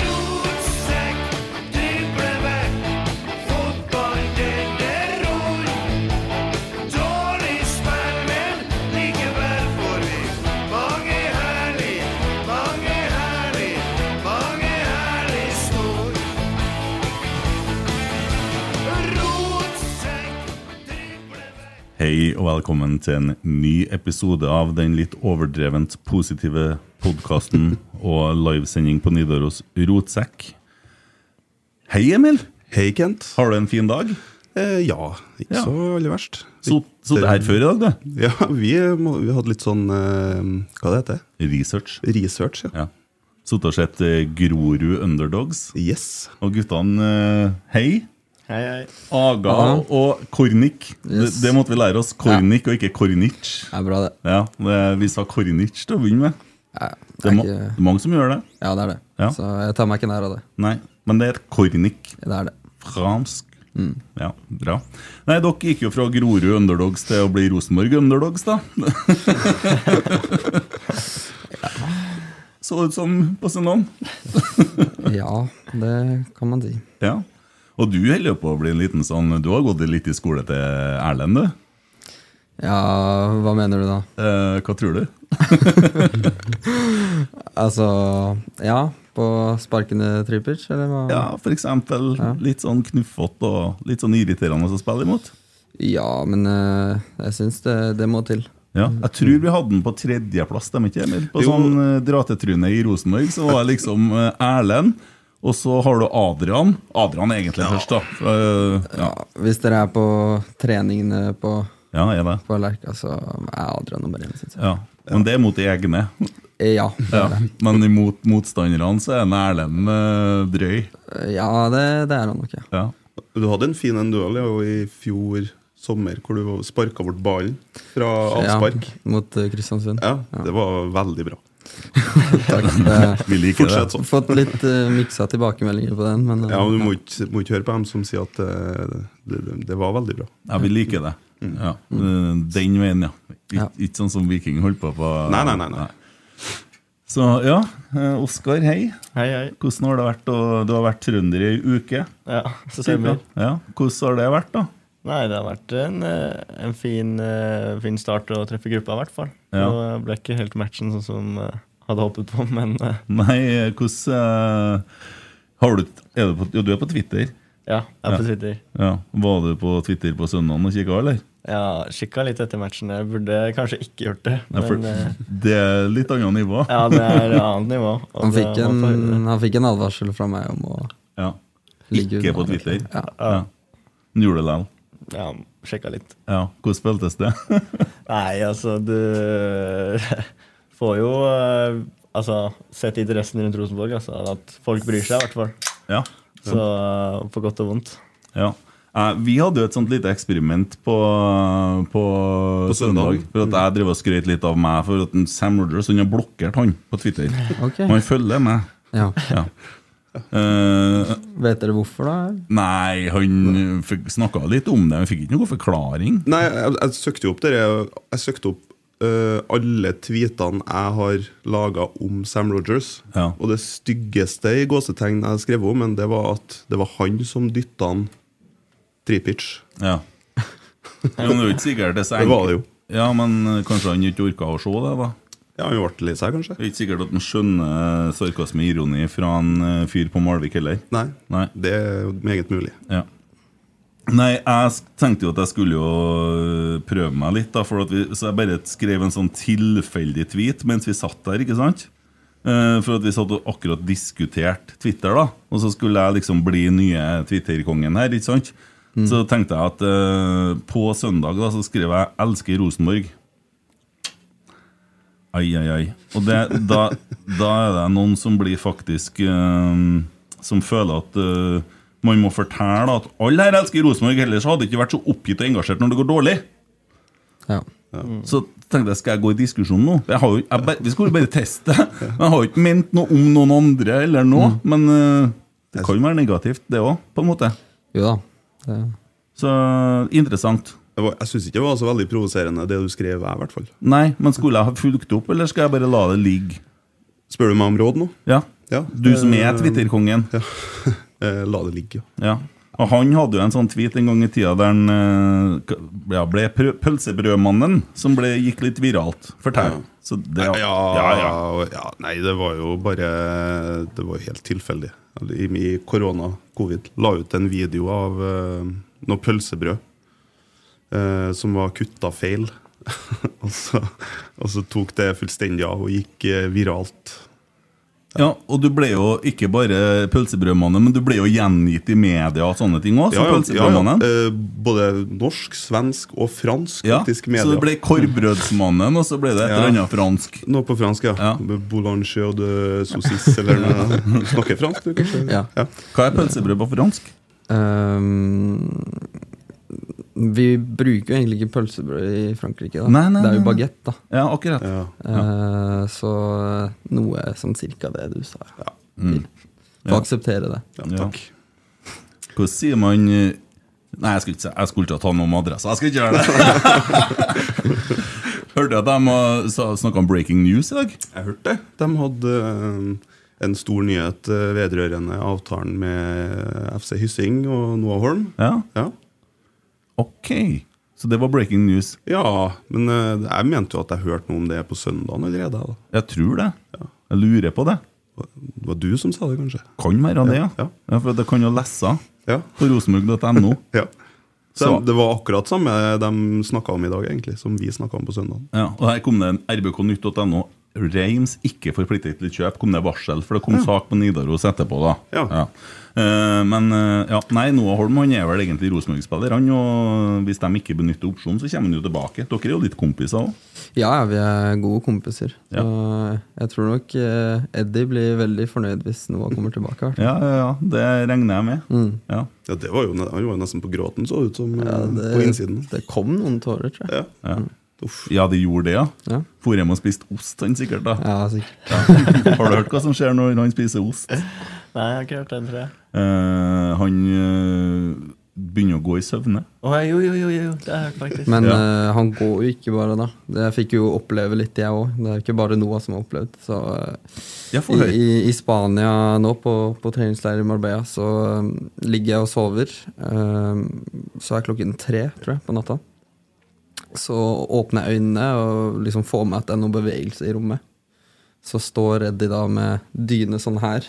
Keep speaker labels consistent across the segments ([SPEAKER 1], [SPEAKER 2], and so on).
[SPEAKER 1] Rotsekk, driblevekk, fotball, det er ror. Dårlig spill, men likevel får vi mange herlig, mange herlig, mange herlig snor. Rotsekk, driblevekk.
[SPEAKER 2] Hei og velkommen til en ny episode av den litt overdrevent positive podkasten og livesending på Nidaros Rotsekk. Hei, Emil!
[SPEAKER 3] Hei, Kent.
[SPEAKER 2] Har du en fin dag?
[SPEAKER 3] Eh, ja, ikke
[SPEAKER 2] Ja.
[SPEAKER 3] så aller verst.
[SPEAKER 2] Sot- Sittet her før i dag, du?
[SPEAKER 3] Ja, vi, må- vi hadde litt sånn eh, Hva det heter
[SPEAKER 2] Research.
[SPEAKER 3] Research, ja.
[SPEAKER 2] Ja. Sittet og sett eh, Grorud Underdogs.
[SPEAKER 3] Yes.
[SPEAKER 2] Og guttene, eh, hei.
[SPEAKER 4] Hei, hei.
[SPEAKER 2] Aga og Kornik.
[SPEAKER 4] Yes.
[SPEAKER 2] Det, det måtte vi lære oss. Kornik og ikke Kornic.
[SPEAKER 4] Det er bra, det.
[SPEAKER 2] Ja, det- vi sa Kornic til å begynne med. Det er, ma det
[SPEAKER 4] ikke-
[SPEAKER 2] er mange som gjør det.
[SPEAKER 4] Ja, det er det.
[SPEAKER 2] Ja.
[SPEAKER 4] Så jeg tar meg ikke nær av det.
[SPEAKER 2] Nei, men det er Kornik.
[SPEAKER 4] Det er det.
[SPEAKER 2] Fransk. Ja, bra. Nei, dere gikk jo fra Grorud Underdogs til å bli Rosenborg Underdogs, da. Så ut som på sin navn.
[SPEAKER 4] Ja, det kan man si.
[SPEAKER 2] Ja. Og du holder jo på å bli en liten sånn Du har gått litt i skole til Erlend, du.
[SPEAKER 4] Ja, hva mener du da?
[SPEAKER 2] Eh, hva tror du?
[SPEAKER 4] Altså, ja, på sparkende trippers, eller hva?
[SPEAKER 2] Ja, for eksempel litt sånn knuffete og litt sånn irriterende å spille imot.
[SPEAKER 4] Ja, men eh, jeg syns det, det må til.
[SPEAKER 2] Ja, jeg tror vi hadde den på tredjeplass, stemmer ikke Emil? På
[SPEAKER 3] Jo.
[SPEAKER 2] sånn uh, dratetryne i Rosenborg, så var det liksom eh, Erlend, og så har du Adrian. Adrian er egentlig først, da. Eh, ja.
[SPEAKER 4] Ja, hvis dere er på treningene på,
[SPEAKER 2] ja, er det.
[SPEAKER 4] på Lerka, så er Adrian nummer én, syns jeg. Eh,
[SPEAKER 2] Ja. Men det er mot de egne.
[SPEAKER 4] Ja.
[SPEAKER 2] Ja. Men imot motstanderne så er en Erlend eh, drøy.
[SPEAKER 4] Ja, det, det er han nok, ja.
[SPEAKER 2] Ja.
[SPEAKER 3] Du hadde en fin en duell ja, og i fjor sommer hvor du sparka bort ballen fra avspark.
[SPEAKER 4] Ja, mot eh, Kristiansund.
[SPEAKER 3] Ja, det var veldig bra.
[SPEAKER 4] Det-
[SPEAKER 2] Vi liker
[SPEAKER 3] Fortsett
[SPEAKER 2] det.
[SPEAKER 3] sånn.
[SPEAKER 4] Fått litt eh, miksa tilbakemeldinger på den, men eh,
[SPEAKER 3] Ja, men Du må ikke, må ikke høre på dem som sier at eh, det, det, det var veldig bra.
[SPEAKER 2] Ja, vi liker det.
[SPEAKER 3] Mm.
[SPEAKER 2] Ja. Eh, Den veien, ja. Ik
[SPEAKER 4] Ja.
[SPEAKER 2] Ikke sånn som Viking holdt på på
[SPEAKER 3] Nei, nei, nei, nei.
[SPEAKER 2] Så ja, eh, Oskar, hei.
[SPEAKER 5] Hei, hei.
[SPEAKER 2] Hvordan har det vært å Du har vært trønder i ei uke.
[SPEAKER 5] Ja, stemmer.
[SPEAKER 2] Ja. Hvordan har det vært, da?
[SPEAKER 5] Nei, det har vært en, eh, en fin, eh, fin start å treffe gruppa, i hvert fall.
[SPEAKER 2] Ja.
[SPEAKER 5] Og Det ble ikke helt matchen sånn som eh, hadde håpet på, men eh,
[SPEAKER 2] Nei, eh, hvordan eh, har du, er du, på, jo, du er på Twitter.
[SPEAKER 5] ja, jeg er på Twitter.
[SPEAKER 2] Ja. Var du på Twitter på søndagen og kikka, eller?
[SPEAKER 5] Ja, kikka litt etter matchen. Jeg burde kanskje ikke gjort det,
[SPEAKER 2] Nei, for,
[SPEAKER 5] men eh,
[SPEAKER 2] det er litt annet nivå.
[SPEAKER 5] ja, det er et annet nivå. og
[SPEAKER 4] han,
[SPEAKER 5] det-
[SPEAKER 4] fikk
[SPEAKER 5] man får høre
[SPEAKER 4] en,
[SPEAKER 5] det.
[SPEAKER 4] han fikk en advarsel fra meg om å
[SPEAKER 2] Ja.
[SPEAKER 4] ligge
[SPEAKER 2] Ikke på
[SPEAKER 4] unna.
[SPEAKER 2] Twitter.
[SPEAKER 4] Ja.
[SPEAKER 2] Ja. Men Gjorde det likevel.
[SPEAKER 5] Ja, sjekka litt.
[SPEAKER 2] Ja. Hvordan føltes det?
[SPEAKER 5] Nei, altså, du får jo eh, Altså, sett interessen rundt Rosenborg, altså. At folk bryr seg, i hvert fall.
[SPEAKER 2] ja.
[SPEAKER 5] Så eh, på godt og vondt.
[SPEAKER 2] ja. Eh, vi hadde jo et sånt lite eksperiment på, på, søndag.
[SPEAKER 3] søndag.
[SPEAKER 2] For at Jeg drev og skrøt litt av meg for at en Sam Rogers han har blokkert han på Twitter.
[SPEAKER 4] Ok.
[SPEAKER 2] Han følger meg.
[SPEAKER 4] Ja.
[SPEAKER 2] Ja. Eh,
[SPEAKER 4] Vet dere hvorfor, da?
[SPEAKER 2] nei, han snakka litt om det, men fikk ikke noen forklaring.
[SPEAKER 3] Nei, jeg, jeg søkte jo opp dere Jeg søkte opp eh, alle tweetene jeg har laga om Sam Rogers.
[SPEAKER 2] Ja.
[SPEAKER 3] Og det styggeste i gåsetegn jeg skrev om, men det var at det var han som dytta han tripitch.
[SPEAKER 2] Ja. Jo, men det er jo ikke sikkert det er så
[SPEAKER 3] Det var det
[SPEAKER 2] enkelt. Ja, men eh, kanskje han ikke orka å se det, da.
[SPEAKER 3] Ja, han ble lei seg, kanskje?
[SPEAKER 2] Det er ikke sikkert at han skjønner eh, sarkasme og ironi fra en eh, fyr på Malvik heller.
[SPEAKER 3] Nei.
[SPEAKER 2] Nei.
[SPEAKER 3] Det er jo meget mulig.
[SPEAKER 2] Ja. Nei, jeg sk- tenkte jo at jeg skulle jo øh, prøve meg litt, da, for at vi, så jeg bare skrev en sånn tilfeldig tweet mens vi satt der, ikke sant? Eh, For at vi satt og akkurat diskuterte Twitter, da. Og så skulle jeg liksom bli nye Twitter-kongen her, ikke sant? Så tenkte jeg at eh, på søndag da, så skrev jeg 'Elsker Rosenborg'. Ai, ai, ai. Og det, da, da er det noen som blir faktisk eh, Som føler at eh, man må fortelle at alle her elsker Rosenborg, ellers hadde det ikke vært så oppgitt og engasjert når det går dårlig.
[SPEAKER 4] Ja.
[SPEAKER 2] Så tenkte jeg, skal jeg gå i diskusjon nå? Jeg har jo, jeg bare, vi skulle bare teste. Men jeg har jo ikke ment noe om noen andre eller noe. Men eh, det kan jo være negativt, det òg, på en måte.
[SPEAKER 4] Jo da. Det,
[SPEAKER 2] Så interessant.
[SPEAKER 3] Det var, jeg syns ikke det var så veldig provoserende, det du skrev, jeg, i hvert fall.
[SPEAKER 2] Nei, men skulle jeg ha fulgt opp, eller skal jeg bare la det ligge?
[SPEAKER 3] Spør du meg om råd nå?
[SPEAKER 2] Ja.
[SPEAKER 3] Ja.
[SPEAKER 2] Du som er
[SPEAKER 3] Eh,
[SPEAKER 2] Twitter-kongen.
[SPEAKER 3] eh, La det ligge. ja.
[SPEAKER 2] Ja. Og han hadde jo en sånn tweet en gang i tida der han eh, k- ja, ble prø- pølsebrødmannen, som ble, gikk litt viralt. Fortell.
[SPEAKER 3] Ja.
[SPEAKER 2] Så det,
[SPEAKER 3] Ja,
[SPEAKER 2] ja, ja.
[SPEAKER 3] ja, ja. Nei, det var jo bare Det var jo helt tilfeldig. I i korona, covid, la ut en video av eh, noe pølsebrød eh, som var kutta feil. og, så, og så tok det fullstendig av og gikk eh, viralt.
[SPEAKER 2] Ja, og du ble jo ikke bare pølsebrødmannen, men du ble jo gjengitt i media og sånne ting òg.
[SPEAKER 3] Ja, ja, ja, ja.
[SPEAKER 2] pølsebrødmannen.
[SPEAKER 3] Eh, både norsk, svensk og fransk
[SPEAKER 2] Ja,
[SPEAKER 3] faktisk
[SPEAKER 2] Så
[SPEAKER 3] media.
[SPEAKER 2] det ble korvbrødsmannen, og så ble det et eller annet fransk.
[SPEAKER 3] Noe på fransk, ja.
[SPEAKER 2] Ja.
[SPEAKER 3] Boulanger og de saucisse, eller noe. Du snakker fransk, du, kanskje?
[SPEAKER 4] ja.
[SPEAKER 2] Hva er pølsebrød på fransk?
[SPEAKER 4] Ehm, vi bruker jo egentlig ikke pølsebrød i Frankrike. Da.
[SPEAKER 2] Nei, nei,
[SPEAKER 4] det er
[SPEAKER 2] nei,
[SPEAKER 4] jo
[SPEAKER 2] nei.
[SPEAKER 4] bagett, da.
[SPEAKER 2] Ja, akkurat.
[SPEAKER 3] Ja.
[SPEAKER 4] Eh, så noe sånn cirka det du sa. Ja.
[SPEAKER 2] Mm.
[SPEAKER 4] Få akseptere det.
[SPEAKER 3] ja,
[SPEAKER 2] Ja.
[SPEAKER 3] takk.
[SPEAKER 2] Hvordan sier man eh, Nei, jeg skulle ikke, si- jeg skulle ikke ta noe om adressa. Jeg skulle ikke gjøre det! Hørte at de snakka om breaking news i dag.
[SPEAKER 3] Jeg hørte det. De hadde eh, en stor nyhet eh, vedrørende avtalen med FC Hyssing og Noah Holm.
[SPEAKER 2] Ja,
[SPEAKER 3] Ja,
[SPEAKER 2] ok. Så det var breaking news.
[SPEAKER 3] ja men eh, jeg mente jo at jeg hørte noe om det på søndagen allerede. Da.
[SPEAKER 2] Jeg tror det. Jeg lurer på det.
[SPEAKER 3] Det var du som sa det, kanskje?
[SPEAKER 2] Kan være det, ja.
[SPEAKER 3] Ja.
[SPEAKER 2] ja for det kan jo lese
[SPEAKER 3] Ja.
[SPEAKER 2] på rosenborg.no.
[SPEAKER 3] ja. Så
[SPEAKER 2] Så-
[SPEAKER 3] det var akkurat samme de snakka om i dag, egentlig, som vi snakka om på søndagen.
[SPEAKER 2] Ja, og her kom det en rbknytt.no. Reims ikke forpliktet til kjøp, kom det varsel, for det kom sak på Nidaros etterpå. da
[SPEAKER 3] Ja.
[SPEAKER 2] Eh, Men eh, ja, nei, Noah Holm han er vel egentlig Rosenborg-spiller. han, og Hvis de ikke benytter opsjonen, så kommer han jo tilbake. Dere er jo litt kompiser òg.
[SPEAKER 4] Ja, ja, vi er gode kompiser.
[SPEAKER 2] Ja.
[SPEAKER 4] Så jeg tror nok eh, Eddie blir veldig fornøyd hvis Noah kommer tilbake. i hvert fall.
[SPEAKER 2] Ja, ja, ja, det regner jeg med. Ja.
[SPEAKER 3] Ja, det var jo, ne- Han var jo nesten på gråten, så ut som, eh,
[SPEAKER 4] Ja,
[SPEAKER 3] på innsiden.
[SPEAKER 4] det kom noen tårer, tror jeg.
[SPEAKER 3] Ja. Uff.
[SPEAKER 2] ja, de gjorde det, ja.
[SPEAKER 4] Ja.
[SPEAKER 2] For hjem og spiste ost, han sikkert. da
[SPEAKER 4] Ja, sikkert.
[SPEAKER 2] Har du hørt hva som skjer når han spiser ost?
[SPEAKER 5] Nei, jeg har ikke hørt den, tror jeg.
[SPEAKER 2] Eh, han eh, begynner å gå i søvne.
[SPEAKER 5] Å, jo, jo, jo, jo, det har jeg hørt faktisk.
[SPEAKER 4] Men
[SPEAKER 2] Ja.
[SPEAKER 4] eh, han går jo ikke bare, da. Det jeg fikk jo oppleve litt, jeg òg. Det er ikke bare Noah som har opplevd. Så eh,
[SPEAKER 2] Ja, få høre.
[SPEAKER 4] i, i, I Spania nå, på, på treningsleir i Marbella, så eh, ligger jeg og sover. Eh, så er klokken tre, tror jeg, på natta. Så åpner jeg øynene og liksom får med at det er noe bevegelse i rommet. Så står Eddie da med dyne sånn her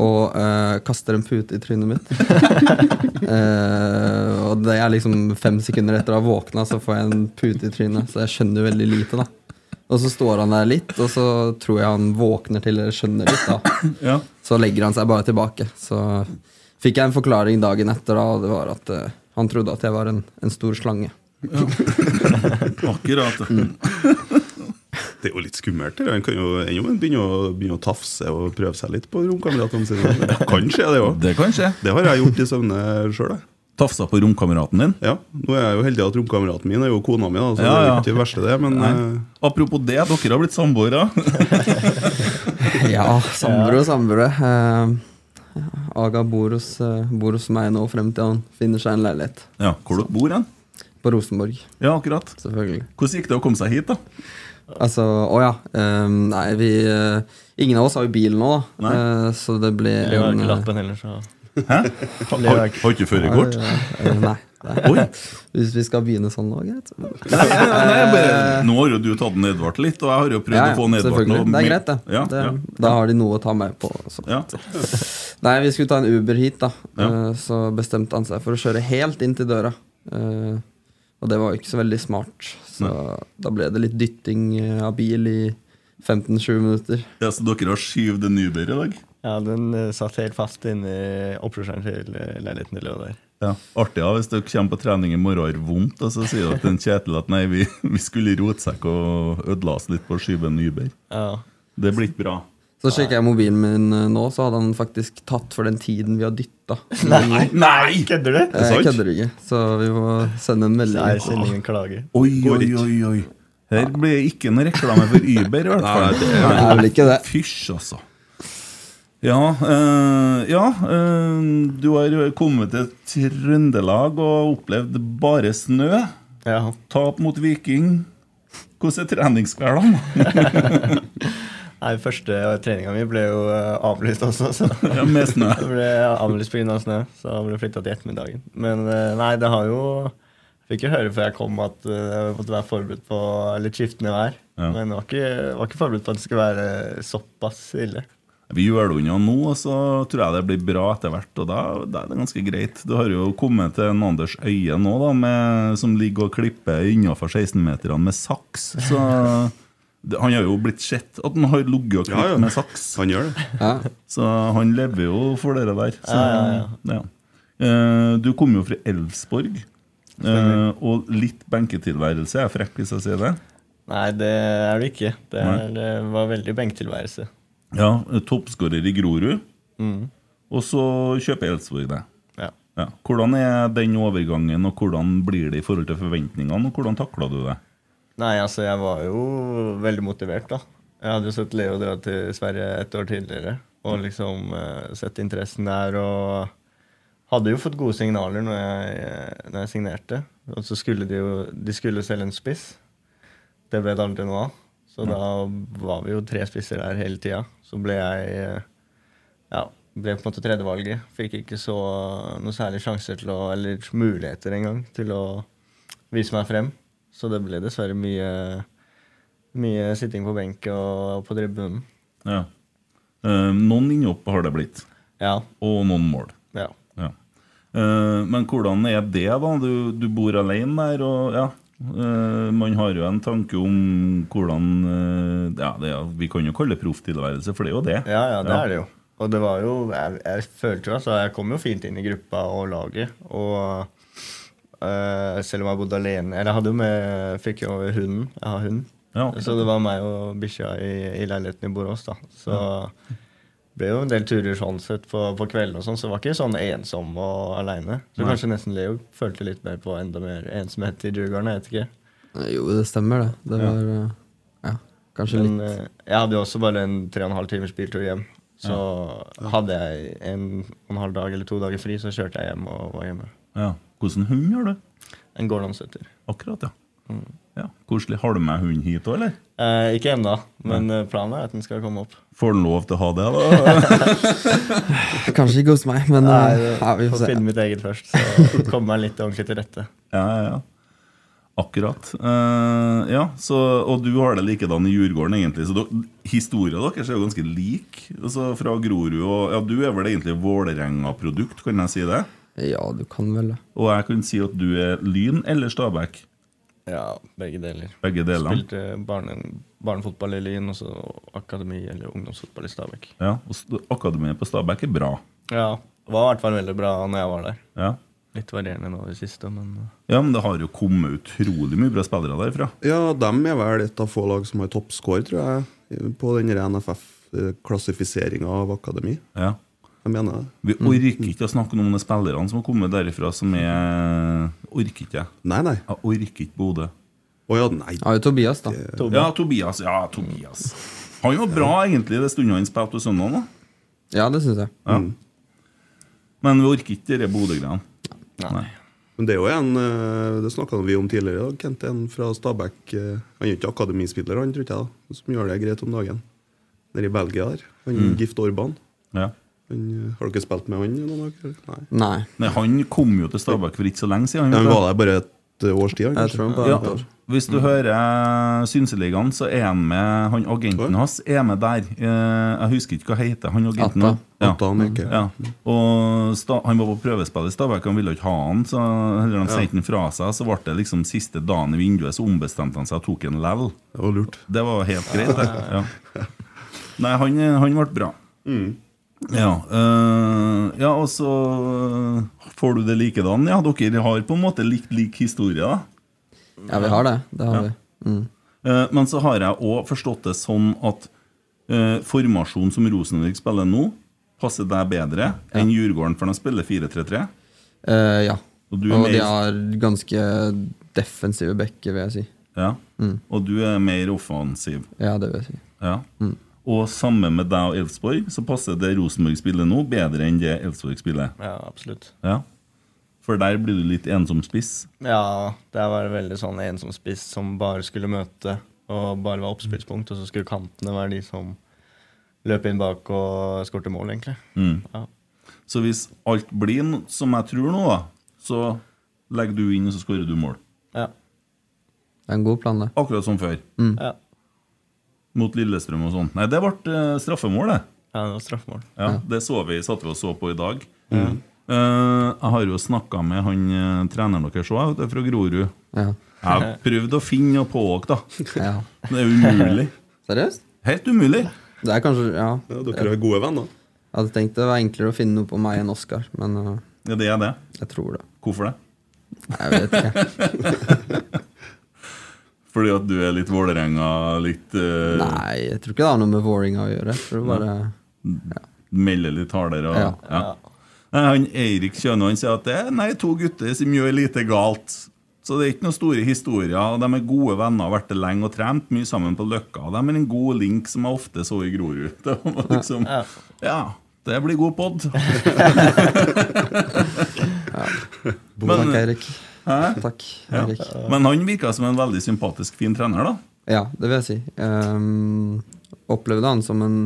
[SPEAKER 4] og eh, kaster en pute i trynet mitt. Eh, og det er liksom fem sekunder etter å ha våkna, så får jeg en pute i trynet. Så jeg skjønner jo veldig lite, da. Og så står han der litt, og så tror jeg han våkner til eller skjønner litt, da.
[SPEAKER 2] Ja.
[SPEAKER 4] Så legger han seg bare tilbake. Så fikk jeg en forklaring dagen etter, da, og det var at eh, han trodde at jeg var en, en stor slange.
[SPEAKER 2] Akkurat.
[SPEAKER 3] Det er jo litt skummelt. det. Han kan jo ennå begynne å, begynne å tafse og prøve seg litt på romkameratene sine. Det kan skje, det òg.
[SPEAKER 2] Det kan skje.
[SPEAKER 3] Det har jeg gjort i søvne sjøl.
[SPEAKER 2] Tafsa på romkameraten din?
[SPEAKER 3] Ja, Nå er jeg jo heldig at romkameraten min er jo kona mi, da, så
[SPEAKER 2] Ja,
[SPEAKER 3] det er jo
[SPEAKER 2] ja.
[SPEAKER 3] ikke det verste, det. Men
[SPEAKER 2] Nei.
[SPEAKER 3] eh,
[SPEAKER 2] Apropos det, dere har blitt samboere.
[SPEAKER 4] Ja, samboere og samboere. Eh, Aga bor hos, eh, bor hos meg nå frem til han finner seg en leilighet.
[SPEAKER 2] Ja, hvor dere bor hen?
[SPEAKER 4] På Rosenborg,
[SPEAKER 2] Ja, akkurat.
[SPEAKER 4] selvfølgelig.
[SPEAKER 2] Hvordan gikk det å komme seg hit, da?
[SPEAKER 4] Altså, å ja. eh, nei, vi eh, Ingen av oss har jo bil nå, da.
[SPEAKER 2] Nei.
[SPEAKER 4] Eh, så det ble
[SPEAKER 5] Jeg har
[SPEAKER 4] en,
[SPEAKER 5] ikke
[SPEAKER 4] eh,
[SPEAKER 5] lappen heller, så
[SPEAKER 2] Har,
[SPEAKER 5] Lever
[SPEAKER 2] har
[SPEAKER 5] ikke.
[SPEAKER 2] har ikke førerkort?
[SPEAKER 4] eh, Nei. nei.
[SPEAKER 2] Oi!
[SPEAKER 4] Hvis vi skal begynne sånn nå, greit.
[SPEAKER 2] Nei, nei, nei, jeg bare, nå har jo du tatt den Edvard litt, og jeg har jo prøvd å få den Edvard
[SPEAKER 4] selvfølgelig.
[SPEAKER 2] nå.
[SPEAKER 4] Det er greit, det.
[SPEAKER 2] Ja,
[SPEAKER 4] det
[SPEAKER 2] ja,
[SPEAKER 4] Da har de noe å ta med på. Så.
[SPEAKER 2] ja.
[SPEAKER 4] Nei, vi skulle ta en Uber hit, da.
[SPEAKER 2] Ja.
[SPEAKER 4] Eh, Så bestemte han seg for å kjøre helt inn til døra. Eh, Og det var jo ikke så veldig smart, så da ble det litt dytting eh, av bil i 15-20 minutter.
[SPEAKER 2] ja, Så dere har skyvd en Uber i dag?
[SPEAKER 5] ja, den eh, satt helt fast inni oppkjørselen til eh, leiligheten til Leo der.
[SPEAKER 2] Ja. Artig ja, hvis dere kommer på trening i morgen og har vondt, og så sier dere til en Kjetil at nei, vi, vi skulle i rotsekk og ødela oss litt på å skyve en Uber.
[SPEAKER 5] Ja.
[SPEAKER 2] Det blir ikke bra.
[SPEAKER 4] Så sjekka jeg mobilen min eh, nå, så hadde han faktisk tatt for den tiden vi har dytta.
[SPEAKER 2] Nei! Nei!
[SPEAKER 5] Kødder du?
[SPEAKER 4] Jeg
[SPEAKER 2] sant?
[SPEAKER 4] kødder ikke, så vi må sende en
[SPEAKER 5] Nei,
[SPEAKER 4] melding.
[SPEAKER 5] send ingen klage.
[SPEAKER 2] Oi, oi, oi, oi. Her blir ikke noe reklame for Uber, i hvert fall.
[SPEAKER 4] Det er vel ikke det.
[SPEAKER 2] Fysj, altså. Ja, eh, ja eh, du har kommet til Trøndelag og opplevd bare snø.
[SPEAKER 5] Ja.
[SPEAKER 2] Tap mot Viking. Hvordan er treningskveldene?
[SPEAKER 5] Nei, første treninga mi ble jo eh, avlyst også, så
[SPEAKER 2] Ja, med snø.
[SPEAKER 5] det ble avlyst pga. snø. Så det ble flytta til ettermiddagen. Men eh, nei, det har jo Fikk jo høre før jeg kom at eh, jeg måtte være forberedt på litt skiftende vær.
[SPEAKER 2] Ja.
[SPEAKER 5] Men jeg var ikke, var ikke forberedt på at det skulle være såpass ille.
[SPEAKER 2] Vi gjør det unna nå, og så tror jeg det blir bra etter hvert. Og da, da er det ganske greit. Du har jo kommet til en Anders Øie nå, da, med, som ligger og klipper innafor 16-meterne med saks. Så det, han har jo blitt sett at han har ligget og klippet
[SPEAKER 3] Ja, ja.
[SPEAKER 2] med saks.
[SPEAKER 3] han gjør det.
[SPEAKER 4] Ja.
[SPEAKER 2] Så han lever jo for dere der. Så, ja. Eh, du kommer jo fra Elvsborg. eh, og litt benketilværelse. Jeg er frekk hvis jeg sier det.
[SPEAKER 5] Nei, det er det ikke. Det, er, det var veldig benktilværelse.
[SPEAKER 2] Ja, Toppskårer i Grorud. Og så kjøper Elvsborg det.
[SPEAKER 5] Mm. Ja.
[SPEAKER 2] Ja. Hvordan er den overgangen, og hvordan blir det i forhold til forventningene? Og hvordan takla du det?
[SPEAKER 5] Nei, altså jeg var jo veldig motivert da. Jeg hadde jo sett Leo dra til Sverige et år tidligere. Og liksom eh, sett interessen der og hadde jo fått gode signaler når jeg, eh, når jeg signerte. Og så skulle de jo de skulle selge en spiss. Det ble det aldri noe av. Så da var vi jo tre spisser der hele tida. Så ble jeg eh, ja, ble på en måte tredjevalget. Fikk ikke så noe særlig sjanser til å, eller muligheter engang til å vise meg frem. Så det ble dessverre mye, mye sitting på benk og på tribunen.
[SPEAKER 2] Ja. Eh, noen innhopp har det blitt,
[SPEAKER 5] Ja.
[SPEAKER 2] og noen mål.
[SPEAKER 5] ja.
[SPEAKER 2] Ja. Eh, men hvordan er det, da? Du, du bor alene der, og ja. eh, man har jo en tanke om hvordan eh, Ja, det er, vi kan jo kalle det profftilværelse, for det er jo det.
[SPEAKER 5] Ja, ja, det er det jo. Og det var jo Jeg, jeg følte jo altså, Jeg kom jo fint inn i gruppa og laget. Og eh, selv om jeg bodde alene Eller jeg hadde jo med fikk jo hunden. Jeg har hund.
[SPEAKER 2] Ja, akkurat.
[SPEAKER 5] Så det var meg og bikkja i, i leiligheten i Borås, da. Så det ble jo en del turer sånn sett på, på kvelden og sånn, så det var ikke sånn ensom og aleine. Så kanskje nesten Leo følte litt mer på enda mer ensomhet i Djurgården, jeg vet ikke.
[SPEAKER 4] Jo, det stemmer, det. Det var eh, ja, kanskje
[SPEAKER 5] Men
[SPEAKER 4] litt
[SPEAKER 5] eh, jeg hadde jo også bare en tre og en halv timers biltur hjem. Så hadde jeg en og en halv dag eller to dager fri, så kjørte jeg hjem og var hjemme.
[SPEAKER 2] Ja. Hvordan hund har du?
[SPEAKER 5] En gårdlandsetter.
[SPEAKER 2] Akkurat, ja. ja. Koselig. Har du med hund hit òg, eller?
[SPEAKER 5] Eh, ikke ennå, men eh, planen er at den skal komme opp.
[SPEAKER 2] Får du lov til å ha det, da?
[SPEAKER 4] Kanskje ikke hos meg, men eh, ja, vi
[SPEAKER 5] Få
[SPEAKER 4] får se.
[SPEAKER 5] finne mitt eget først, så komme meg litt ordentlig til rette.
[SPEAKER 2] ja, ja, ja. Akkurat. Eh, ja, så, Og du har det likedan i Djurgården, egentlig. Så dere- historien deres er jo ganske lik. Altså, fra Grorud og Ja, du er vel egentlig Vålerenga-produkt, kan jeg si det?
[SPEAKER 4] Ja, du kan vel det.
[SPEAKER 2] Og jeg kan si at du er Lyn eller Stabæk.
[SPEAKER 5] Ja, begge deler.
[SPEAKER 2] Begge deler.
[SPEAKER 5] Spilte barne, barnefotball i Lyn og så akademi eller ungdomsfotball i Stabæk.
[SPEAKER 2] Ja, og st- Akademiet på Stabæk er bra.
[SPEAKER 5] Ja, var i hvert fall veldig bra når jeg var der.
[SPEAKER 2] Ja.
[SPEAKER 5] Litt varierende nå i det siste, men eh,
[SPEAKER 2] ja, men det har jo kommet utrolig mye bra spillere derfra.
[SPEAKER 3] Ja, dem er vel et av få lag som har toppscore, tror jeg, på den NFF-klassifiseringa av akademi.
[SPEAKER 2] Ja.
[SPEAKER 3] Jeg mener det.
[SPEAKER 2] Vi
[SPEAKER 5] Mm.
[SPEAKER 2] orker ikke å snakke om de spillerne som har kommet derifra, som er Orker ikke.
[SPEAKER 3] Nei, nei.
[SPEAKER 2] Jeg orker ikke Bodø.
[SPEAKER 3] Å ja, nei.
[SPEAKER 4] Ja, jo Tobias, da.
[SPEAKER 2] Ja, Tobias. Ja, Tobias. Han var bra, egentlig, det stundet han spilte på søndag.
[SPEAKER 4] Ja, det syns jeg.
[SPEAKER 2] Ja.
[SPEAKER 5] Mm.
[SPEAKER 2] Men vi orker ikke de Bodø-greiene. Nei.
[SPEAKER 3] Men det er jo en eh, Det snakka vi om tidligere i dag. Kent er en fra Stabæk. eh, Han er jo ikke akademispiller, han, tror ikke jeg, da, som gjør det greit om dagen. Nede i Belgia der. Han mm. Gift Orban.
[SPEAKER 2] Ja.
[SPEAKER 3] Han, eh, har dere spilt med han noen dag? eller? Nei.
[SPEAKER 4] Nei.
[SPEAKER 2] Nei, han kom jo til Stabæk for ikke så lenge siden.
[SPEAKER 3] Ja,
[SPEAKER 2] vet
[SPEAKER 3] Han
[SPEAKER 2] du.
[SPEAKER 3] var der bare et eh, års tid, han,
[SPEAKER 4] Jeg
[SPEAKER 3] kanskje?
[SPEAKER 4] tror han bare
[SPEAKER 2] Ja,
[SPEAKER 4] et år.
[SPEAKER 2] hvis du hører eh, Synseligaen, så er han med Han agenten
[SPEAKER 3] Oi.
[SPEAKER 2] hans er med der. Eh, Jeg husker ikke hva han heter. Han agenten
[SPEAKER 4] Atta.
[SPEAKER 2] Ja.
[SPEAKER 3] At han ikke-
[SPEAKER 2] Ja. Og sta, han var på prøvespill i Stabæk, han ville ikke ha han. Så eller han sendte han fra seg, så ble det liksom siste dagen i vinduet, så ombestemte han seg og tok en level.
[SPEAKER 3] Det var lurt.
[SPEAKER 2] Det var helt greit, det. Ja. Nei, han, eh, han ble bra. Ja, eh, ja, og så eh, får du det likedan. Ja, dere har på en måte likt lik historie, da.
[SPEAKER 4] Ja, vi har det. Det har vi.
[SPEAKER 2] Eh, Men så har jeg òg forstått det sånn at eh, formasjonen som Rosenborg spiller nå, passer deg bedre enn Djurgården, for de spiller 4-3-3.
[SPEAKER 4] Eh, ja.
[SPEAKER 2] Og
[SPEAKER 4] Og,
[SPEAKER 2] du er mer-
[SPEAKER 4] de har ganske defensive bekker, vil jeg si.
[SPEAKER 2] Ja. Og du er mer offensiv.
[SPEAKER 4] Ja, det vil jeg si.
[SPEAKER 2] Ja. Og sammen med deg og Elfsborg så passer det Rosenborg spiller nå, bedre enn det Elfsborg spiller.
[SPEAKER 5] Ja, absolutt.
[SPEAKER 2] Ja. For der blir du litt ensom spiss.
[SPEAKER 5] Ja, der var det veldig sånn en som spiss som bare skulle møte og bare var oppspillspunkt, og så skulle kantene være de som løp inn bak og skårte mål, egentlig. Ja.
[SPEAKER 2] Så hvis alt blir no- som jeg tror nå, da, så legger du inn, og så skårer du mål.
[SPEAKER 5] Ja.
[SPEAKER 4] Det er en god plan, det.
[SPEAKER 2] Akkurat som før.
[SPEAKER 5] ja.
[SPEAKER 2] Mot Lillestrøm og sånn. Nei, det ble eh, straffemål, det.
[SPEAKER 5] Ja, det var straffemål.
[SPEAKER 2] Ja, Det så vi, satt vi og så på i dag. Eh, jeg har jo snakka med han eh, treneren deres òg, vet du, fra Grorud.
[SPEAKER 4] Ja.
[SPEAKER 2] Jeg har prøvd å finne noe på dere, da.
[SPEAKER 4] ja.
[SPEAKER 2] Det er umulig.
[SPEAKER 4] Seriøst?
[SPEAKER 2] Helt umulig!
[SPEAKER 4] Det er kanskje Ja.
[SPEAKER 3] Ja, dere er gode venner.
[SPEAKER 4] Jeg hadde tenkt det var enklere å finne noe på meg enn Oskar, men eh,
[SPEAKER 2] Ja, det er det.
[SPEAKER 4] jeg tror det.
[SPEAKER 2] Hvorfor det?
[SPEAKER 4] Nei, Jeg vet ikke.
[SPEAKER 2] Fordi at du er litt Vålerenga, litt eh,
[SPEAKER 4] Nei, jeg tror ikke det har noe med Våringa å gjøre. Jeg tror bare
[SPEAKER 2] Melder litt hardere og
[SPEAKER 4] Ja.
[SPEAKER 2] ja. Nei, Han Eirik Kjønå han sier at det er nei, to gutter som gjør lite galt. Så det er ikke noen store historier. og De er gode venner, har vært det lenge og trent mye sammen på Løkka. De er en god link som jeg ofte så i Grorud. Det var liksom, ja, det blir god pod. Men-
[SPEAKER 4] Takk, Eirik. Takk, Eirik.
[SPEAKER 2] Men han virka som en veldig sympatisk, fin trener, da.
[SPEAKER 4] Ja, det vil jeg si. Ehm, opplevde han som en,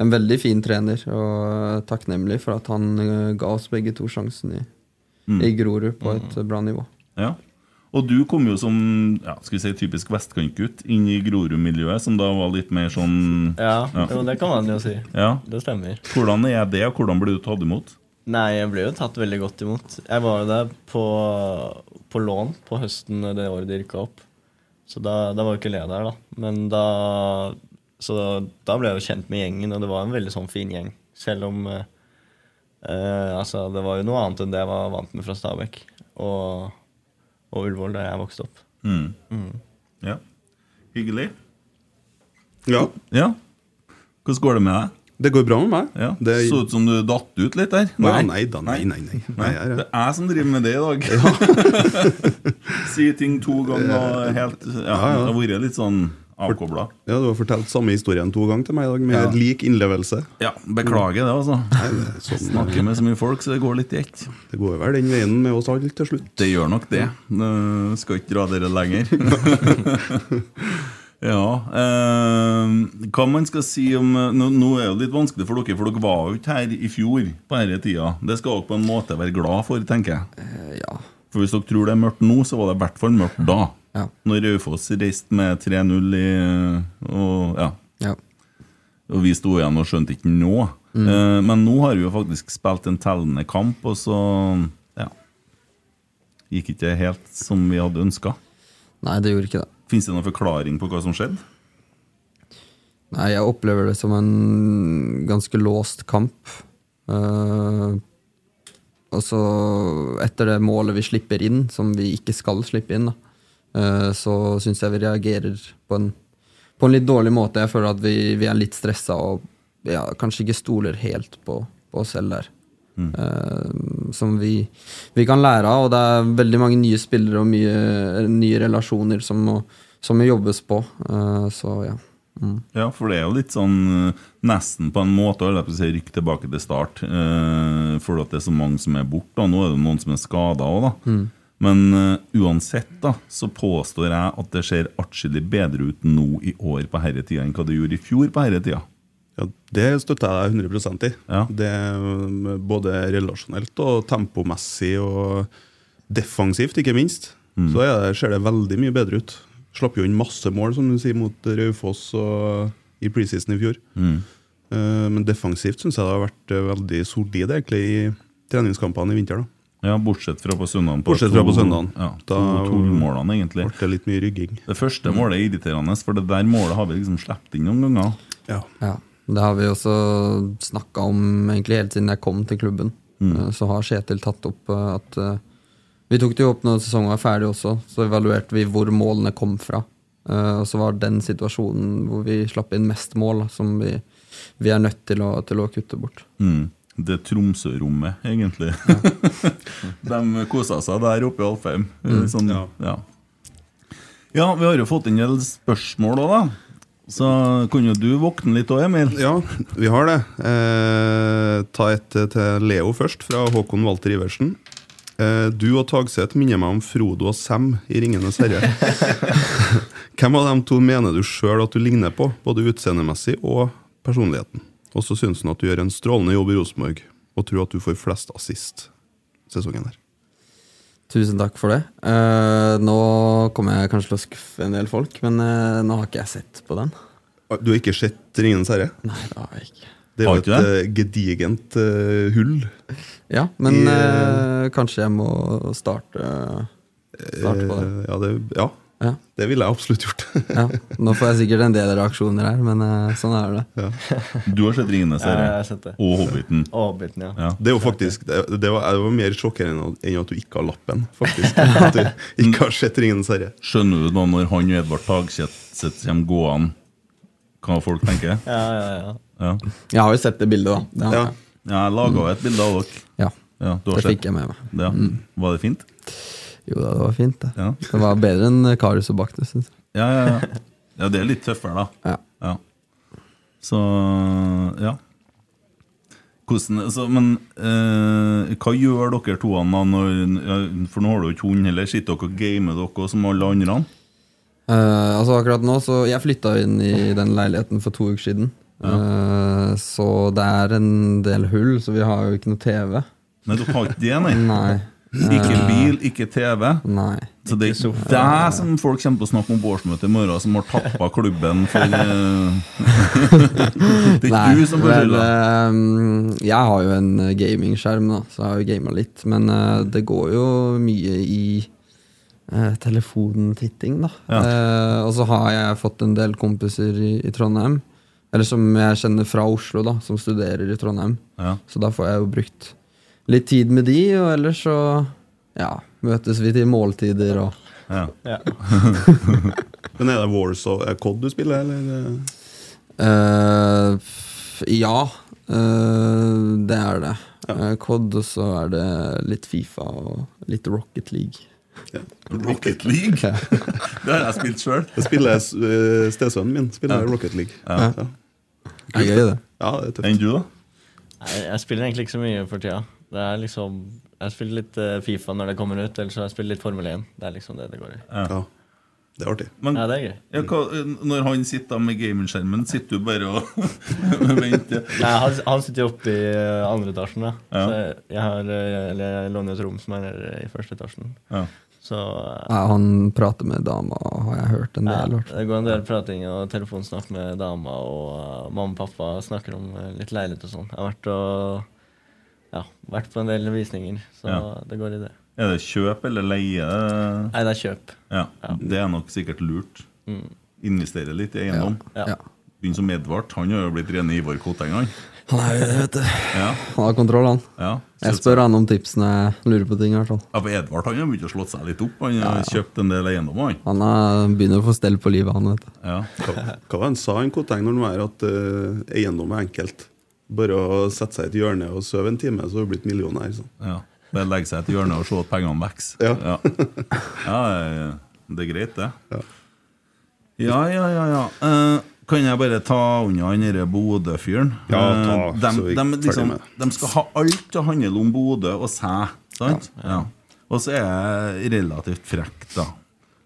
[SPEAKER 4] en veldig fin trener, og takknemlig for at han eh, ga oss begge to sjansen i, i Grorud på et
[SPEAKER 5] Mm.
[SPEAKER 4] bra nivå.
[SPEAKER 2] Ja. Og du kom jo som ja, skal vi si, typisk vestkantgutt inn i Grorud-miljøet, som da var litt mer sånn
[SPEAKER 5] Ja,
[SPEAKER 2] Ja.
[SPEAKER 5] jo, det kan man jo si.
[SPEAKER 2] Ja.
[SPEAKER 5] Det stemmer.
[SPEAKER 2] Hvordan er det, og hvordan blir du tatt imot?
[SPEAKER 5] Nei, jeg ble jo tatt veldig godt imot. Jeg var jo der på, på lån på høsten det året de rykka opp. Så da, da var jo ikke Lea der, da. Men da Så da ble jeg jo kjent med gjengen, og det var en veldig sånn fin gjeng. Selv om eh, eh, Altså, det var jo noe annet enn det jeg var vant med fra Stabæk og, og Ullevål, der jeg vokste opp.
[SPEAKER 2] Ja. Hyggelig.
[SPEAKER 3] Ja,
[SPEAKER 2] Ja. Hvordan går det med deg?
[SPEAKER 3] det går bra med meg.
[SPEAKER 2] Ja.
[SPEAKER 3] Det,
[SPEAKER 2] Så ut som du datt ut litt der.
[SPEAKER 3] nei. nei da, nei, nei. nei. nei jeg er-
[SPEAKER 2] Det er jeg som driver med det i dag. si ting to ganger og helt Ja, det har vært litt sånn avkobla.
[SPEAKER 3] Ja, Du har fortalt samme historien to ganger til meg i dag, med lik innlevelse.
[SPEAKER 2] Ja, beklager det, altså.
[SPEAKER 3] Nei, det, er sånn,
[SPEAKER 2] Snakker med så mye folk, så det går litt i ett.
[SPEAKER 3] det går vel den veien med oss alle til slutt.
[SPEAKER 2] Det gjør nok det. Eh, skal ikke dra dere lenger. ja eh, Hva man skal si om eh, nå, nå er det litt vanskelig for dere, for dere var jo ikke her i fjor på denne tida. Det skal dere på en måte være glad for, tenker jeg.
[SPEAKER 4] Eh, ja.
[SPEAKER 2] For hvis dere tror det er mørkt nå, så var det i hvert fall mørkt da.
[SPEAKER 4] Ja.
[SPEAKER 2] Når Raufoss reiste med 3-0 i og, ja,
[SPEAKER 4] ja.
[SPEAKER 2] og vi sto igjen og skjønte ikke noe. Eh, men nå har vi jo faktisk spilt en tellende kamp, og så ja, gikk ikke det helt som vi hadde ønska.
[SPEAKER 4] Nei, det gjorde ikke det.
[SPEAKER 2] Fins det noen forklaring på hva som skjedde?
[SPEAKER 4] Nei, jeg opplever det som en ganske låst kamp. Eh, og så, etter det målet vi slipper inn, som vi ikke skal slippe inn, da, eh, så syns jeg vi reagerer på en, på en litt dårlig måte. Jeg føler at vi, vi er litt stressa og ja, kanskje ikke stoler helt på, oss selv der. Eh, som vi, vi kan lære av, og det er veldig mange nye spillere og mye nye relasjoner som må, som må jobbes på. Eh, så ja. Mm.
[SPEAKER 2] Ja, for det er jo litt sånn eh, Nesten på en måte holdt jeg på å si, rykk tilbake til start. eh, for at det er så mange som er borte. og Nå er det noen som er skada òg, da. Men eh, uansett da, så påstår jeg at det ser atskillig bedre ut nå i år på herretida enn hva det gjorde i fjor på herretida.
[SPEAKER 3] Ja, det støtter jeg 100 i.
[SPEAKER 2] Ja.
[SPEAKER 3] Det er um, Både relasjonelt og tempomessig og defensivt, ikke minst. Så er det, ser det veldig mye bedre ut. Slapp jo inn masse mål som du sier, mot Raufoss og i preseason i fjor. Eh, Men defensivt syns jeg det har vært eh, veldig solid egentlig i treningskampene i vinter. da.
[SPEAKER 2] Ja, bortsett fra på søndagen.
[SPEAKER 3] Bortsett fra på søndagen.
[SPEAKER 2] Ja, to,
[SPEAKER 3] Da- Mm.
[SPEAKER 2] to målene, egentlig.
[SPEAKER 3] Ble det litt mye rygging.
[SPEAKER 2] Det første målet er irriterende, for det der målet har vi liksom sluppet inn noen ganger.
[SPEAKER 3] Ja.
[SPEAKER 4] Ja, det har vi også snakka om egentlig hele siden jeg kom til klubben. Eh, Så har Kjetil tatt opp eh, at eh, Vi tok det jo opp når sesongen var ferdig også, så evaluerte vi hvor målene kom fra. Eh, Og så var den situasjonen hvor vi slapp inn mest mål, da, som vi, vi er nødt til å, til å kutte bort.
[SPEAKER 2] Mm. Det Tromsø-rommet, egentlig. De kosa seg der oppe i Alfheim. Sånn, ja.
[SPEAKER 3] Mm, Ja.
[SPEAKER 2] Ja. vi har jo fått inn en del spørsmål òg, da. Så kunne jo du våkne litt òg, Emil.
[SPEAKER 3] ja, vi har det. Eh, ta et eh, til Leo først, fra Håkon Walter Iversen. Eh, du og Tagseth minner meg om Frodo og Sam i 'Ringenes herre'. Hvem av dem to mener du sjøl at du ligner på, både utseendemessig og personligheten? Og så syns han at du gjør en strålende jobb i Rosenborg, og tror at du får flest assist sesongen her.
[SPEAKER 4] Tusen takk for det. Eh, nå kommer jeg kanskje til å skuffe en del folk, men eh, nå har ikke jeg sett på den.
[SPEAKER 3] Ah, Du har ikke sett 'Ringenes herre'?
[SPEAKER 4] Nei, det har jeg ikke.
[SPEAKER 3] Det er
[SPEAKER 2] Har
[SPEAKER 3] jo et
[SPEAKER 2] ikke
[SPEAKER 3] eh, gedigent eh, hull.
[SPEAKER 4] Ja, men
[SPEAKER 3] I-
[SPEAKER 4] eh, kanskje jeg må starte, starte på det.
[SPEAKER 3] Eh, ja, det. Ja,
[SPEAKER 4] Ja.
[SPEAKER 3] det ville jeg absolutt gjort.
[SPEAKER 4] Ja, nå får jeg sikkert en del reaksjoner her, men eh, sånn er det.
[SPEAKER 2] Du har sett 'Ringenes
[SPEAKER 5] Ja, jeg har
[SPEAKER 2] herre'
[SPEAKER 5] sett det.
[SPEAKER 2] og 'Hobbiten'.
[SPEAKER 5] Avbiten, ja.
[SPEAKER 2] Ja.
[SPEAKER 3] Det er jo faktisk Det, det, var, det var mer sjokkerende enn at du ikke har lappen, faktisk. At du ikke har sett 'Ringenes herre'.
[SPEAKER 2] Skjønner du da når han og Edvard Tagseth kommer gående, hva folk tenker?
[SPEAKER 5] Ja, ja, ja.
[SPEAKER 2] Ja.
[SPEAKER 4] Jeg har jo sett det bildet, da. Det,
[SPEAKER 3] Ja.
[SPEAKER 4] har jeg.
[SPEAKER 2] Jeg laga jo et bilde av dere.
[SPEAKER 4] ja.
[SPEAKER 2] Ja, du har
[SPEAKER 4] det
[SPEAKER 2] sett.
[SPEAKER 4] fikk jeg Mm. med meg.
[SPEAKER 2] Ja. Var det fint?
[SPEAKER 4] Jo da, det var fint, det.
[SPEAKER 2] Ja.
[SPEAKER 4] Det var bedre enn Karius og Baktus, syns jeg.
[SPEAKER 2] Ja, ja, ja. ja, det er litt tøffere, da.
[SPEAKER 4] Ja.
[SPEAKER 2] Ja. Så ja. Hvordan, så, men eh, hva gjør dere to da når ja, For nå har du jo ikke hund heller. Sitter dere og gamer dere som alle andre?
[SPEAKER 4] Eh, altså akkurat nå, så Jeg flytta jo inn i den leiligheten for to uker siden. Eh, så det er en del hull, så vi har jo ikke noe TV.
[SPEAKER 2] Nei, dere har ikke det, nei.
[SPEAKER 4] Nei.
[SPEAKER 2] Ikke bil, ikke TV.
[SPEAKER 4] Nei.
[SPEAKER 2] Så det er deg som folk kommer til å snakke om på årsmøtet i morgen, som har tappa klubben for eh, Det er ikke
[SPEAKER 4] Nei,
[SPEAKER 2] du som får
[SPEAKER 4] vel,
[SPEAKER 2] skylda.
[SPEAKER 4] eh, jeg har jo en eh, gamingskjerm, da, så jeg har jo gama litt. Men eh, det går jo mye i uh, telefontitting, da.
[SPEAKER 2] Ja.
[SPEAKER 4] Eh, og så har jeg fått en del kompiser i, i Trondheim, eller som jeg kjenner fra Oslo, da, som studerer i Trondheim.
[SPEAKER 2] Ja.
[SPEAKER 4] Så da får jeg jo brukt litt tid med de, og ellers så ja, møtes vi til måltider og
[SPEAKER 2] Ja.
[SPEAKER 3] Men er det Wars og er Cod du spiller, eller?
[SPEAKER 4] Eh, f- ja, eh, det er det. Eh, COD, og så er det litt Fifa og litt Rocket League.
[SPEAKER 2] Rocket League? Det har jeg spilt sjøl.
[SPEAKER 3] Jeg spiller eh, Stesønnen min spiller Rocket League. Ja. Ja.
[SPEAKER 4] Det er gøy, det.
[SPEAKER 3] det er tøft.
[SPEAKER 2] Enn du, da?
[SPEAKER 5] Jeg, jeg spiller egentlig ikke så mye for tida. Det er liksom Jeg spiller litt eh, Fifa når det kommer ut, ellers så jeg spiller litt Formel 1. Det er liksom det det går i.
[SPEAKER 3] Ja. Det er artig.
[SPEAKER 2] Men
[SPEAKER 5] Ja, det er gøy.
[SPEAKER 2] Ja, hva, når han sitter da med gamingskjermen, sitter du bare og venter?
[SPEAKER 5] Nei, han, han sitter jo oppe i eh, andre etasjen, da.
[SPEAKER 2] Ja.
[SPEAKER 5] Så jeg, jeg, har, eh, eller jeg låner et rom som er nede i første etasjen.
[SPEAKER 2] Ja.
[SPEAKER 5] Så eh,
[SPEAKER 4] Nei, han prater med dama, har jeg hørt en
[SPEAKER 5] ja,
[SPEAKER 4] del. Ja.
[SPEAKER 5] det går en del prating og telefonsnakk med dama, og eh, mamma og pappa snakker om eh, litt leilighet og sånn. Jeg har vært, og, ja, vært på en del visninger, så
[SPEAKER 2] Ja.
[SPEAKER 5] det går i det.
[SPEAKER 2] Er det kjøp eller leie?
[SPEAKER 5] Nei, det er kjøp. Mm.
[SPEAKER 2] Ja, Det er nok sikkert lurt. Investere litt i eiendom.
[SPEAKER 5] Ja.
[SPEAKER 4] Ja.
[SPEAKER 2] Begynn som Edvard. Han har jo blitt rene Ivar Koteng, han.
[SPEAKER 4] Han er jo det, vet du.
[SPEAKER 2] Ja,
[SPEAKER 4] Han har kontroll, han.
[SPEAKER 2] ja.
[SPEAKER 4] Jeg spør han om tips når jeg lurer på ting. i hvert fall.
[SPEAKER 2] Ja, for Edvard han har begynt å slått seg litt opp. Han har kjøpt en del eiendommer, han.
[SPEAKER 4] Han er, begynner å få stell på livet, han. vet du.
[SPEAKER 2] Ja.
[SPEAKER 3] Hva, hva var det han sa han Koteng når han var her, at eh, eiendom er enkelt? Bare å sette seg i et hjørne og sove en time, så har du blitt millionær. Sånn.
[SPEAKER 2] Ja. Bare legge seg i et hjørne og se at pengene vokser.
[SPEAKER 3] Ja.
[SPEAKER 2] Ja. Ja, ja, ja. det er greit, det. Ja, ja, ja. ja. Eh, kan jeg bare ta unna han derre Bodø-fyren?
[SPEAKER 3] Ja, ta,
[SPEAKER 2] Eh, dem-
[SPEAKER 3] så vi er
[SPEAKER 2] dem
[SPEAKER 3] ferdig
[SPEAKER 2] liksom,
[SPEAKER 3] med
[SPEAKER 2] de skal ha alt til å handle om Bodø og seg. Sant? Ja, Og så er jeg relativt frekk, da.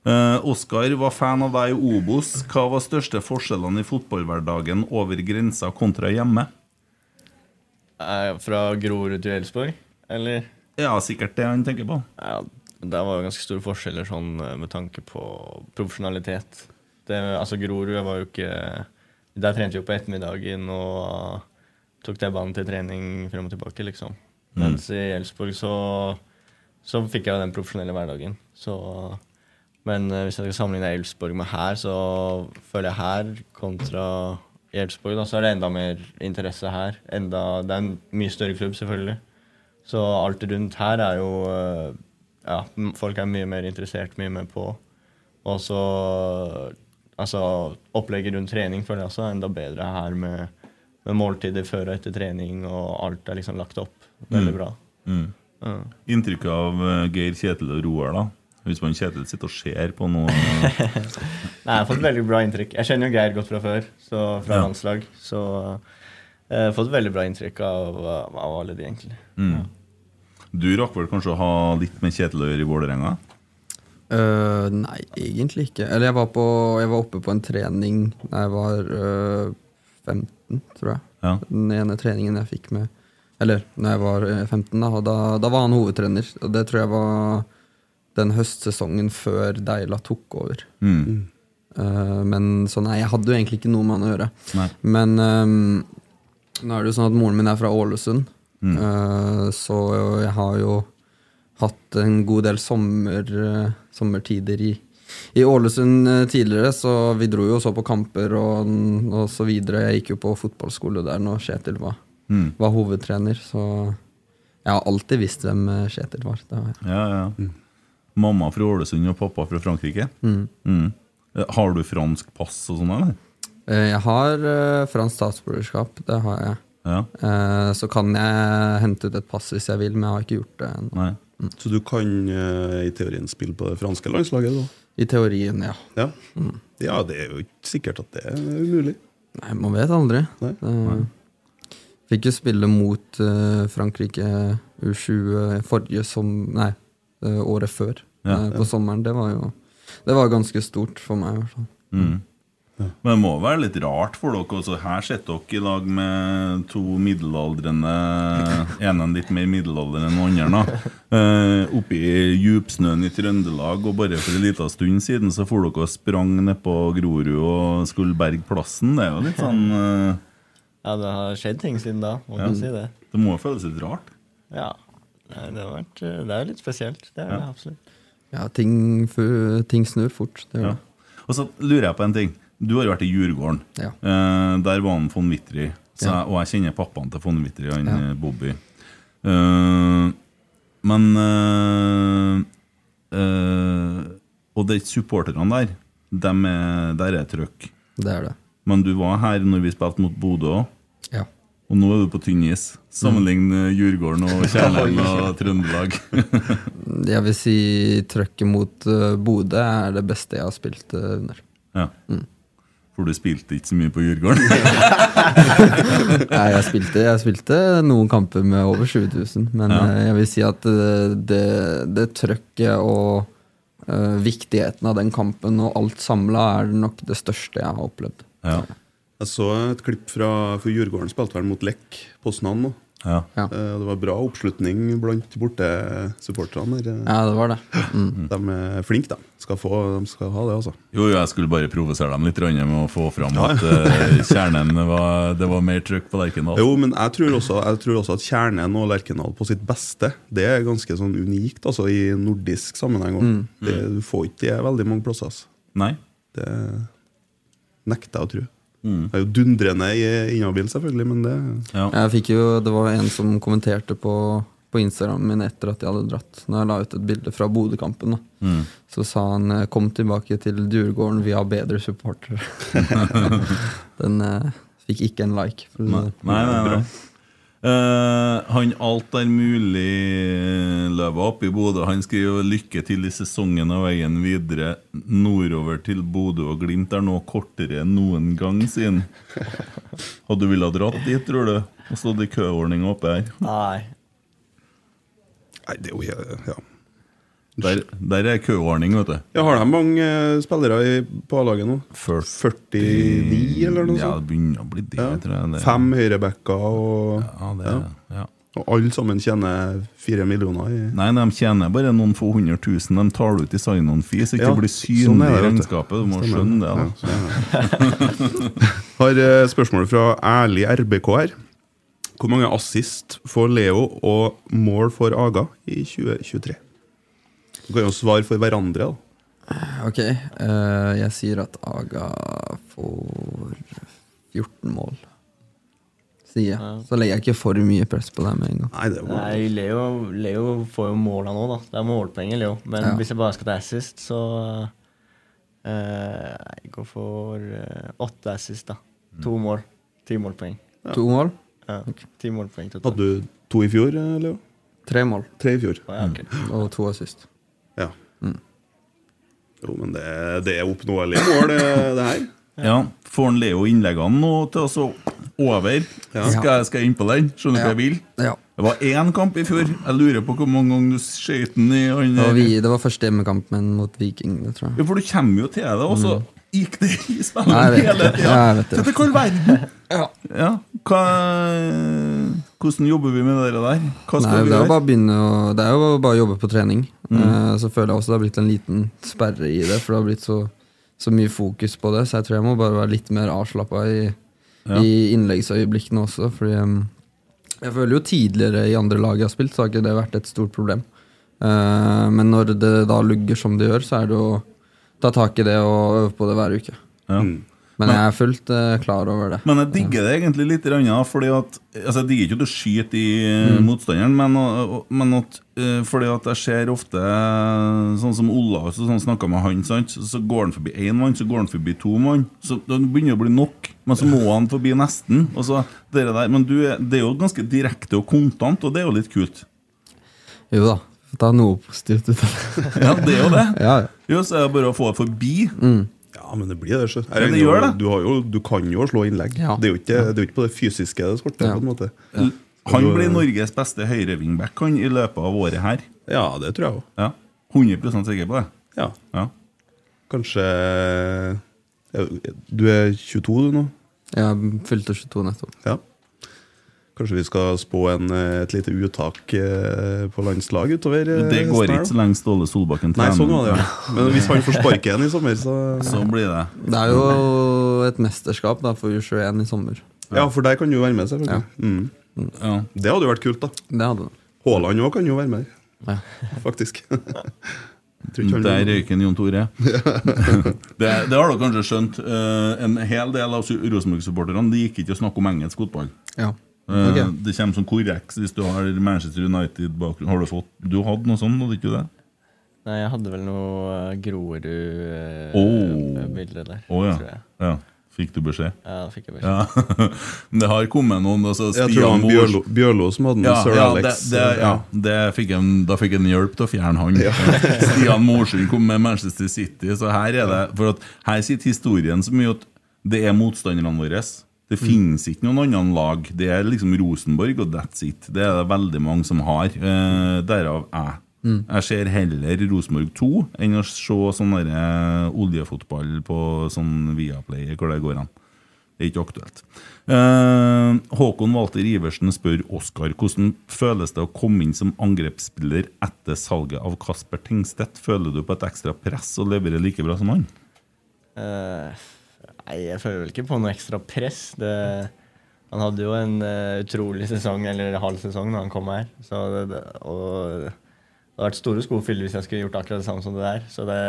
[SPEAKER 2] Eh, Oskar var fan av deg i Obos. Hva var største forskjellene i fotballhverdagen over grensa kontra hjemme?
[SPEAKER 5] Er jeg fra Grorud til Elsborg, eller?
[SPEAKER 2] Ja, sikkert det han tenker på.
[SPEAKER 5] Ja, der var jo ganske store forskjeller sånn eh, med tanke på profesjonalitet. Det, altså Grorud jeg var jo ikke Der trente vi jo på ettermiddagen og eh, tok T-banen til trening frem og tilbake, liksom. Mens i Elsborg så, så fikk jeg jo den profesjonelle hverdagen. Så, men eh, hvis jeg skal sammenligne Elsborg med her, så føler jeg her kontra i Elsborg, da, så er det enda mer interesse her. Enda, det er en mye større klubb, selvfølgelig. Så alt rundt her er jo eh, Ja, m- folk er mye mer interessert, mye mer på. Og så Altså, opplegget rundt trening føler jeg også er enda bedre her med, med måltider før og etter trening, og alt er liksom lagt opp veldig bra.
[SPEAKER 2] Inntrykket av eh, Geir Kjetil og Roar, da? Hvis man Kjetil sitter og ser på eh, noe
[SPEAKER 5] Nei, jeg har fått veldig bra inntrykk. Jeg kjenner jo Geir godt fra før, så fra
[SPEAKER 2] Ja.
[SPEAKER 5] landslag. Så eh, jeg har fått veldig bra inntrykk av, av alle de, egentlig.
[SPEAKER 2] mm. Du rakk vel kanskje å ha litt med Kjetil å gjøre i Vålerenga?
[SPEAKER 4] Øh, nei, egentlig ikke. Eller jeg var, på, jeg var oppe på en trening da jeg var øh, 15, tror jeg.
[SPEAKER 2] Ja.
[SPEAKER 4] Den ene treningen jeg fikk med Eller når jeg var øh, 15, da, og da, da var han hovedtrener. Og det tror jeg var den høstsesongen før Deila tok over.
[SPEAKER 2] Mm.
[SPEAKER 4] Øh, men så nei, jeg hadde jo egentlig ikke noe med han å gjøre.
[SPEAKER 2] Nei.
[SPEAKER 4] Men øhm, nå er det jo sånn at moren min er fra Ålesund, øh, så jeg har jo hatt en god del sommer, eh, sommertider i, i Ålesund eh, tidligere, så vi dro jo og så på kamper og, og så videre. Jeg gikk jo på fotballskole der når Kjetil var,
[SPEAKER 2] Mm.
[SPEAKER 4] var hovedtrener, så jeg har alltid visst hvem eh, Kjetil var. Det har jeg.
[SPEAKER 2] Ja, ja. Mamma fra Ålesund og pappa fra Frankrike? Mm. Eh, Har du fransk pass og sånn, eller?
[SPEAKER 4] Eh, Jeg har eh, fransk statsborgerskap, det har jeg.
[SPEAKER 2] Ja.
[SPEAKER 4] Eh, Så kan jeg hente ut et pass hvis jeg vil, men jeg har ikke gjort det ennå.
[SPEAKER 2] Nei.
[SPEAKER 3] Så du kan eh, i teorien spille på det franske landslaget, da?
[SPEAKER 4] I teorien, ja.
[SPEAKER 3] Ja. ja, det er jo ikke sikkert at det er umulig.
[SPEAKER 4] Nei, man vet aldri.
[SPEAKER 3] Nei.
[SPEAKER 4] Eh, Fikk jo spille mot eh, Frankrike U20 forrige som Nei, eh, året før.
[SPEAKER 2] Ja,
[SPEAKER 4] eh, på sommeren. Det var jo det var ganske stort for meg. i hvert fall.
[SPEAKER 2] Men det må være litt rart for dere. Også. Her sitter dere i lag med to middelaldrende En er litt mer middelaldrende enn den andre. da. Eh, Oppe i djupsnøen i Trøndelag, og bare for en liten stund siden så for dere og sprang nedpå Grorud og skulle berge plassen. Det er jo litt sånn eh,
[SPEAKER 5] Ja, det har skjedd ting siden da, må
[SPEAKER 2] Ja.
[SPEAKER 5] man si det.
[SPEAKER 2] Det må jo føles litt rart.
[SPEAKER 5] Ja. Nei, det, har vært, det er jo litt spesielt. Det er det absolutt.
[SPEAKER 4] Ja, ting, fu- ting snur fort. Det gjør
[SPEAKER 2] Ja.
[SPEAKER 4] det.
[SPEAKER 2] Og så lurer jeg på en ting. Du har jo vært i Djurgården.
[SPEAKER 4] Ja.
[SPEAKER 2] Eh, der var han von Wittry, så
[SPEAKER 4] Ja.
[SPEAKER 2] jeg, og jeg kjenner pappaen til von Wittry, han
[SPEAKER 4] Ja.
[SPEAKER 2] eh, Bobby. Eh, men eh, eh, Og de supporterne der, dem er, der er trøkk.
[SPEAKER 4] Det er det.
[SPEAKER 2] Men du var her når vi spilte mot Bodø òg,
[SPEAKER 4] Ja.
[SPEAKER 2] og nå er du på tynn is. Sammenlign eh, Djurgården og Kjærlein og Trøndelag.
[SPEAKER 4] Jeg vil si trøkket mot eh, Bodø er det beste jeg har spilt eh, under.
[SPEAKER 2] ja. For du spilte ikke så mye på Djurgården.
[SPEAKER 4] Nei, jeg spilte, jeg spilte noen kamper med over 20 000, men eh, jeg vil si at eh, det, det trøkket og eh, viktigheten av den kampen og alt samla er nok det største jeg har opplevd.
[SPEAKER 2] ja.
[SPEAKER 3] Jeg så et klipp fra for Djurgården spilte vel mot Lech Poznan nå.
[SPEAKER 2] Ja.
[SPEAKER 4] Ja.
[SPEAKER 3] Eh, Det var bra oppslutning blant bortesupporterne. der. Eh,
[SPEAKER 4] Ja, det Mm. var det.
[SPEAKER 3] De er flinke, de. Skal få, de skal ha det, altså.
[SPEAKER 2] Jo, jo, jeg skulle bare provosere dem litt grann med å få fram at eh, kjernen var, det var mer trykk på Lerkendal.
[SPEAKER 3] Jo, men jeg tror også, jeg tror også at kjernen og Lerkendal på sitt beste, det er ganske sånn unikt altså, i nordisk sammenheng. også. Det, du får ikke det veldig mange plasser. Altså.
[SPEAKER 2] Nei.
[SPEAKER 3] Det nekter jeg å tro. Jeg er jo dundrende i- inhabil, selvfølgelig, men det
[SPEAKER 2] Ja.
[SPEAKER 4] Jeg fikk jo, det var en som kommenterte på, på Instagram min etter at jeg hadde dratt, når jeg la ut et bilde fra Bodø-kampen. da.
[SPEAKER 2] Mm.
[SPEAKER 4] Så sa han eh, 'kom tilbake til Djurgården, vi har bedre supportere'. den eh, Fikk ikke en like. For å si
[SPEAKER 2] Nei,
[SPEAKER 4] det.
[SPEAKER 2] nei, nei, nei. Eh, han alt er mulig løva opp i Bodø. Han skriver 'Lykke til i sesongen og veien videre nordover til Bodø og Glimt er nå kortere enn noen gang', sier han. Og du ville ha dratt dit, tror du? Og stått i køordning oppe her.
[SPEAKER 5] Nei.
[SPEAKER 3] Nei, det er jo he- ja.
[SPEAKER 2] Der, der er køordning, vet du.
[SPEAKER 3] Jeg har da mange eh, spillere i, på A-laget nå.
[SPEAKER 2] Ført-
[SPEAKER 3] 49, eller noe
[SPEAKER 2] Ja,
[SPEAKER 3] sånt?
[SPEAKER 2] det begynner å bli det,
[SPEAKER 3] Ja.
[SPEAKER 2] tror jeg. Det-
[SPEAKER 3] Fem høyrebacker, og,
[SPEAKER 2] Ja, det er, ja.
[SPEAKER 3] og alle sammen tjener fire millioner. I,
[SPEAKER 2] Nei, de tjener bare noen få hundre tusen. De tar det ut i sign-on fee, så ikke
[SPEAKER 3] Ja,
[SPEAKER 2] det blir synlig
[SPEAKER 3] sånn er
[SPEAKER 2] i
[SPEAKER 3] det, vet du.
[SPEAKER 2] regnskapet. Du må skjønne det. da.
[SPEAKER 3] Har eh, spørsmål fra ærlig RBK her. Hvor mange assist får Leo og mål for Aga i 2023? Du kan jo svare for hverandre, da.
[SPEAKER 4] Ok, eh, jeg sier at Aga får 14 mål. Sier jeg. Så legger jeg ikke for mye press på deg med en gang.
[SPEAKER 3] Nei, det var
[SPEAKER 5] Nei, Leo, Leo får jo måla nå, da. Det er målpenger, Leo. Men
[SPEAKER 4] Ja.
[SPEAKER 5] hvis jeg bare skal til assist, så eh, Jeg går for eh, åtte assist, da. To mål. Ti målpoeng.
[SPEAKER 4] To mål?
[SPEAKER 5] Ja. Ti målpoeng totalt.
[SPEAKER 3] Hadde du to i fjor, eh, Leo?
[SPEAKER 4] Tre mål
[SPEAKER 3] Tre i fjor.
[SPEAKER 5] Å, ja, ok.
[SPEAKER 4] og to assist.
[SPEAKER 3] Ja.
[SPEAKER 2] Mm.
[SPEAKER 3] Jo, men det, det er oppnåelige mål, det, det her.
[SPEAKER 2] Ja, Får han Leo innleggene nå til å så over? Skal, jeg, skal jeg inn på den? Skjønner du hva jeg vil?
[SPEAKER 4] Ja.
[SPEAKER 2] Det var én kamp i fjor. Jeg lurer på hvor mange ganger du skøyt den i han
[SPEAKER 4] Det var,
[SPEAKER 2] der.
[SPEAKER 4] vi, det var første hjemmekampen mot Viking, det tror jeg.
[SPEAKER 2] Ja, for du kommer jo til det, og
[SPEAKER 3] Mm.
[SPEAKER 2] så gikk det i
[SPEAKER 4] Nei,
[SPEAKER 2] spillet
[SPEAKER 4] jeg vet
[SPEAKER 2] hele
[SPEAKER 4] det.
[SPEAKER 2] tida.
[SPEAKER 4] Ja, jeg vet det.
[SPEAKER 2] Dette kan verden! Ja. Hva, hvordan jobber vi med det der? Hva skal vi
[SPEAKER 4] Nei, det er jo
[SPEAKER 2] gjøre? Mm.
[SPEAKER 4] bare å begynne å, Det er jo bare å jobbe på trening. Eh, så føler jeg også det har blitt en liten sperre i det, for det har blitt så, så mye fokus på det. Så jeg tror jeg må bare være litt mer avslappa i, i innleggsøyeblikkene også. Fordi em, jeg føler jo tidligere i andre lag jeg har spilt, så har ikke det vært et stort problem. Eh, men når det da lugger som det gjør, så er det å ta tak i det og øve på det hver uke.
[SPEAKER 2] Ja.
[SPEAKER 4] Mm. Men jeg er fullt eh, klar over det.
[SPEAKER 2] Men jeg digger det egentlig litt, rann, ja, fordi at altså Jeg digger ikke at du skyter i eh,
[SPEAKER 4] Mm.
[SPEAKER 2] motstanderen, men, og- og- men at, eh, fordi at jeg ser ofte eh, Sånn som Ola også, sånn snakka med han, sant? så- så går han forbi én mann, så går han forbi to mann. Så det begynner å bli nok, men så må han forbi nesten. Og så, det der, men du, er- det er jo ganske direkte og kontant, og det er jo litt kult.
[SPEAKER 4] Jo da, ta noe positivt ut av det.
[SPEAKER 2] Ja, det er jo det.
[SPEAKER 4] Ja, ja.
[SPEAKER 2] Jo, så er det bare å få det forbi.
[SPEAKER 3] Ja, men det blir det. sjø. Jeg
[SPEAKER 2] Ja, det
[SPEAKER 3] regner jo-
[SPEAKER 2] gjør det.
[SPEAKER 3] Du, har jo, du kan jo slå innlegg.
[SPEAKER 4] Ja.
[SPEAKER 3] Det, er jo ikke, det er jo ikke på det fysiske det skorter.
[SPEAKER 4] Ja.
[SPEAKER 3] på en måte.
[SPEAKER 2] Han blir Norges beste høyrevingback han, i løpet av året her.
[SPEAKER 3] Ja, det tror jeg òg.
[SPEAKER 2] Ja, 100 sikker på det.
[SPEAKER 3] Ja.
[SPEAKER 2] Ja.
[SPEAKER 3] Kanskje ja, Du er 22 du nå?
[SPEAKER 4] Jeg fylte 22 nettopp.
[SPEAKER 3] Ja. Kanskje vi skal spå en, eh, et lite uttak eh, på landslag utover eh,
[SPEAKER 2] Det
[SPEAKER 3] høsten
[SPEAKER 2] går
[SPEAKER 3] her,
[SPEAKER 2] ikke
[SPEAKER 3] da?
[SPEAKER 2] så lenge Ståle Solbakken
[SPEAKER 3] Nei,
[SPEAKER 2] trener.
[SPEAKER 3] sånn var det, ja. Men hvis han får sparken igjen i sommer, så
[SPEAKER 2] Så blir det.
[SPEAKER 4] Det er jo et mesterskap da for U21 i sommer.
[SPEAKER 3] Ja, for der kan du jo være med, selvfølgelig. Mm.
[SPEAKER 2] Ja.
[SPEAKER 3] Det hadde jo vært kult, da.
[SPEAKER 4] Det hadde den.
[SPEAKER 3] Haaland òg kan jo være med der,
[SPEAKER 4] Ja.
[SPEAKER 3] faktisk. Tror ikke han-
[SPEAKER 2] Der røyker Jon Tore. det, det har dere kanskje skjønt. Eh, en hel del av su- Rosenborg-supporterne De gikk ikke å snakke om engelsk fotball.
[SPEAKER 4] Ja.
[SPEAKER 2] Eh,
[SPEAKER 4] Ok.
[SPEAKER 2] Det kommer som korreks hvis du har Manchester United-bakgrunn. Har Du fått Du hadde noe sånt, hadde ikke du det?
[SPEAKER 5] Nei, jeg hadde vel noe eh,
[SPEAKER 2] Oh.
[SPEAKER 5] Grorud-bilde der,
[SPEAKER 2] Å ja.
[SPEAKER 5] tror jeg.
[SPEAKER 2] ja. Fikk du beskjed?
[SPEAKER 5] Ja, da fikk jeg beskjed.
[SPEAKER 2] Ja. det har kommet noen. Altså,
[SPEAKER 3] Jeg tror det var
[SPEAKER 2] Stian Mors-
[SPEAKER 3] Bjørlo, Bjørlo som hadde den.
[SPEAKER 2] Ja,
[SPEAKER 3] Sir
[SPEAKER 2] ja, det,
[SPEAKER 3] Alex. eh,
[SPEAKER 2] det, ja. Det fikk en, da fikk en hjelp til å fjerne han. Stian Morsund kom med Manchester City, så her er det For at her sitter historien så mye at det er motstanderne våre. Det
[SPEAKER 3] Mm.
[SPEAKER 2] finnes ikke noen annen lag. Det er liksom Rosenborg, og that's it. Det er det veldig mange som har. Eh, derav jeg.
[SPEAKER 3] Mm.
[SPEAKER 2] Jeg ser heller Rosenborg 2 enn å se sånn der, eh, oljefotball på sånn Viaplay, hvor det går an. Det er ikke aktuelt. Eh, Håkon Walter Iversen spør Oskar hvordan føles det å komme inn som angrepsspiller etter salget av Kasper Tengstedt. Føler du på et ekstra press og leverer like bra som han?
[SPEAKER 5] Eh, nei, jeg føler vel ikke på noe ekstra press. Det, han hadde jo en eh, utrolig sesong, eller halv sesong, da han kom her. Så det, det, og det hadde vært store sko å fylle hvis jeg skulle gjort akkurat det samme som det der. Så det,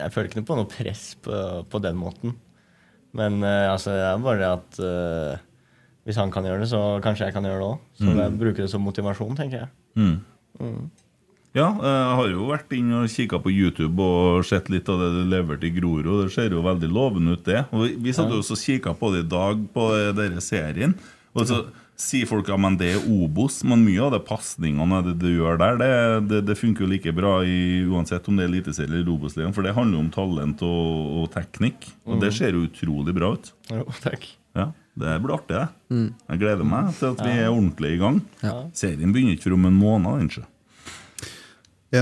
[SPEAKER 5] jeg føler ikke noe på noe press på, på den måten. Men eh, altså, det er bare det at eh, hvis han kan gjøre det, så kanskje jeg kan gjøre det òg. Så jeg bruker det som motivasjon, tenker jeg.
[SPEAKER 2] Ja, eh, jeg har jo vært inn og kikka på YouTube og sett litt av det du leverte i Grorud. Det ser jo veldig lovende ut, det. Og vi- Vi satt jo også og kikka på det i dag, på denne serien. Og så sier folk ja, men det er Obos, men mye av det pasningene det du gjør der, det, det, det funker jo like bra i, uansett om det er Eliteserien eller Obos-ligaen, for det handler jo om talent og, og teknikk. Og det ser jo utrolig bra ut.
[SPEAKER 5] Mm. Jo, takk.
[SPEAKER 2] Ja, Det blir artig, det. Jeg gleder meg til at vi er ordentlig i gang. Serien begynner ikke for om en måned, den, sjø.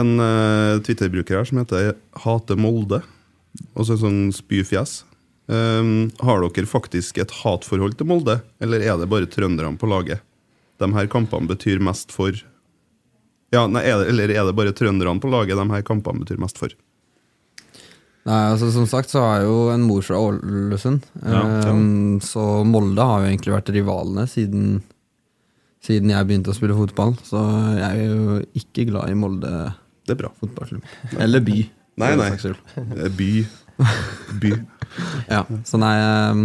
[SPEAKER 3] En eh, Twitter-bruker her som heter Hate Molde, og så en sånn spyfjes. Ehm, har dere faktisk et hatforhold til Molde, eller er det bare trønderne på laget? De her kampene betyr mest for Ja, nei, er det, Eller er det bare trønderne på laget de her kampene betyr mest for?
[SPEAKER 4] Nei, altså Som sagt så har jeg jo en mor fra Ålesund.
[SPEAKER 2] Ja, ja.
[SPEAKER 4] Ehm, så Molde har jo egentlig vært rivalene siden, siden jeg begynte å spille fotball. Så jeg er jo ikke glad i Molde
[SPEAKER 3] Det er bra.
[SPEAKER 4] fotballklubb. Eller by.
[SPEAKER 3] Nei,
[SPEAKER 4] for
[SPEAKER 3] nei.
[SPEAKER 4] den saks skyld.
[SPEAKER 3] Eh, By. By.
[SPEAKER 4] Ja, Så nei, ehm,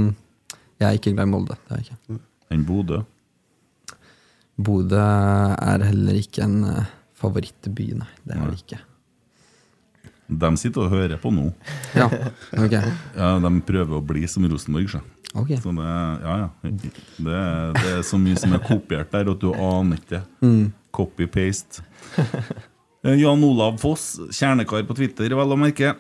[SPEAKER 4] jeg er ikke glad i Molde. Det er jeg
[SPEAKER 3] Mm.
[SPEAKER 4] ikke.
[SPEAKER 2] enn Bodø.
[SPEAKER 4] Bodø er heller ikke en eh, favorittby, nei. Det er det ikke.
[SPEAKER 2] De sitter og hører på nå.
[SPEAKER 4] Ja, ok.
[SPEAKER 2] Ja, de prøver å bli som Rosenborg. Så.
[SPEAKER 4] Ok.
[SPEAKER 2] Så det, ja, ja. Det, det er så mye som er kopiert der at du aner ikke. Copy-paste. Eh, Jan Olav Foss, kjernekar på Twitter, vel å merke.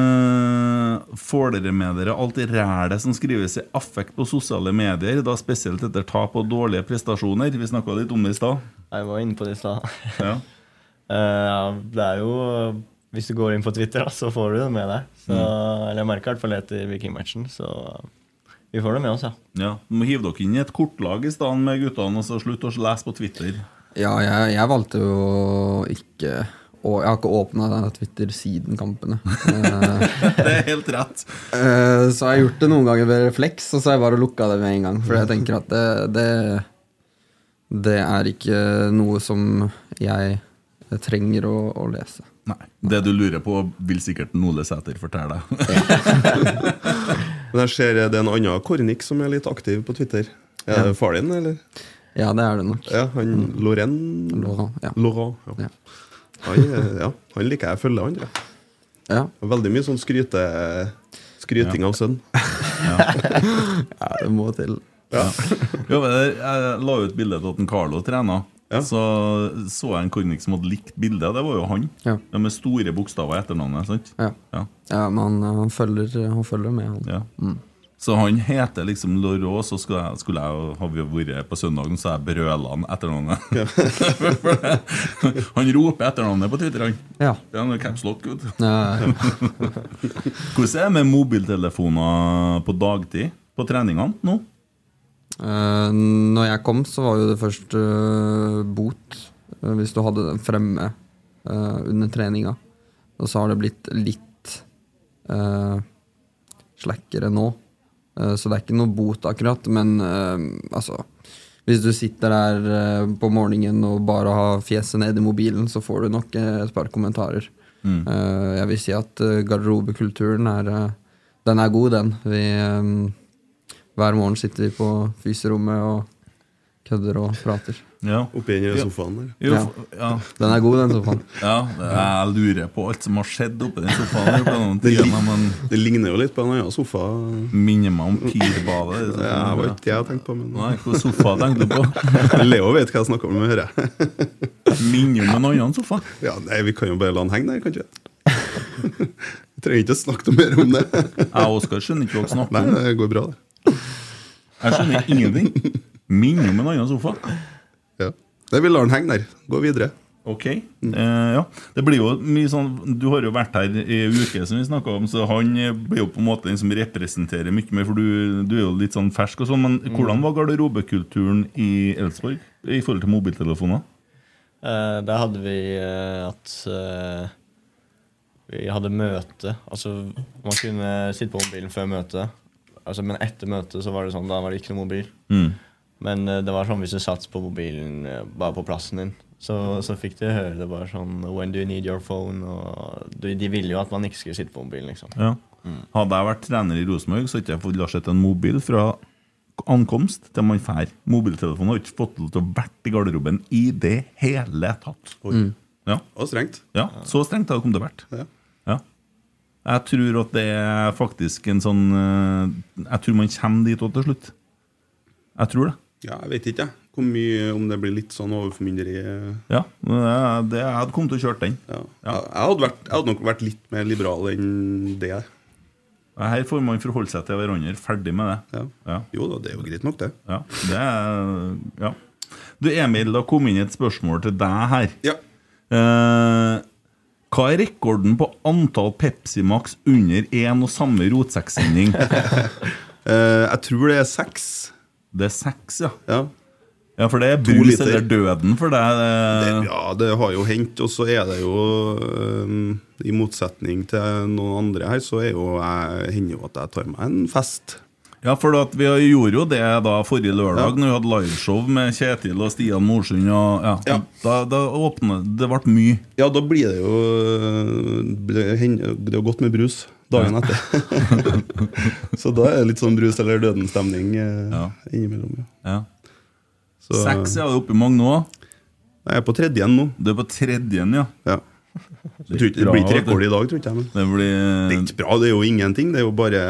[SPEAKER 2] Eh, får dere med dere alt det rælet som skrives i affekt på sosiale medier, da spesielt etter tap og dårlige prestasjoner? Vi snakka litt om det i stad.
[SPEAKER 5] Jeg var inne på det i stad.
[SPEAKER 2] Ja.
[SPEAKER 5] Eh, ja, det er jo Hvis du går inn på Twitter, da, så får du det med deg. Så, Eller jeg merka i hvert fall det etter Vikingmatchen, så vi får det med oss, ja.
[SPEAKER 2] Ja. Må hive dere inn i et kortlag i stedet med guttene, og så slutt å lese på Twitter.
[SPEAKER 4] Ja, jeg, jeg valgte jo å ikke å, Jeg har ikke åpna Twitter siden kampene. Eh,
[SPEAKER 2] Det er helt rett.
[SPEAKER 4] eh, så jeg har gjort det noen ganger ved refleks, og så har jeg bare lukka det med en gang. For jeg tenker at det, det, det er ikke noe som jeg trenger å, å lese.
[SPEAKER 2] Nei. Det du lurer på, vil sikkert Ole Sæter fortelle deg.
[SPEAKER 3] Men jeg ser eh, det er en annen Kornik som er litt aktiv på Twitter. Er det far din, eller?
[SPEAKER 4] Ja, det er det nok.
[SPEAKER 3] Ja, han Lorraine
[SPEAKER 4] Laurent, ja.
[SPEAKER 3] Laurent,
[SPEAKER 4] Ja.
[SPEAKER 3] ja. Han, eh, ja, han liker jeg å følge, han. tror jeg.
[SPEAKER 4] Ja,
[SPEAKER 3] Veldig mye sånn skryte, skryting av sønn.
[SPEAKER 4] ja det må til.
[SPEAKER 2] Jo, men jeg jeg la ut bilde av at en Carlo trena.
[SPEAKER 3] Ja.
[SPEAKER 2] Så så jeg en kornik som hadde likt bildet. Det var jo han.
[SPEAKER 4] Ja.
[SPEAKER 2] Ja, med store bokstaver i etternavnet. sant?
[SPEAKER 4] Ja.
[SPEAKER 2] Ja,
[SPEAKER 4] Ja, men eh, han følger, han følger med, han.
[SPEAKER 2] ja. Så han heter liksom Laurent, så skulle jeg, skulle jeg jo- har vi vært på søndagen, så jeg brøla han etternavnet. For det- han roper etternavnet på Twitter, han.
[SPEAKER 4] Ja. Eh,
[SPEAKER 2] Ja, han er caps lock, vet du.
[SPEAKER 4] Ja,
[SPEAKER 2] Hvordan er det med mobiltelefoner på dagtid på treningene nå?
[SPEAKER 4] Eh, når jeg kom, så var jo det først eh, bot eh, hvis du hadde den fremme eh, under treninga. Og så har det blitt litt eh, slackere nå. Eh, så det er ikke noe bot, akkurat. Men eh, altså Hvis du sitter der eh, på morgenen og bare har fjeset ned i mobilen, så får du nok eh, et par kommentarer. Eh, jeg vil si at eh, garderobekulturen er eh, Den er god, den. Vi eh, hver morgen sitter vi på fyserommet og kødder og prater.
[SPEAKER 2] Ja.
[SPEAKER 3] Oppi den der sofaen der.
[SPEAKER 2] Jo,
[SPEAKER 4] Ja.
[SPEAKER 2] f- ja.
[SPEAKER 4] Den er god, den sofaen.
[SPEAKER 2] Ja, jeg lurer på alt som har skjedd oppi den sofaen. her på noen
[SPEAKER 3] Det,
[SPEAKER 2] tider, men
[SPEAKER 3] det ligner jo litt på en annen sofa.
[SPEAKER 2] minner meg om pirbadet.
[SPEAKER 3] Det var ikke det jeg tenkte på,
[SPEAKER 2] Nei,
[SPEAKER 3] men
[SPEAKER 2] hvilken sofa tenkte du på?
[SPEAKER 3] Leo vet hva jeg snakker om. Hører. jeg.
[SPEAKER 2] Minner om en annen sofa.
[SPEAKER 3] Ja, nei, Vi kan jo bare la den henge der, kanskje. Vi trenger ikke å snakke noe mer om det.
[SPEAKER 2] Jeg og Oskar skjønner ikke hva dere
[SPEAKER 3] Nei,
[SPEAKER 2] snakker om.
[SPEAKER 3] det går bra, det.
[SPEAKER 2] Jeg skjønner ingenting. Minner om en annen sofa.
[SPEAKER 3] Ja. Nei, Vi lar den henge der. Gå videre.
[SPEAKER 2] Ok, eh, ja Det blir jo mye sånn Du har jo vært her i en uke som vi snakket om Så han eh, blir jo på en måte den som representerer mye mer For du, du er jo litt sånn fersk og sånn Men hvordan var garderobekulturen i Elsborg I forhold til mobiltelefoner?
[SPEAKER 5] Eh, der hadde vi eh, at eh, vi hadde møte. Altså, man kunne sitte på mobilen før møtet. Altså, men etter møtet så var det sånn, da var det ikke noe mobil. Men eh, det var sånn hvis du satt på mobilen eh, bare på plassen din, så, så fikk du høre det bare sånn When do you need your phone? Og de, de ville jo at man ikke skulle sitte på mobilen, liksom.
[SPEAKER 2] Ja. Mm. Hadde jeg vært trener i Rosenborg, så hadde ikke jeg fått lagt sett en mobil fra ankomst til man drar. Mobiltelefonen har ikke fått lov til å være i garderoben i det hele tatt. Ja.
[SPEAKER 3] Det var strengt.
[SPEAKER 2] Ja, så strengt hadde det kommet til å vært.
[SPEAKER 3] Ja.
[SPEAKER 2] Ja. Jeg tror at det er faktisk en sånn eh, Jeg tror man kommer dit også til slutt. Jeg tror det.
[SPEAKER 3] Ja, jeg vet ikke jeg. hvor mye om det blir litt sånn overformynderi. eh,
[SPEAKER 2] Ja, det- det, Jeg hadde kommet til å kjøre den.
[SPEAKER 3] Ja. Jeg, jeg hadde vært, jeg hadde nok vært litt mer liberal enn det. jeg.
[SPEAKER 2] Her får man forholde seg til hverandre. Ferdig med det.
[SPEAKER 3] Ja.
[SPEAKER 2] Ja.
[SPEAKER 3] Jo da, det er jo greit nok, det.
[SPEAKER 2] Ja, det er, ja. Du Emil, det har kommet inn et spørsmål til deg her.
[SPEAKER 3] Ja.
[SPEAKER 2] Eh, hva er rekorden på antall Pepsi Max under én og samme rotsekksending?
[SPEAKER 3] Eh, jeg tror det er seks.
[SPEAKER 2] Det er seks, ja.
[SPEAKER 3] Ja.
[SPEAKER 2] Ja, for det er brus
[SPEAKER 3] liter.
[SPEAKER 2] eller døden for deg.
[SPEAKER 3] Det,
[SPEAKER 2] eh,
[SPEAKER 3] ja, det har jo hendt. Og så er det jo øhm, I motsetning til noen andre her, så er jo jeg, hender jo at jeg tar meg en fest.
[SPEAKER 2] Ja, for at vi gjorde jo det da forrige lørdag
[SPEAKER 3] Ja.
[SPEAKER 2] Når vi hadde liveshow med Kjetil og Stian Morsund. Og, ja,
[SPEAKER 3] Ja.
[SPEAKER 2] Da, da åpnet det ble mye.
[SPEAKER 3] Ja, da blir det jo øh, Det hender- det er jo godt med brus dagen etter. så da er det litt sånn brus eller døden-stemning eh,
[SPEAKER 2] Ja.
[SPEAKER 3] innimellom. Ja.
[SPEAKER 2] Ja.
[SPEAKER 3] Så,
[SPEAKER 2] Seks er det oppe i mange nå.
[SPEAKER 3] Jeg er på tredje igjen nå.
[SPEAKER 2] Du er på tredjen, ja.
[SPEAKER 3] Ja. Jeg tror ikke- Det blir ikke rekord i dag, tror ikke jeg. Men.
[SPEAKER 2] Det
[SPEAKER 3] Det er
[SPEAKER 2] blir
[SPEAKER 3] ikke bra, det er jo ingenting. Det er jo bare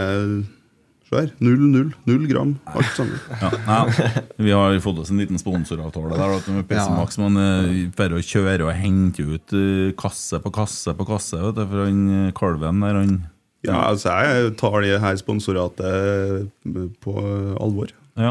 [SPEAKER 3] Se her. Null, null, null gram. Alt sammen.
[SPEAKER 2] ja, ja. Vi har jo fått oss en liten sponsoravtale der. At med PC
[SPEAKER 4] Ja.
[SPEAKER 2] Max Man eh, bare å kjøre og hente ut eh, kasse på kasse på kasse vet du, fra han eh, kalven der. Han,
[SPEAKER 3] Ja, altså jeg tar det her sponsoratet på alvor.
[SPEAKER 2] Ja.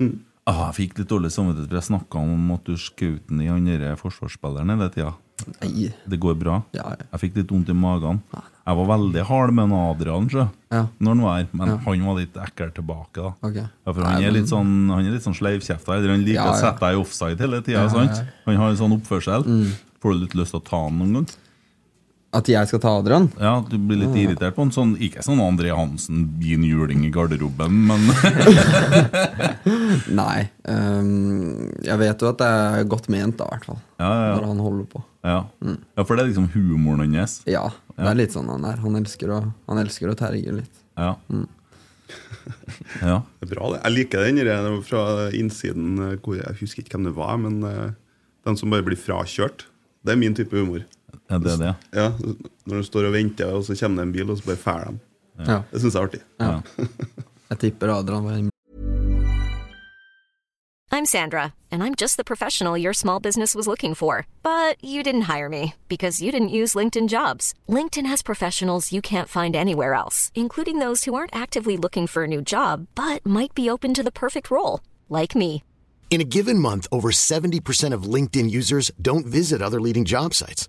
[SPEAKER 3] Mm.
[SPEAKER 2] Ah, jeg fikk litt dårlig samvittighet, for jeg snakka om at du skjøt den i han derre forsvarsspilleren hele tida.
[SPEAKER 4] Nei.
[SPEAKER 2] Det går bra.
[SPEAKER 4] Ja, ja.
[SPEAKER 2] Jeg fikk litt vondt i magen. Jeg var veldig hard med en Adrian sjø,
[SPEAKER 4] Ja.
[SPEAKER 2] når han var her, men
[SPEAKER 4] Ja.
[SPEAKER 2] han var litt ekkel tilbake. da
[SPEAKER 4] Ok.
[SPEAKER 2] ja, for han, er litt sånn, han er litt sånn sleivkjefta. eller Han liker
[SPEAKER 4] Ja,
[SPEAKER 2] å
[SPEAKER 4] ja.
[SPEAKER 2] sette deg i offside hele tida. sant? Han har en sånn oppførsel.
[SPEAKER 4] Mm.
[SPEAKER 2] Får du litt lyst til å ta han noen gang?
[SPEAKER 4] At jeg skal ta Adrian?
[SPEAKER 2] Ja, Du blir litt irritert på han. Sånn, ikke sånn André Hansen, din juling i garderoben, men
[SPEAKER 4] Nei. ehm, jeg vet jo at det er godt ment, da, i hvert fall.
[SPEAKER 2] ja, ja.
[SPEAKER 4] Når han holder på.
[SPEAKER 2] ja. ja, for det er liksom humoren hans.
[SPEAKER 4] Ja, det er litt sånn han er. Han elsker å, han elsker å terge litt.
[SPEAKER 2] Ja.
[SPEAKER 4] Mm.
[SPEAKER 2] ja.
[SPEAKER 3] Det er bra, det. Jeg liker den der fra innsiden eh, hvor Jeg husker ikke hvem det var, men eh, den som bare blir frakjørt. Det er min type humor.
[SPEAKER 2] Ja, Det er det.
[SPEAKER 3] Ja, Når du står og venter, og så kommer det en bil, og så bare fær dem.
[SPEAKER 4] Ja.
[SPEAKER 3] Det syns jeg er artig.
[SPEAKER 2] Ja.
[SPEAKER 4] Jeg tipper Adrian var en
[SPEAKER 6] I'm Sandra, and I'm just the professional your small business was looking for. But you didn't hire me because you didn't use LinkedIn jobs. LinkedIn has professionals you can't find anywhere else, including those who aren't actively looking for a new job but might be open to the perfect role, like me.
[SPEAKER 7] In a given month, over 70% of LinkedIn users don't visit other leading job sites.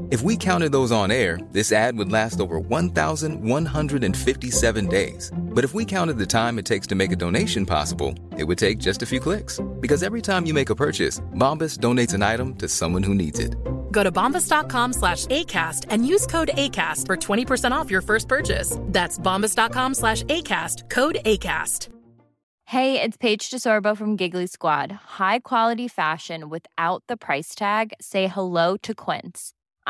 [SPEAKER 8] If we counted those on air, this ad would last over 1,157 days. But if we counted the time it takes to make a donation possible, it would take just a few clicks. Because every time you make a purchase, Bombas donates an item to someone who needs it.
[SPEAKER 9] Go to bombas.com slash ACAST and use code ACAST for 20% off your first purchase. That's bombas.com slash ACAST, code ACAST.
[SPEAKER 10] Hey, it's Paige DeSorbo from Giggly Squad. High quality fashion without the price tag. Say hello to Quince.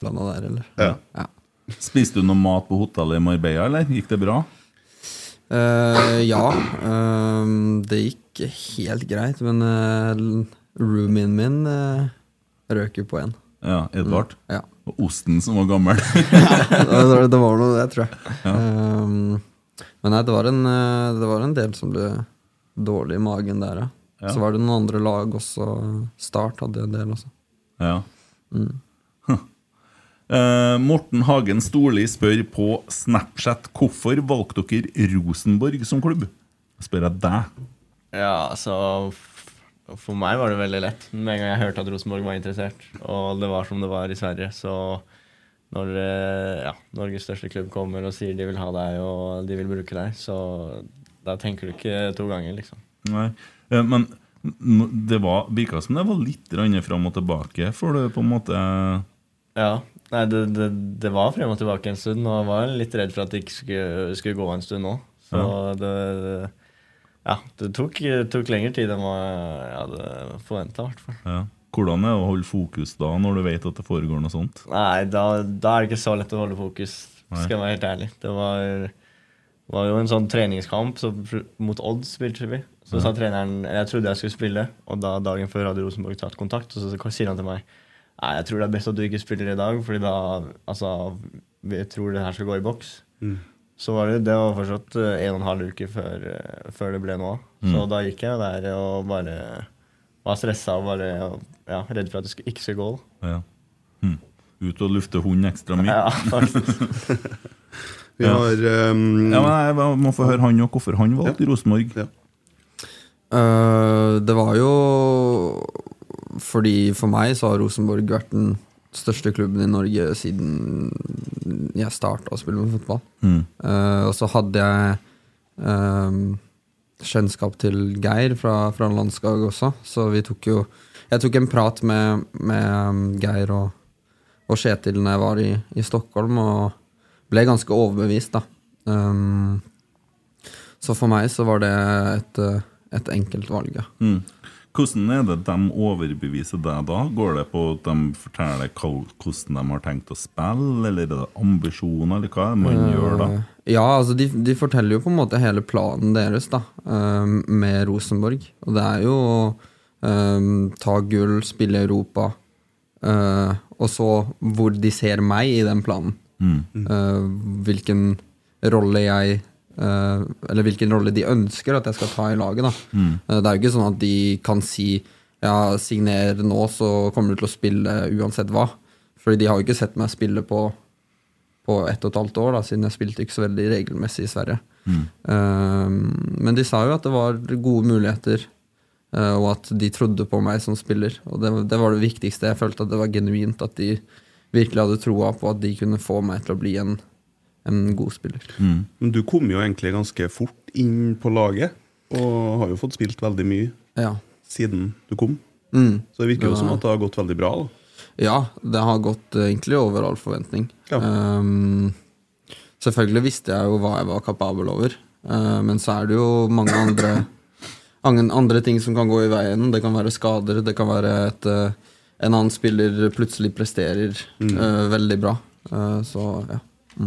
[SPEAKER 4] blanda der, eller?
[SPEAKER 3] Ja.
[SPEAKER 4] Ja.
[SPEAKER 2] Spiste du noe mat på hotellet i Marbella, eller? Gikk det bra?
[SPEAKER 4] Eh, ja. ehm, det gikk helt greit, men uh, roomien min uh, røk jo på én.
[SPEAKER 2] Ja, Edvard?
[SPEAKER 4] Mm. Ja.
[SPEAKER 2] Og osten som var gammel.
[SPEAKER 4] det, var- det var noe det, tror jeg. Ehm, men nei, det var, en, eh, det var en del som ble dårlig i magen der, ja. Så var det noen andre lag også. Start hadde en del altså. også.
[SPEAKER 2] Ja.
[SPEAKER 4] Mm.
[SPEAKER 2] Eh, Morten Hagen Storli spør på Snapchat hvorfor valgte dere Rosenborg som klubb. Spør jeg deg.
[SPEAKER 5] Ja, altså f- Og For meg var det veldig lett med en gang jeg hørte at Rosenborg var interessert. Og det var som det var i Sverige. Så når eh, ja, Norges største klubb kommer og sier de vil ha deg og de vil bruke deg, så da tenker du ikke to ganger, liksom.
[SPEAKER 2] Nei. Eh, Men n- det var, virka som det var litt grann fram og tilbake, for det på en måte
[SPEAKER 5] Ja. Nei, det, det, det var frem og tilbake en stund, og jeg var litt redd for at det ikke skulle, skulle gå en stund nå. Så
[SPEAKER 2] Ja.
[SPEAKER 5] det Ja, det tok, tok lengre tid enn hva jeg hadde forventa, i hvert fall.
[SPEAKER 2] ja. Hvordan er det å holde fokus da, når du vet at det foregår noe sånt?
[SPEAKER 5] Nei, da, da er det ikke så lett å holde fokus,
[SPEAKER 2] Nei.
[SPEAKER 5] skal jeg være helt ærlig. Det var, var jo en sånn treningskamp, så pr- mot odds spilte vi. Så
[SPEAKER 2] Ja.
[SPEAKER 5] sa treneren Jeg trodde jeg skulle spille, og da dagen før hadde Rosenborg tatt kontakt, og så, så sier han til meg Nei, jeg tror det er best at du ikke spiller i dag, fordi da Altså, vi tror det her skal gå i boks.
[SPEAKER 3] Mm.
[SPEAKER 5] Så var det, det var fortsatt eh, en og en halv uke før, eh, før det ble nå. Så
[SPEAKER 2] Mm.
[SPEAKER 5] da gikk jeg der og bare var stressa og bare ja, redd for at det sk- ikke skulle gå. da.
[SPEAKER 2] Ja. Hm. Ut og lufte hund ekstra mye?
[SPEAKER 5] Ja, faktisk.
[SPEAKER 3] Vi har um,
[SPEAKER 2] Ja, men jeg må- må få høre han og hvorfor han valgte Rosenborg.
[SPEAKER 3] Ja.
[SPEAKER 4] Eh, det var jo fordi for meg så har Rosenborg vært den største klubben i Norge siden jeg starta å spille med fotball.
[SPEAKER 2] Mm.
[SPEAKER 4] Eh, og så hadde jeg ehm, kjennskap til Geir fra, fra landslaget også, så vi tok jo Jeg tok en prat med, med ehm, Geir og, og Kjetil når jeg var i, i Stockholm, og ble ganske overbevist, da. Ehm, så for meg så var det et, eh, et enkelt valg, ja.
[SPEAKER 2] Mm. Hvordan er det de overbeviser deg da? Går det på at de forteller hva- hvordan de har tenkt å spille, eller er det ambisjoner, eller hva er det man gjør da?
[SPEAKER 4] Eh, Ja, altså de, de forteller jo på en måte hele planen deres da, eh, med Rosenborg. Og det er jo å eh, ta gull, spille Europa, eh, og så hvor de ser meg i den planen.
[SPEAKER 2] Mm.
[SPEAKER 4] Eh, hvilken rolle jeg eh, Eller hvilken rolle de ønsker at jeg skal ta i laget. da. Eh, det er jo ikke sånn at de kan si ja, signer nå, så kommer du til å spille uansett hva. Fordi de har jo ikke sett meg spille på på ett og et halvt år, da, siden jeg spilte ikke så veldig regelmessig i Sverige. Ehm, men de sa jo at det var gode muligheter, eh, og at de trodde på meg som spiller. Og det, det var det viktigste. Jeg følte at det var genuint, at de virkelig hadde troa på at de kunne få meg til å bli en, en god spiller.
[SPEAKER 2] Mm.
[SPEAKER 3] Men du kom jo egentlig ganske fort inn på laget, og har jo fått spilt veldig mye
[SPEAKER 4] Ja.
[SPEAKER 3] siden du kom.
[SPEAKER 4] Mm.
[SPEAKER 3] Så det virker jo
[SPEAKER 4] Ja.
[SPEAKER 3] som at det har gått veldig bra. da.
[SPEAKER 4] Ja, det har gått eh, egentlig over all forventning.
[SPEAKER 3] Ja.
[SPEAKER 4] Ehm, selvfølgelig visste jeg jo hva jeg var kapabel over, eh, men så er det jo mange andre, mange andre ting som kan gå i veien. Det kan være skader, det kan være at eh, en annen spiller plutselig presterer
[SPEAKER 3] Mm.
[SPEAKER 4] eh, veldig bra. Eh, så ja.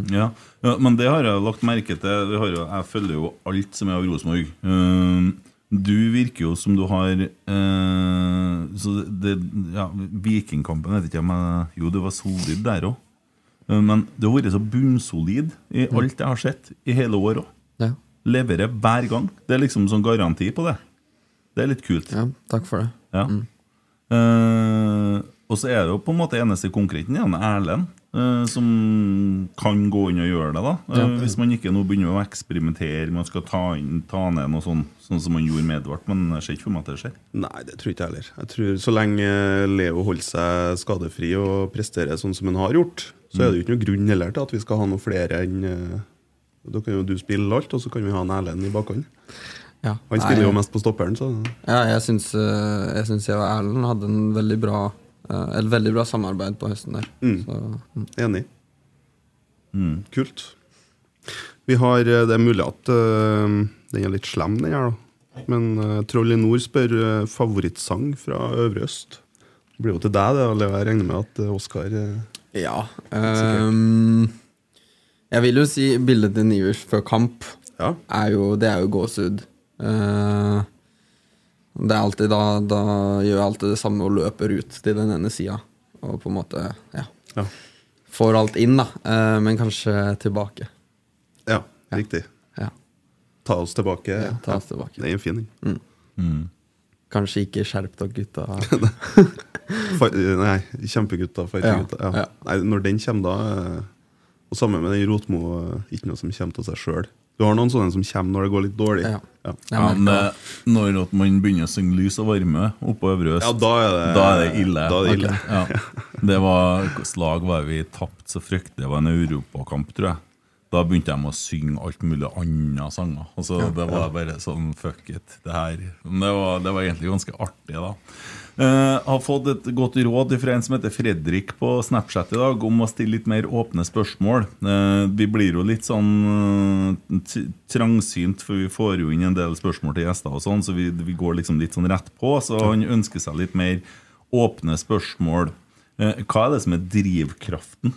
[SPEAKER 2] Ja. ja, men det har jeg lagt merke til. Vi har jo, jeg følger jo alt som er av Rosenborg. Ehm, Du virker jo som du har eh, så det, ja, Vikingkampen vet ikke om jeg Jo, det var solid der òg. Men det har vært så bunnsolid i alt jeg har sett i hele år òg.
[SPEAKER 4] Ja.
[SPEAKER 2] Leverer hver gang. Det er liksom sånn garanti på det. Det er litt kult.
[SPEAKER 4] ja, takk for det.
[SPEAKER 2] Ja.
[SPEAKER 3] Mm.
[SPEAKER 2] Eh, og så er det jo på en måte eneste konkreten igjen Erlend, eh, som kan gå inn og gjøre det. da Eh, Hvis man ikke nå begynner å eksperimentere, man skal ta, inn, ta ned noe sånn Sånn som man gjorde med Edvard. Men jeg ser ikke for meg at det skjer.
[SPEAKER 3] Nei, det tror ikke jeg heller. Jeg tror Så lenge Leo holder seg skadefri og presterer sånn som han har gjort, så er det jo ikke noen grunn heller til at vi skal ha noe flere enn eh, Da kan jo du spille alt, og så kan vi ha en Erlend i bakhånd.
[SPEAKER 4] Ja.
[SPEAKER 3] Han
[SPEAKER 4] Nei,
[SPEAKER 3] spiller jo mest på stopperen, så
[SPEAKER 4] Ja, jeg syns, eh, jeg syns jeg og Erlend hadde en veldig bra, eh, et veldig bra samarbeid på høsten der.
[SPEAKER 3] Mm.
[SPEAKER 4] Så, mm.
[SPEAKER 3] Enig. Kult. Vi har, eh, Det er mulig at eh, den er litt slem, den her, da. Men eh, Troll i nord spør eh, favorittsang fra Øvre Øst. Det blir jo til deg, det. og Leo, Jeg regner med at eh, Oskar eh,
[SPEAKER 4] Ja. ehm, jeg vil jo si bildet til Nivers før kamp
[SPEAKER 3] Ja.
[SPEAKER 4] er jo, det er jo gåsehud. Eh, det er alltid da, da gjør jeg alltid det samme og løper ut til den ene sida. Og på en måte ja,
[SPEAKER 3] Ja.
[SPEAKER 4] får alt inn, da. eh, men kanskje tilbake.
[SPEAKER 3] ja, riktig.
[SPEAKER 4] Ja,
[SPEAKER 3] Ta oss tilbake.
[SPEAKER 4] ja Ta oss tilbake. Mm.
[SPEAKER 3] Det er en fin en.
[SPEAKER 4] Kanskje ikke skjerp dere, gutta.
[SPEAKER 3] Fa- Nei, kjempegutta. Fightergutta.
[SPEAKER 4] Ja,
[SPEAKER 3] Ja.
[SPEAKER 4] ja.
[SPEAKER 3] Nei, Når den kommer, da eh, Og sammen med den Rotmo eh, Ikke noe som kommer til seg sjøl. Du har noen sånne som kommer når det går litt dårlig.
[SPEAKER 4] Ja.
[SPEAKER 3] Ja.
[SPEAKER 2] Ja, men eh, når at man begynner å synge lys og varme oppå Øvre Øst,
[SPEAKER 3] Ja, da er det-
[SPEAKER 2] da er det ille.
[SPEAKER 3] da er det
[SPEAKER 2] Ok,
[SPEAKER 3] ille.
[SPEAKER 2] ja. det var, hvilket lag var vi tapt så fryktelig? Det var en europakamp, tror jeg. Da begynte de å synge alt mulig andre sanger. Altså, det var bare sånn fuck it, det her. Men det var, det var egentlig ganske artig, da. Eh, har fått et godt råd fra en som heter Fredrik på Snapchat i dag, om å stille litt mer åpne spørsmål. Eh, vi blir jo litt sånn eh, t- trangsynt, for vi får jo inn en del spørsmål til gjester, og sånn, så vi, vi går liksom litt sånn rett på. Så han ønsker seg litt mer åpne spørsmål. Eh, hva er det som er drivkraften?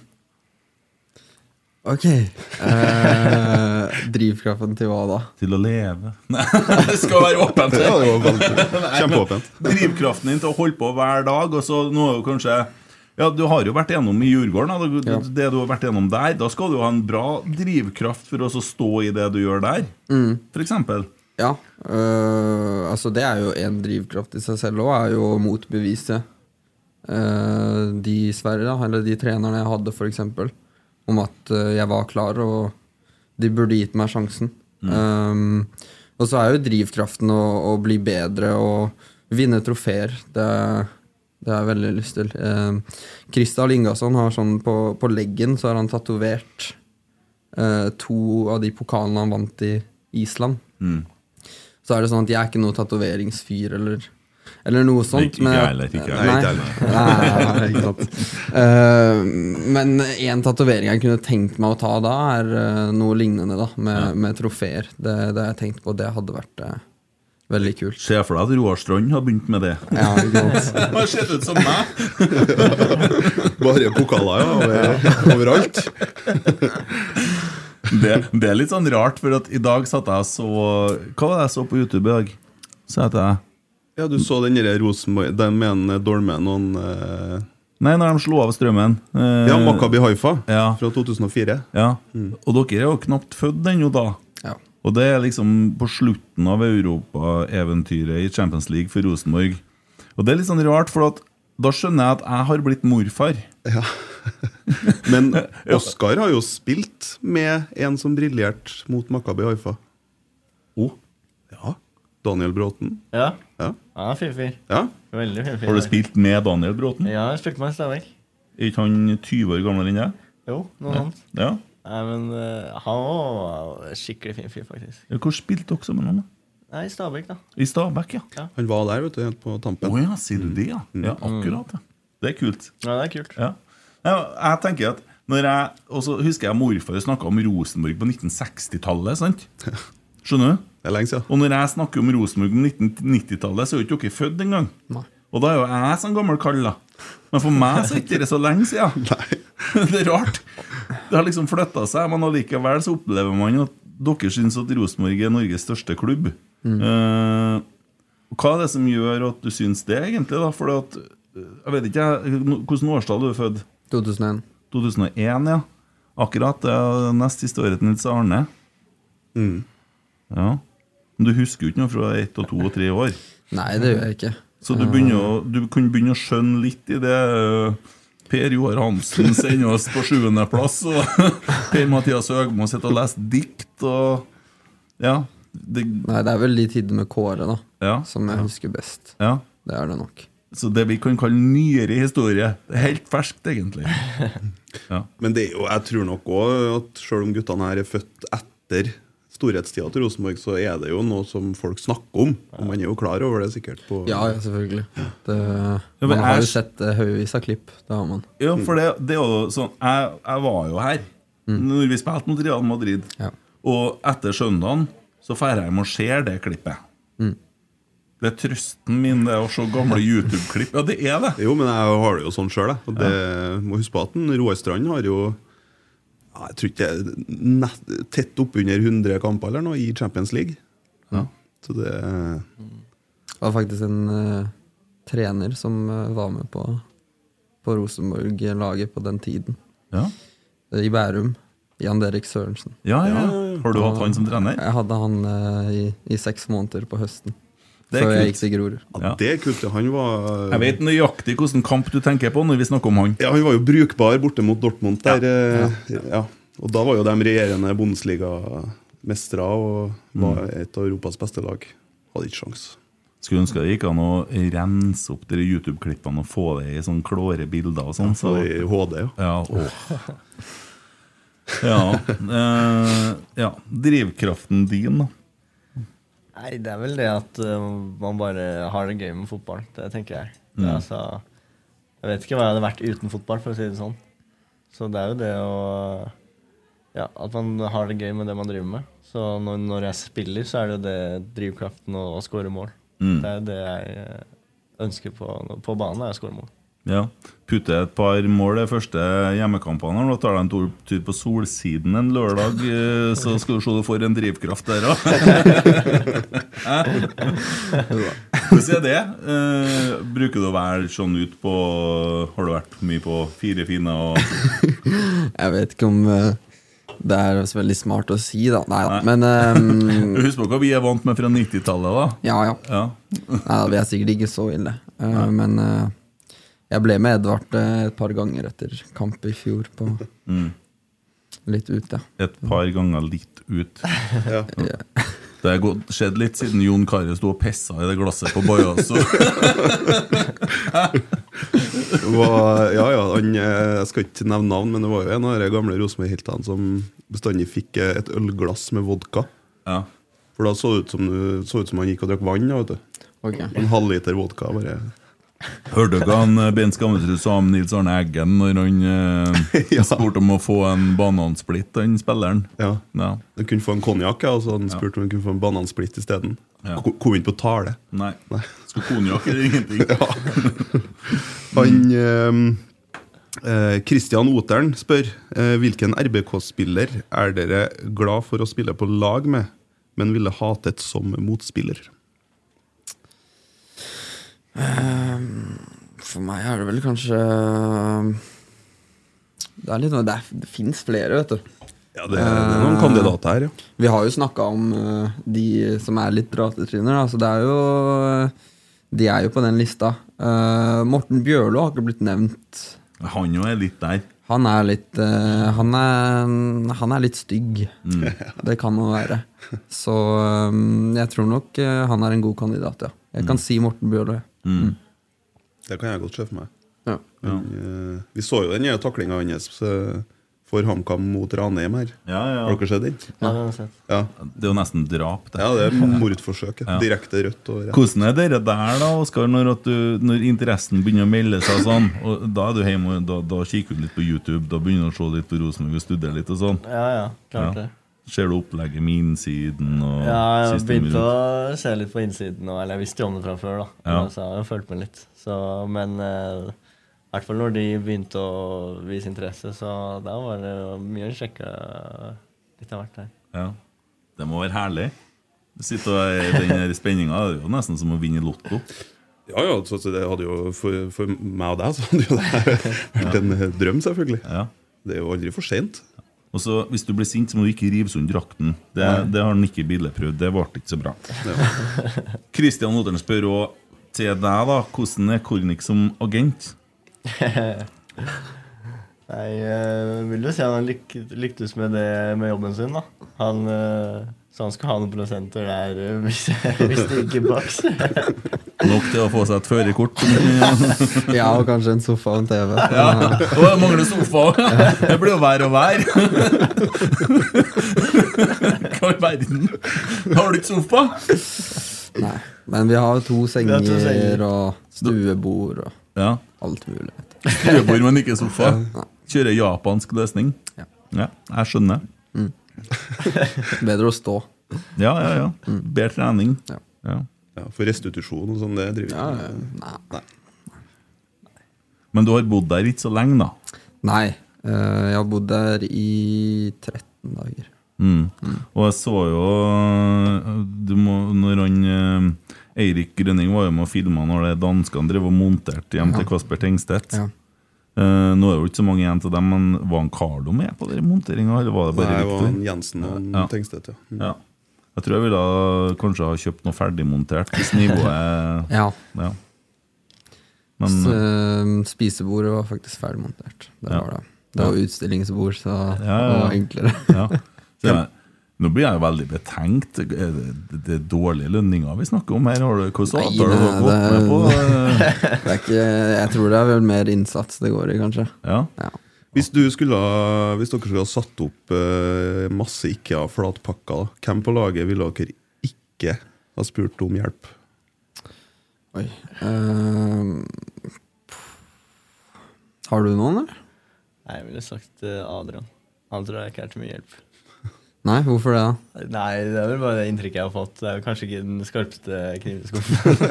[SPEAKER 4] Ok. Eh, drivkraften til hva da?
[SPEAKER 2] Til å leve Nei, det skal være åpent!
[SPEAKER 3] Ja, det var veldig-
[SPEAKER 2] Nei, men
[SPEAKER 3] Kjempeåpent.
[SPEAKER 2] Drivkraften din til å holde på hver dag, og så nå er jo kanskje ja, Du har jo vært gjennom i Djurgården, da. Du-
[SPEAKER 4] Ja.
[SPEAKER 2] det du har vært gjennom der. Da skal du ha en bra drivkraft for å så stå i det du gjør der,
[SPEAKER 3] Mm.
[SPEAKER 2] For eksempel
[SPEAKER 4] Ja, øh, altså det er jo en drivkraft i seg selv òg, er jo å motbevise øh, de Sverre, da, eller de trenerne jeg hadde, f.eks., om at øh, jeg var klar, og de burde gitt meg sjansen. Ehm, og så er jo drivkraften å, å bli bedre og vinne trofeer. Det, det har jeg veldig lyst til. Um, Kristian Ingasson har sånn på, på leggen, så har han tatovert eh, to av de pokalene han vant i Island.
[SPEAKER 2] Mm.
[SPEAKER 4] Så er det sånn at jeg er ikke noe tatoveringsfyr eller, eller noe sånt.
[SPEAKER 2] Ikke- ikke jeg heller, ikke jeg.
[SPEAKER 4] Nei.
[SPEAKER 3] Nei, ikke
[SPEAKER 4] Nei, nei, ikke sant. Eh, men én tatovering jeg kunne tenkt meg å ta da, er eh, noe lignende, da, med, med trofeer. Det, det har jeg tenkt på, det hadde vært eh, veldig kult.
[SPEAKER 2] Se for deg at Roar Strand har begynt med det.
[SPEAKER 4] Ja, ikke sant?
[SPEAKER 2] Han har sett ut som meg!
[SPEAKER 3] Bare pokaler ja, over- overalt.
[SPEAKER 2] det, det er litt sånn rart, for at i dag satt jeg og så Hva var det jeg så på YouTube i dag? Så heter jeg
[SPEAKER 3] Ja, du så den der Rosenborg Den med en Dolmen og en eh,
[SPEAKER 2] Nei, når de slo av strømmen. Eh,
[SPEAKER 3] Ja, Makabi Haifa
[SPEAKER 2] Ja.
[SPEAKER 3] fra 2004.
[SPEAKER 2] Ja. Og dere er jo knapt født ennå, da.
[SPEAKER 4] Ja.
[SPEAKER 2] Og det er liksom på slutten av europaeventyret i Champions League for Rosenborg. Og det er litt sånn rart, for at da skjønner jeg at jeg har blitt morfar.
[SPEAKER 3] Men Oskar har jo spilt med en som briljerte mot Makabi Haifa.
[SPEAKER 2] Oh.
[SPEAKER 3] Ja. Daniel Bråten.
[SPEAKER 5] Ja.
[SPEAKER 3] Ja.
[SPEAKER 5] ja fin fyr.
[SPEAKER 3] ja.
[SPEAKER 5] Veldig fin fyr.
[SPEAKER 2] Har du spilt med Daniel Bråten?
[SPEAKER 5] Ja, jeg spilte meg i Stabæk.
[SPEAKER 2] Er ikke han 20 år gamlere enn deg?
[SPEAKER 5] Jo, noe annet.
[SPEAKER 2] Ja.
[SPEAKER 5] Nei, men eh, han var skikkelig fin fyr, faktisk.
[SPEAKER 2] Ja, Hvor spilte dere sammen? han da?
[SPEAKER 5] Nei, i Stabæk, da.
[SPEAKER 2] I Stabæk, ja.
[SPEAKER 3] Han var der, vet du, helt på
[SPEAKER 2] Å
[SPEAKER 3] tampen.
[SPEAKER 2] ja, sier du det, ja? Ja, akkurat. ja. Det er kult.
[SPEAKER 5] Ja, det er kult.
[SPEAKER 2] Ja. Nei, Jeg tenker at når jeg, Og så husker jeg morfar snakka om Rosenborg på 1960-tallet. sant? Skjønner du?
[SPEAKER 3] Det er lenge siden.
[SPEAKER 2] Og når jeg snakker om Rosenborg på 1990-tallet, så er jo ikke dere født engang. Og da er jo jeg som gammel kall, da. Men for meg så er ikke det så lenge siden. det er rart. Det har liksom flytta seg, men allikevel så opplever man at dere syns at Rosenborg er Norges største klubb. Eh, hva er det som gjør at du syns det, egentlig? da? For at, eh, jeg vet ikke, jeg- Hvilket årstall er du født?
[SPEAKER 4] 2001.
[SPEAKER 2] 2001, ja. Akkurat. Det er nest siste året til Nils Arne. Ja. Men du husker jo ikke noe fra ett og to og tre år.
[SPEAKER 4] Nei, det gjør jeg ikke.
[SPEAKER 2] Så du, begynner å, du kunne begynne å skjønne litt i det øh, Per Joar Hansen sender oss på sjuendeplass, og Per-Mathias Høgmo sitter og leser dikt og Ja. Det,
[SPEAKER 4] Nei, det er vel de tidene med Kåre, da,
[SPEAKER 2] ja,
[SPEAKER 4] som jeg husker best.
[SPEAKER 2] ja.
[SPEAKER 4] Det er det nok.
[SPEAKER 2] Så det vi kan kalle nyere historie. Det er helt ferskt, egentlig.
[SPEAKER 3] Men det er jo, jeg tror nok òg at selv om guttene her er født etter storhetstida til Rosenborg, så er det jo noe som folk snakker om. Og man er jo klar over det sikkert. på...
[SPEAKER 4] Ja, ja selvfølgelig. Det,
[SPEAKER 2] men
[SPEAKER 4] man har
[SPEAKER 2] jeg-
[SPEAKER 4] jo sett eh, haugevis av klipp. Det har man.
[SPEAKER 2] Ja, for det, det er jo sånn Jeg, jeg var jo her Når vi spilte mot Real Madrid
[SPEAKER 4] Ja.
[SPEAKER 2] Og etter søndagen Så færre jeg hjem og ser det klippet Mm. Det er trøsten min Det er å se gamle YouTube-klipp Ja, det er det
[SPEAKER 3] Jo, men jeg har det jo sånn sjøl. Og det må huske på at en Roar Strand har jo ja, jeg tror ikke det er nett, tett oppunder 100 kamper eller noe i Champions League. Så det
[SPEAKER 4] Det var faktisk en eh, trener som eh, var med på, på Rosenborg-laget på den tiden.
[SPEAKER 2] ja.
[SPEAKER 4] Eh, I Bærum. Jan Derek Sørensen.
[SPEAKER 2] Ja, ja, Har du hatt han som trener?
[SPEAKER 4] Jeg hadde han eh, i, i seks måneder på høsten.
[SPEAKER 2] Det er
[SPEAKER 4] Før jeg
[SPEAKER 2] kult.
[SPEAKER 4] gikk til Grorud.
[SPEAKER 3] ja,
[SPEAKER 2] Ja.
[SPEAKER 3] det er kult. ja. Han var
[SPEAKER 2] Jeg vet nøyaktig hvordan kamp du tenker på Når vi snakker om han
[SPEAKER 3] Ja, han var jo brukbar borte mot Dortmund der. eh, Ja. Og da var jo de regjerende Bundesliga mestra og var et av Europas beste lag. Hadde ikke sjans.
[SPEAKER 2] Skulle ønske det gikk an å rense opp de YouTube-klippene og få det i sånn klåre bilder og
[SPEAKER 3] Ja,
[SPEAKER 2] sånn.
[SPEAKER 3] få det i HD, ja.
[SPEAKER 2] åh. ja, eh, ja. Drivkraften din, da?
[SPEAKER 5] Nei, det er vel det at eh, man bare har det gøy med fotball. Det tenker jeg. Det er
[SPEAKER 2] Mm.
[SPEAKER 5] altså, jeg vet ikke hva jeg hadde vært uten fotball, for å si det sånn. Så det er jo det å Ja, at man har det gøy med det man driver med. Så når, når jeg spiller, så er det jo det drivkraften å, å skåre mål.
[SPEAKER 2] Mm.
[SPEAKER 5] Det er jo det jeg eh, ønsker på, på banen, er å skåre mål.
[SPEAKER 2] Ja. Putte et par mål de første hjemmekampene. Nå tar deg en tur- tur på Solsiden en lørdag, eh, så skal du se du får en drivkraft der òg. Hvordan er det? Eh, bruker du å være sånn ut på Har du vært mye på Fire fine og
[SPEAKER 4] Jeg vet ikke om eh, det er så veldig smart å si, da. Nei da, men ehm,
[SPEAKER 2] Husk på hva vi er vant med fra 90-tallet, da.
[SPEAKER 4] Ja, ja. Nei, vi er sikkert ikke så ille. Eh, men eh, jeg ble med Edvard eh, et par ganger etter kamp i fjor. På
[SPEAKER 2] Mm.
[SPEAKER 4] litt ute.
[SPEAKER 2] Et par ganger litt ut.
[SPEAKER 3] Ja.
[SPEAKER 2] Det har gått- skjedd litt siden Jon Kare sto og pissa i det glasset på Bajasso.
[SPEAKER 3] var, ja, ja, han, eh, jeg skal ikke nevne navn, men det var jo en av de gamle Rosenborg-heltene som bestandig fikk eh, et ølglass med vodka.
[SPEAKER 2] Ja.
[SPEAKER 3] For da så det ut som, du- så ut som han gikk og drakk vann. da, Vet du.
[SPEAKER 4] Ok.
[SPEAKER 3] En halvliter vodka. bare
[SPEAKER 2] Hørte dere han eh, Bent Skammetrud sa om Nils Arne Eggen når han eh, spurte om å få en banansplitt, den spilleren?
[SPEAKER 3] Ja.
[SPEAKER 2] Ja.
[SPEAKER 3] Han kunne få en konjakk, ja, og så han spurte om han kunne få en banansplitt isteden.
[SPEAKER 2] Ja.
[SPEAKER 3] Ko- Kom ikke på tale.
[SPEAKER 2] Nei. Skulle konjakk eller ingenting?
[SPEAKER 3] Han eh, eh, Christian Oteren spør eh, hvilken RBK-spiller er dere glad for å spille på lag med, men ville hatet som motspiller?
[SPEAKER 4] Ehm, for meg er det vel kanskje eh, Det er litt noe- Det, er- det fins flere, vet du.
[SPEAKER 3] Ja, det, er noen
[SPEAKER 4] Eh,
[SPEAKER 3] kandidater her, ja.
[SPEAKER 4] Vi har jo snakka om eh, de som er litt pratetryner, da, så det er jo eh, De er jo på den lista. Eh, Morten Bjørlo har ikke blitt nevnt.
[SPEAKER 2] Han jo er litt der.
[SPEAKER 4] Han er litt eh, han, er, han er litt stygg.
[SPEAKER 2] Mm.
[SPEAKER 4] Det kan han være. Så eh, jeg tror nok eh, han er en god kandidat, ja. Jeg
[SPEAKER 2] Mm.
[SPEAKER 4] kan si Morten Bjørlo. jeg.
[SPEAKER 3] Det kan jeg godt se for meg.
[SPEAKER 4] Ja.
[SPEAKER 3] Men, eh, vi så jo den nye taklinga hans eh, for HamKam mot Ranheim her.
[SPEAKER 2] Ja, ja.
[SPEAKER 3] Har dere sett den?
[SPEAKER 5] Ja, det har jeg sett.
[SPEAKER 3] Ja.
[SPEAKER 2] Det er jo nesten drap, det.
[SPEAKER 3] ja, det er mordforsøk. ja.
[SPEAKER 2] Ja.
[SPEAKER 3] Direkte rødt og rett.
[SPEAKER 2] Hvordan er dere der, da, Oskar, når, at du, når interessen begynner å melde seg sånn? Og da er du hjemme, og da, da kikker du litt på YouTube, da begynner du å se litt på Rosenborg og studere litt og sånn?
[SPEAKER 5] Ja, ja, klart
[SPEAKER 2] Ja.
[SPEAKER 5] det.
[SPEAKER 2] Ser du opplegget med innsiden og
[SPEAKER 5] Ja, jeg
[SPEAKER 2] siste
[SPEAKER 5] begynte
[SPEAKER 2] minutt?
[SPEAKER 5] å se litt på innsiden nå. Eller jeg visste jo om det fra før, da.
[SPEAKER 2] Ja.
[SPEAKER 5] Men Så jeg har jo følt med litt. Så, men eh, i hvert fall når de begynte å vise interesse, så da var det jo mye å sjekke litt av hvert her.
[SPEAKER 2] Ja. Det må være herlig. Du sitter og er i den her spenninga. Det er jo nesten som å vinne i Lotto.
[SPEAKER 3] Ja, ja, så så det hadde jo for, for meg og deg så hadde jo det vært en eh, drøm, selvfølgelig.
[SPEAKER 2] Ja.
[SPEAKER 3] Det er jo aldri for seint.
[SPEAKER 2] Og så, Hvis du blir sint, så må du ikke rive sund drakten. Det, det har Nikki Bille prøvd. Det ble ikke så bra. Kristian Oteren spør òg til deg, da. Hvordan er Kornik som agent?
[SPEAKER 5] Nei, jeg vil jo si han lyk lyktes med det med jobben sin, da. Han, eh, så han skal ha noen prosenter der eh, hvis, hvis det ikke baks.
[SPEAKER 2] Nok til å få seg et førerkort. Å,
[SPEAKER 4] ja, og kanskje en sofa og en TV.
[SPEAKER 2] jeg mangler sofa òg! Det blir jo vær og vær. Hva i verden? Har du ikke sofa?
[SPEAKER 4] Nei. Men vi har to senger,
[SPEAKER 5] senger.
[SPEAKER 4] og stuebord og
[SPEAKER 2] Ja.
[SPEAKER 4] alt mulig. vet du.
[SPEAKER 2] Stuebord, men ikke sofa. Kjører japansk løsning. Ja, jeg skjønner.
[SPEAKER 4] Bedre å stå.
[SPEAKER 2] Ja, ja, ja. Bedre trening.
[SPEAKER 4] Ja.
[SPEAKER 2] Ja.
[SPEAKER 3] Ja, for restitusjon og sånn, det driver vi
[SPEAKER 4] Ja,
[SPEAKER 3] ikke med.
[SPEAKER 4] Eh, nei.
[SPEAKER 2] Men du har bodd der ikke så lenge, da.
[SPEAKER 4] Nei. eh, jeg har bodd der i 13 dager.
[SPEAKER 2] Mm. Og jeg så jo du må, Når han eh, Eirik Grønning var jo med og filma når det danskene drev og monterte hjem til Kasper Tengstedt.
[SPEAKER 4] Ja.
[SPEAKER 2] Eh, nå er det jo ikke så mange igjen til dem, men var han Carlo med på den monteringa? Eller var det
[SPEAKER 3] Nei,
[SPEAKER 2] bare
[SPEAKER 3] det var
[SPEAKER 2] Viktor?
[SPEAKER 3] en Jensen og en
[SPEAKER 2] Ja.
[SPEAKER 3] Tengstedt, ja. Mm.
[SPEAKER 2] Ja. Jeg tror jeg ville ha- kanskje ha kjøpt noe ferdigmontert, hvis nivået
[SPEAKER 4] Ja.
[SPEAKER 2] ja. Men
[SPEAKER 4] Så,
[SPEAKER 2] eh,
[SPEAKER 4] eh, spisebordet var faktisk ferdigmontert. Det
[SPEAKER 2] Ja.
[SPEAKER 4] var det. Det var utstillingsbord, så det
[SPEAKER 2] ja, ja.
[SPEAKER 4] var enklere.
[SPEAKER 2] ja. Så jeg, Nå blir jeg veldig betenkt. Er Det, det, det er dårlige lønninger vi snakker om her. Har du, hvordan
[SPEAKER 4] Nei,
[SPEAKER 2] avtaler har dere
[SPEAKER 4] det
[SPEAKER 2] gått med på? eh,
[SPEAKER 4] er- det er ikke, jeg tror det er vel mer innsats det går i, kanskje.
[SPEAKER 2] Ja.
[SPEAKER 3] Hvis, du skulle, ha- hvis dere skulle ha satt opp eh, masse IKEA-flatpakker, hvem på laget ville dere ikke ha spurt om hjelp?
[SPEAKER 4] Oi. Ehm, har du noen, eller?
[SPEAKER 5] Nei, jeg ville sagt eh, Adrian. Han tror jeg ikke er til mye hjelp.
[SPEAKER 4] Nei, hvorfor det, da?
[SPEAKER 5] Nei, det er vel bare det inntrykket jeg har fått. Det er jo kanskje ikke den skarpeste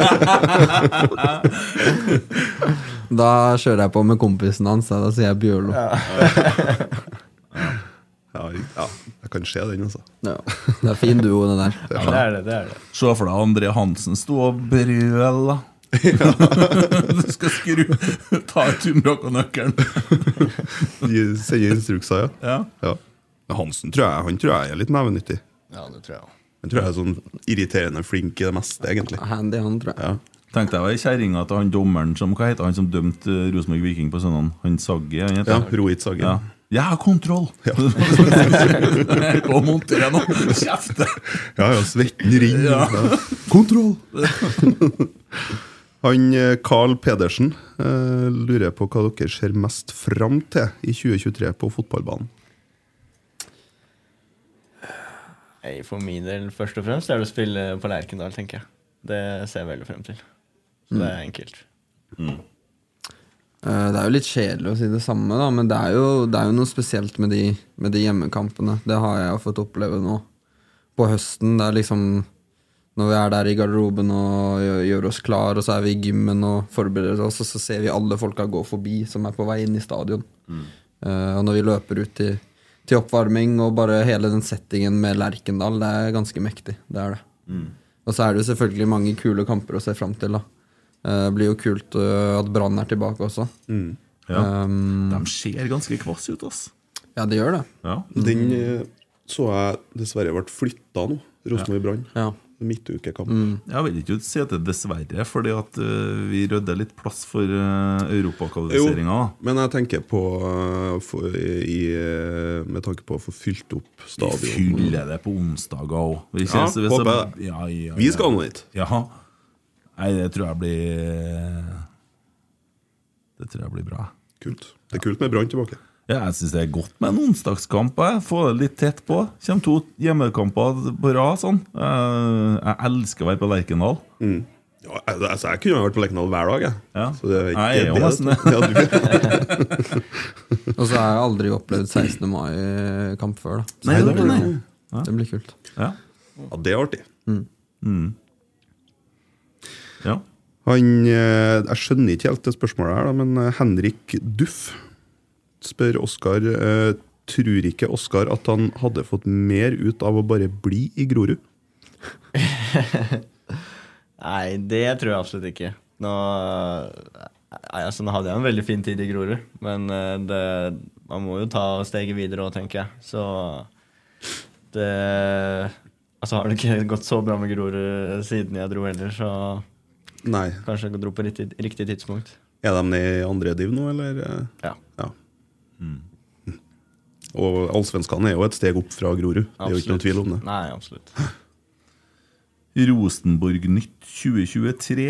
[SPEAKER 5] knivskuffen.
[SPEAKER 4] Da kjører jeg på med kompisen hans, da, da sier jeg Bjørlo.
[SPEAKER 3] Ja, ja jeg kan se den, altså.
[SPEAKER 4] Ja, det er fin duo, det der.
[SPEAKER 3] Ja, det er det,
[SPEAKER 5] det er det.
[SPEAKER 2] Se for deg André Hansen sto og brøl, da. du skal skru Ta ut tomrakkanøkkelen.
[SPEAKER 3] De sender instrukser, ja.
[SPEAKER 2] Ja.
[SPEAKER 3] Men Hansen tror jeg, han tror jeg er litt nevenyttig.
[SPEAKER 5] Ja, det tror jeg òg.
[SPEAKER 3] Han tror jeg er sånn irriterende flink i det meste, egentlig.
[SPEAKER 4] Handy han, tror jeg.
[SPEAKER 3] Ja.
[SPEAKER 2] Tenkte jeg var kjerringa til han dommeren som hva heter han som dømte eh, Rosenborg Viking på søndag. Han Saggi, han heter
[SPEAKER 3] Ja, Rohit Saggi.
[SPEAKER 2] Ja. Jeg har kontroll! Gå og monter deg nå! Kjefte!
[SPEAKER 3] Ja, ja, svetten rinner.
[SPEAKER 2] Ja.
[SPEAKER 3] Kontroll! Han eh, Carl Pedersen eh, lurer på hva dere ser mest fram til i 2023 på fotballbanen.
[SPEAKER 5] Nei, For min del først og fremst er det å spille på Lerkendal, tenker jeg. Det ser jeg veldig frem til. Så det er enkelt.
[SPEAKER 4] Eh, Det er jo litt kjedelig å si det samme, da, men det er jo, det er jo noe spesielt med de, med de hjemmekampene. Det har jeg jo fått oppleve nå på høsten. Det er liksom Når vi er der i garderoben og gjø- gjør oss klar, og så er vi i gymmen og forbereder oss, og så ser vi alle folka gå forbi som er på vei inn i stadion. Eh, og når vi løper ut til, til oppvarming og bare hele den settingen med Lerkendal, det er ganske mektig. Det er det. Og så er det jo selvfølgelig mange kule kamper å se fram til. da. Eh, Det blir jo kult eh, at Brann er tilbake også.
[SPEAKER 2] Ja.
[SPEAKER 4] Um,
[SPEAKER 2] De ser ganske kvass ut, ass.
[SPEAKER 4] ja, det gjør det.
[SPEAKER 2] Ja.
[SPEAKER 3] Den eh, så jeg dessverre ble flytta nå. Rosenborg Brann.
[SPEAKER 4] Ja.
[SPEAKER 3] Midtukekamp.
[SPEAKER 2] Jeg vil ikke si at det er dessverre, fordi at eh, vi rydder litt plass for uh,
[SPEAKER 3] Jo,
[SPEAKER 2] europakvalifiseringa.
[SPEAKER 3] men jeg tenker på eh, for, i, eh, Med tanke på å få fylt opp
[SPEAKER 2] Vi
[SPEAKER 3] stadion.
[SPEAKER 2] fyller det på onsdager òg. Vi,
[SPEAKER 3] Ja,
[SPEAKER 2] ses- vi,
[SPEAKER 3] håper
[SPEAKER 2] ses-
[SPEAKER 3] jeg det.
[SPEAKER 2] ja, ja,
[SPEAKER 3] Vi
[SPEAKER 2] ja.
[SPEAKER 3] skal nå dit.
[SPEAKER 2] Ja. Nei, det tror jeg blir eh, Det tror jeg blir bra.
[SPEAKER 3] Kult. Det er kult med Brann tilbake.
[SPEAKER 2] Ja, jeg syns det er godt med en onsdagskamp. jeg. Få det litt tett på. Kjem to hjemmekamper på rad. sånn Eh, Jeg elsker å være på Lerkendal.
[SPEAKER 3] Ja, al- altså, jeg kunne jo vært på Lekendal hver dag, jeg.
[SPEAKER 2] Ja.
[SPEAKER 3] Så det er ikke
[SPEAKER 2] Jeg er jo nesten det.
[SPEAKER 3] Ja, du,
[SPEAKER 4] Og så har jeg aldri opplevd 16. mai-kamp før. da. Så
[SPEAKER 2] Nei,
[SPEAKER 4] det,
[SPEAKER 2] det
[SPEAKER 4] blir,
[SPEAKER 2] har du
[SPEAKER 4] det blir kult.
[SPEAKER 2] Ja.
[SPEAKER 3] ja, det er artig.
[SPEAKER 2] ja.
[SPEAKER 3] Han, eh, jeg skjønner ikke helt det spørsmålet her, da, men eh, Henrik Duff spør Oskar eh, Tror ikke Oskar at han hadde fått mer ut av å bare bli i Grorud?
[SPEAKER 5] Nei, det tror jeg absolutt ikke. Nå, nei, altså, nå hadde jeg en veldig fin tid i Grorud, men eh, det, man må jo ta steget videre òg, tenker jeg. Så det Altså har det ikke gått så bra med Grorud eh, siden jeg dro heller, så
[SPEAKER 3] Nei.
[SPEAKER 5] kanskje jeg dro på riktig, riktig tidspunkt.
[SPEAKER 3] Er de nede i andre div nå, eller? eh?
[SPEAKER 5] Ja,
[SPEAKER 3] Ja.
[SPEAKER 2] Mm.
[SPEAKER 3] Og allsvenskene er jo et steg opp fra Grorud. Det er jo ikke noe tvil om det.
[SPEAKER 5] Nei, absolutt.
[SPEAKER 2] Rosenborg Nytt 2023.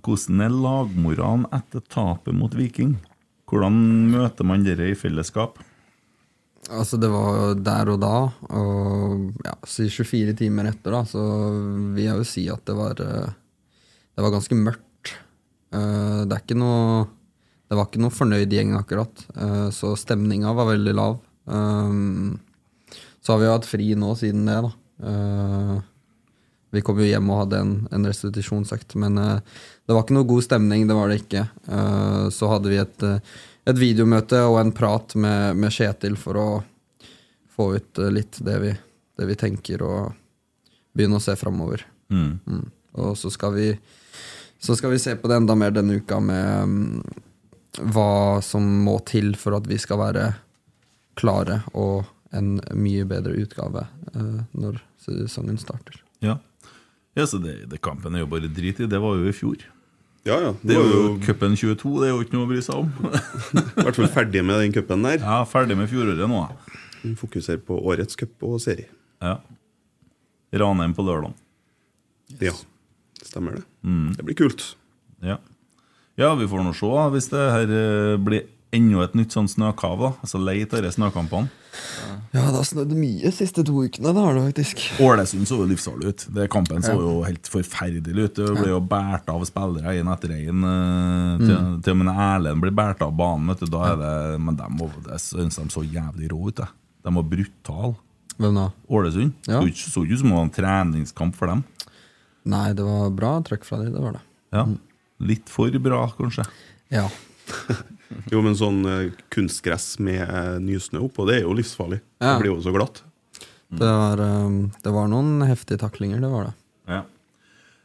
[SPEAKER 2] Hvordan er lagmoralen etter tapet mot Viking? Hvordan møter man dere i fellesskap?
[SPEAKER 4] Altså, det var jo der og da, og ja, si 24 timer etter, da, så vil jeg jo si at det var eh, Det var ganske mørkt. Eh, Det er ikke noe Det var ikke noe fornøyd gjeng, akkurat. Eh, Så stemninga var veldig lav. Um, Så har vi jo hatt fri nå siden det, da. Eh, Vi kom jo hjem og hadde en, en restitusjonsøkt, men eh, det var ikke noe god stemning. det var det ikke. Eh, Så hadde vi et, eh, et videomøte og en prat med, med Kjetil for å få ut eh, litt det vi, det vi tenker, og begynne å se framover. Mm. Og så skal, vi, så skal vi se på det enda mer denne uka med mm, hva som må til for at vi skal være klare og en mye bedre utgave eh, når sesongen starter.
[SPEAKER 2] Ja, ja så det, det Kampen er jo bare drit i. Det var jo i fjor.
[SPEAKER 3] Ja, ja.
[SPEAKER 2] Det er jo
[SPEAKER 3] i
[SPEAKER 2] cupen 22, det er jo ikke noe å bry seg om.
[SPEAKER 3] hvert fall ferdig med den cupen der.
[SPEAKER 2] Jeg er ferdig med fjoråret nå. jeg.
[SPEAKER 3] Vi fokuserer på årets cup og serie.
[SPEAKER 2] Ja. Ranheim på lørdag.
[SPEAKER 3] Ja, stemmer det. Det blir kult.
[SPEAKER 2] Ja. ja, vi får nå se da, hvis det her eh, blir enda et nytt sånn snøkav. da Altså Lei av disse snøkampene.
[SPEAKER 4] Ja, det har snødd mye de siste to ukene. Det har det faktisk.
[SPEAKER 2] Ålesund så jo livsfarlig ut. Det Kampen så
[SPEAKER 4] Ja.
[SPEAKER 2] jo helt forferdelig ut. Det ble jo båret av spillere én etter én. Til,
[SPEAKER 4] Mm.
[SPEAKER 2] til og med når Erlend blir båret av banen. Vet du, da er det, men dem var- jeg syns de så jævlig rå ut. jeg. De var brutale.
[SPEAKER 4] Hvem da?
[SPEAKER 2] Ålesund.
[SPEAKER 4] Ja.
[SPEAKER 2] Så ikke- så ikke ut som det var en treningskamp for dem.
[SPEAKER 4] Nei, det var bra trøkk fra dem. Det var det.
[SPEAKER 2] Ja. Litt for bra, kanskje.
[SPEAKER 4] Ja.
[SPEAKER 3] Jo, men sånn eh, kunstgress med eh, nysnø oppå, det er jo livsfarlig.
[SPEAKER 4] Ja.
[SPEAKER 3] Det blir jo så glatt.
[SPEAKER 4] Det var, um, det var noen heftige taklinger, det var det.
[SPEAKER 2] Ja.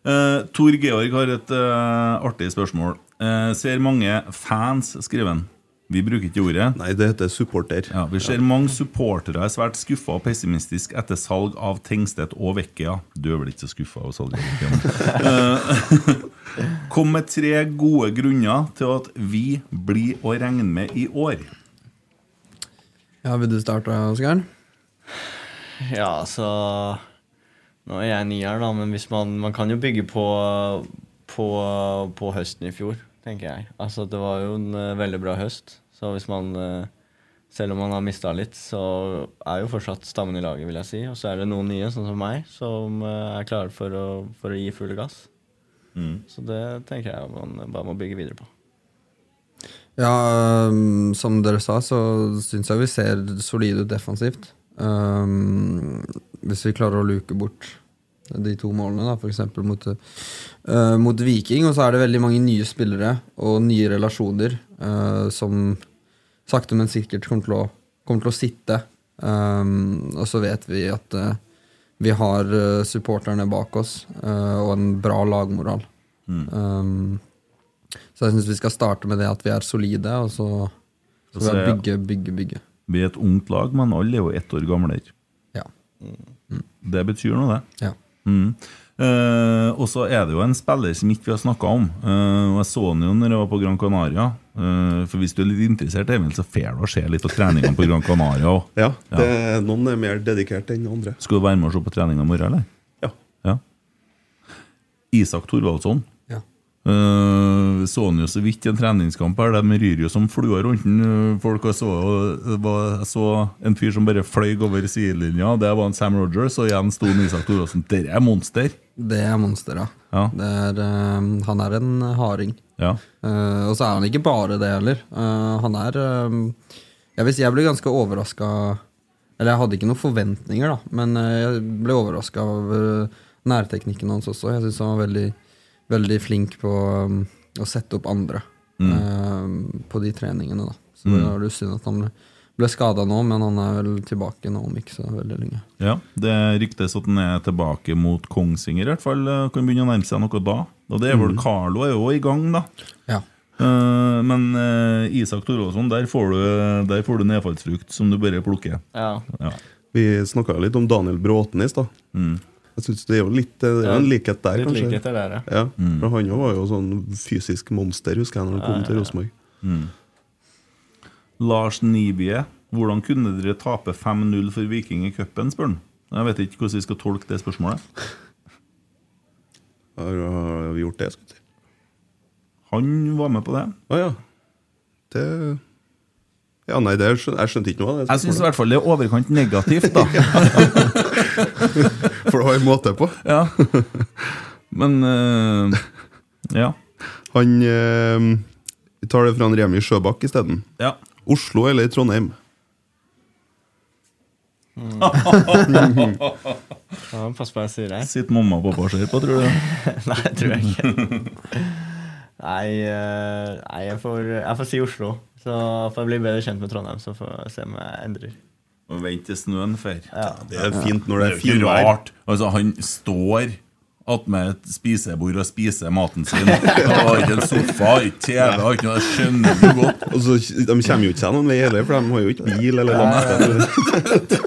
[SPEAKER 2] Eh, Tor Georg har et eh, artig spørsmål. Eh, ser mange fans, skriver han. Vi bruker ikke ordet.
[SPEAKER 3] Nei, det heter supporter.
[SPEAKER 2] Ja, vi ser mange supportere er svært skuffa og pessimistisk etter salg av Tengstedt og Vekkea. Du er vel ikke så skuffa over salget? av Vekkea, men- Eh, Kom med tre gode grunner til at vi blir å regne med i år.
[SPEAKER 4] Ja, Vil du starte, Oskar?
[SPEAKER 5] Ja, altså Nå er jeg ny her, da, men hvis man, man kan jo bygge på, på, på høsten i fjor, tenker jeg. Altså, det var jo en eh, veldig bra høst, så hvis man eh, Selv om man har mista litt, så er jo fortsatt stammen i laget, vil jeg si. Og så er det noen nye, sånn som meg, som eh, er klare for å, for å gi full gass. Så det tenker jeg man bare må bygge videre på.
[SPEAKER 4] Ja, um, som dere sa, så syns jeg vi ser solide ut defensivt. Um, hvis vi klarer å luke bort de to målene, da, f.eks. Mot, uh, mot Viking. Og så er det veldig mange nye spillere og nye relasjoner uh, som sakte, men sikkert kommer til å, kommer til å sitte. Um, og så vet vi at uh, vi har uh, supporterne bak oss uh, og en bra lagmoral.
[SPEAKER 2] Mm.
[SPEAKER 4] Um, så jeg syns vi skal starte med det at vi er solide, og så
[SPEAKER 2] Og
[SPEAKER 4] skal
[SPEAKER 2] så
[SPEAKER 4] vi
[SPEAKER 2] er-
[SPEAKER 4] bygge, bygge, bygge.
[SPEAKER 2] Vi er et ungt lag, men alle er jo ett år gamlere.
[SPEAKER 4] Ja.
[SPEAKER 2] Det betyr noe, det.
[SPEAKER 4] Ja.
[SPEAKER 2] Mm. Eh, og så er det jo en spiller som ikke vi har snakka om. Eh, og Jeg så han jo når jeg var på Gran Canaria. Eh, for hvis du er litt interessert, Emil, så får du å se litt på treningene på Gran Canaria òg.
[SPEAKER 3] Ja, det, Noen er mer dedikert enn andre.
[SPEAKER 2] Skal du være med og se på trening i morgen, eller?
[SPEAKER 3] Ja.
[SPEAKER 2] Isak Thorvaldsson.
[SPEAKER 4] Ja.
[SPEAKER 2] Eh, så han jo så vidt i en treningskamp her. De ryr jo som fluer rundt den. eh, Folk jeg så, det var, jeg så en fyr som bare fløy over sidelinja. Det var en Sam Rogers, og igjen sto en Isak Thorvaldsen. Dette er monster!
[SPEAKER 4] Det er monsteret.
[SPEAKER 2] Ja.
[SPEAKER 4] Det er, eh, han er en harding.
[SPEAKER 2] Ja.
[SPEAKER 4] Eh, og så er han ikke bare det heller. Eh, han er eh, Jeg vil si jeg ble ganske overraska Eller jeg hadde ikke noen forventninger, da, men eh, jeg ble overraska over nærteknikken hans også. Jeg syns han var veldig, veldig flink på eh, å sette opp andre eh, på de treningene, da. Så det
[SPEAKER 2] Mm.
[SPEAKER 4] var jo synd at han ble, ble skada nå, men han er vel tilbake nå om ikke så veldig lenge.
[SPEAKER 2] Ja, Det ryktes at han er tilbake mot Kongsvinger, i hvert fall. eh, Kan begynne å nærme seg noe da. Og det er vel
[SPEAKER 4] Mhm.
[SPEAKER 2] Carlo er jo i gang, da.
[SPEAKER 4] Ja.
[SPEAKER 2] Eh, men eh, Isak Thorvaldsson, der får du, der får du nedfallsfrukt som du bare plukker.
[SPEAKER 5] Ja.
[SPEAKER 2] Ja.
[SPEAKER 3] Vi snakka litt om Daniel Bråten i stad.
[SPEAKER 2] Mm.
[SPEAKER 3] Jeg synes Det er jo litt eh, det er jo en likhet der,
[SPEAKER 5] Litt
[SPEAKER 3] kanskje.
[SPEAKER 5] likheter der, ja.
[SPEAKER 3] Ja,
[SPEAKER 2] Mm.
[SPEAKER 3] for Han jo var jo sånn fysisk monster, husker jeg, når han kom til Rosenborg.
[SPEAKER 2] Lars Nibie, hvordan kunne dere tape 5-0 for Viking i cupen, spør han. Jeg vet ikke hvordan vi skal tolke det spørsmålet.
[SPEAKER 3] Har har vi gjort det, skulle jeg si.
[SPEAKER 2] Han var med på det.
[SPEAKER 3] Å ja. Det Ja, nei, det skjønte, jeg skjønte ikke noe av det.
[SPEAKER 2] Jeg syns i hvert fall det er overkant negativt, da.
[SPEAKER 3] For det var en måte på.
[SPEAKER 2] Ja. Men eh, Ja.
[SPEAKER 3] Han eh, Vi tar det fra han Remi Sjøbakk isteden.
[SPEAKER 2] ja.
[SPEAKER 3] Oslo eller Trondheim?
[SPEAKER 5] Ja, Pass på hva jeg sier her.
[SPEAKER 2] Sitter mamma og pappa og ser på, tror du?
[SPEAKER 5] Nei, det tror jeg ikke. Nei, eh, nei jeg, får, jeg får si Oslo. Så får jeg bli bedre kjent med Trondheim, så får jeg se om jeg endrer.
[SPEAKER 2] Og vent til snøen fer.
[SPEAKER 5] Ja.
[SPEAKER 3] Det er fint når det er
[SPEAKER 2] Det er jo ikke
[SPEAKER 3] finvær.
[SPEAKER 2] rart. Altså, han står attmed et spisebord og spiser maten sin. Han har ikke en sofa, har ikke TV, har ikke noe. Jeg skjønner jo godt.
[SPEAKER 3] Og så, de kommer jo ikke seg noen vei heller, for de har jo ikke bil eller lampe.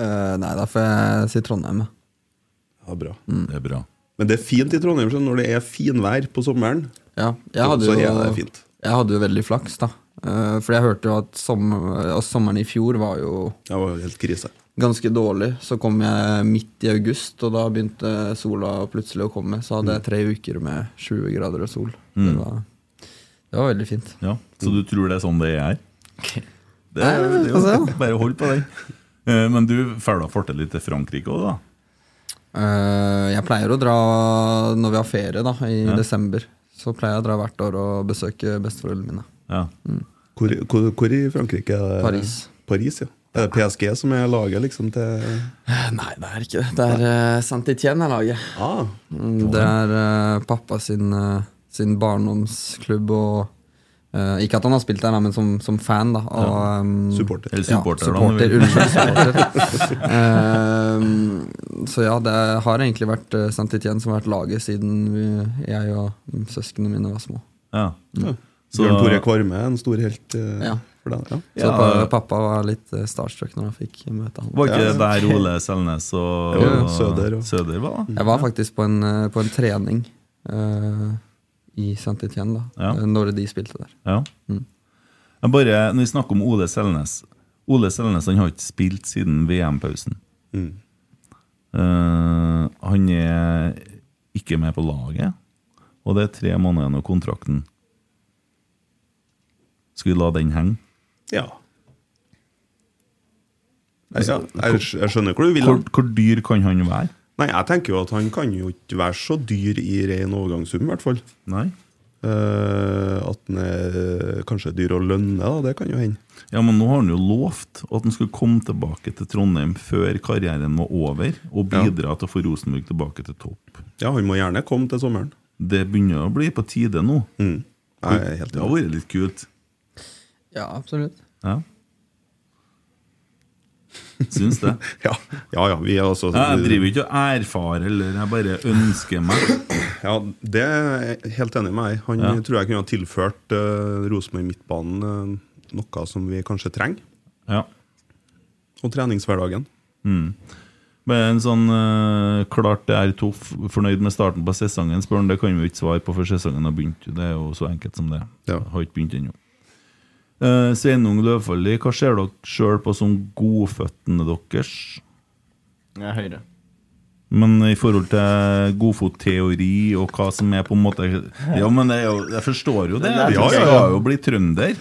[SPEAKER 4] Eh, nei, da får jeg si Trondheim. jeg.
[SPEAKER 3] Ja, bra.
[SPEAKER 2] Mm. Det er bra.
[SPEAKER 3] Men det er fint i Trondheim skjønner du, når det er finvær på sommeren.
[SPEAKER 4] Ja, jeg hadde
[SPEAKER 3] så
[SPEAKER 4] jo,
[SPEAKER 3] er det fint.
[SPEAKER 4] Jeg hadde jo veldig flaks, da. Eh, Fordi jeg hørte jo at som, altså, sommeren i fjor var jo
[SPEAKER 3] Det var jo helt krise.
[SPEAKER 4] ganske dårlig. Så kom jeg midt i august, og da begynte sola plutselig å komme.
[SPEAKER 3] Mm.
[SPEAKER 4] Så hadde jeg tre uker med 20 grader og sol. Det,
[SPEAKER 2] Mm.
[SPEAKER 4] var, det var veldig fint.
[SPEAKER 2] Ja, Så du tror det er sånn det er? Det,
[SPEAKER 4] Nei,
[SPEAKER 2] det,
[SPEAKER 4] få
[SPEAKER 2] er
[SPEAKER 4] se,
[SPEAKER 2] jo
[SPEAKER 4] da.
[SPEAKER 2] bare hold på den. Eh, Men du drar da fortell litt til Frankrike òg, da?
[SPEAKER 4] Eh, jeg pleier å dra når vi har ferie, da, i
[SPEAKER 2] Ja.
[SPEAKER 4] desember. Så pleier jeg å dra hvert år og besøke besteforeldrene mine.
[SPEAKER 2] Ja.
[SPEAKER 3] Hvor, hvor, hvor i Frankrike er det?
[SPEAKER 4] Paris.
[SPEAKER 3] Paris, ja. Er det PSG som er laget liksom til
[SPEAKER 4] Eh, Nei, det er ikke det. Det er uh, Saint-Étienne er laget.
[SPEAKER 3] ah,
[SPEAKER 4] Mm, Det er eh, pappa sin, eh, sin barndomsklubb og eh, Ikke at han har spilt der, da, men som, som fan, da. Og, ehm,
[SPEAKER 3] Supporter.
[SPEAKER 2] Eller supporter,
[SPEAKER 4] Ja,
[SPEAKER 2] da, om du
[SPEAKER 4] supporter
[SPEAKER 2] vil.
[SPEAKER 4] unnskyld, supporter. Ehm, så ja, det har egentlig vært uh, Saint-Étienne som har vært laget siden vi, jeg og søsknene mine var små.
[SPEAKER 2] Ja. Så-
[SPEAKER 3] Bjørn Tore Kvarme er en stor helt eh,
[SPEAKER 4] Ja.
[SPEAKER 3] for den. Ja.
[SPEAKER 4] Så
[SPEAKER 2] Ja.
[SPEAKER 4] pa- pappa var litt eh, starstruck når han fikk møte han.
[SPEAKER 2] Var ikke
[SPEAKER 3] Ja.
[SPEAKER 2] der Ole Selnes og
[SPEAKER 3] Jo, jo, Søder og-
[SPEAKER 2] var, da?
[SPEAKER 4] Jeg var faktisk på en, eh, på en trening eh, i Saint-Étienne da,
[SPEAKER 2] Ja.
[SPEAKER 4] eh, når de spilte der.
[SPEAKER 2] Ja. Jeg bare, når vi snakker om Ole Selnes Ole Selnes han har ikke spilt siden VM-pausen. Eh, han er ikke med på laget, og det er tre måneder igjen av kontrakten. Skal vi la den henge?
[SPEAKER 3] Ja. Altså, Nei, ja. Jeg, skj- jeg skjønner hvor du vil.
[SPEAKER 2] Hvor,
[SPEAKER 3] hen.
[SPEAKER 2] hvor dyr kan han være?
[SPEAKER 3] Nei, jeg tenker jo at han kan jo ikke være så dyr i ren overgangssum, i hvert fall.
[SPEAKER 2] Nei?
[SPEAKER 3] Eh, at han er eh, kanskje dyr å lønne, da, det kan jo hende.
[SPEAKER 2] Ja, men nå har han jo lovt at han skulle komme tilbake til Trondheim før karrieren var over, og bidra til å få Rosenborg tilbake til topp.
[SPEAKER 3] Ja, han må gjerne komme til sommeren.
[SPEAKER 2] Det begynner å bli på tide nå.
[SPEAKER 3] Mm. Jeg er helt
[SPEAKER 2] Det har vært litt kult.
[SPEAKER 4] Ja, absolutt.
[SPEAKER 2] Ja. Syns det.
[SPEAKER 3] Ja, ja, ja vi er altså
[SPEAKER 2] Jeg driver ikke og erfarer, eller jeg bare ønsker meg.
[SPEAKER 3] Ja, Det er jeg helt enig med deg. Han
[SPEAKER 2] Ja.
[SPEAKER 3] tror jeg kunne ha tilført uh, Rosenborg Midtbanen eh, noe som vi kanskje trenger.
[SPEAKER 2] Ja.
[SPEAKER 3] Og treningshverdagen.
[SPEAKER 2] Mm. Men sånn eh, klart det er toff, fornøyd med starten på sesongen, spør han. Det kan vi jo ikke svare på før sesongen har begynt. Det er jo så enkelt som det.
[SPEAKER 3] Ja.
[SPEAKER 2] Har ikke begynt ennå. Eh, Sveinung Løvfalli, hva ser dere sjøl på som godføttene deres?
[SPEAKER 5] Jeg er høyre.
[SPEAKER 2] Men i forhold til godfotteori og hva som er på en måte Ja, men jeg, jeg forstår jo det.
[SPEAKER 5] Det er-
[SPEAKER 2] Ja, jeg skal jo bli trønder.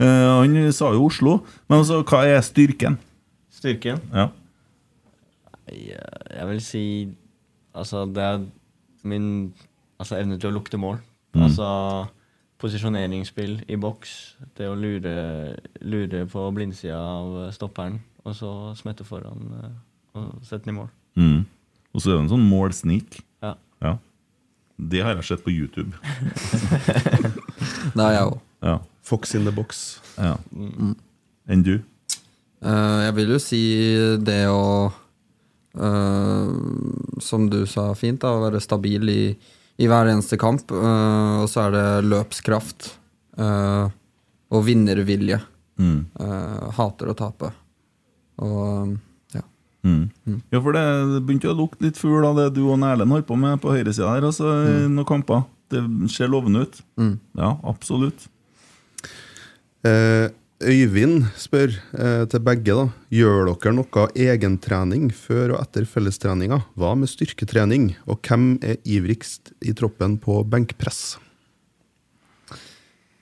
[SPEAKER 2] Eh, han sa jo Oslo. Men altså, hva er styrken?
[SPEAKER 5] Styrken?
[SPEAKER 2] Ja.
[SPEAKER 5] Jeg, eh, jeg vil si Altså, det er min altså, evne til å lukte mål.
[SPEAKER 2] Mm.
[SPEAKER 5] Altså posisjoneringsspill i boks. Det å lure, lure på blindsida av stopperen, og så smette foran eh, og sette den i mål.
[SPEAKER 2] Mm. Og så er det en sånn målsnik.
[SPEAKER 5] Ja.
[SPEAKER 2] Ja. Det har jeg sett på YouTube.
[SPEAKER 4] Det er jeg òg.
[SPEAKER 2] Ja.
[SPEAKER 3] Fox in the box.
[SPEAKER 2] ja. Enn du?
[SPEAKER 4] Eh, jeg vil jo si det å eh, Som du sa fint, da, å være stabil i, i hver eneste kamp. eh, og så er det løpskraft eh, og vinnervilje.
[SPEAKER 2] Mm.
[SPEAKER 4] Eh, hater å tape. Og ja.
[SPEAKER 2] Mm. Ja, for det begynte jo å lukte litt fugl av det du og Erlend holdt på med på høyresida her, altså,
[SPEAKER 3] Mm.
[SPEAKER 2] i noen kamper. Det ser lovende ut. Ja, absolutt.
[SPEAKER 3] Eh, Øyvind spør eh, til begge, da. Gjør dere noe egentrening før og etter fellestreninga? Hva med styrketrening? Og hvem er ivrigst i troppen på benkpress?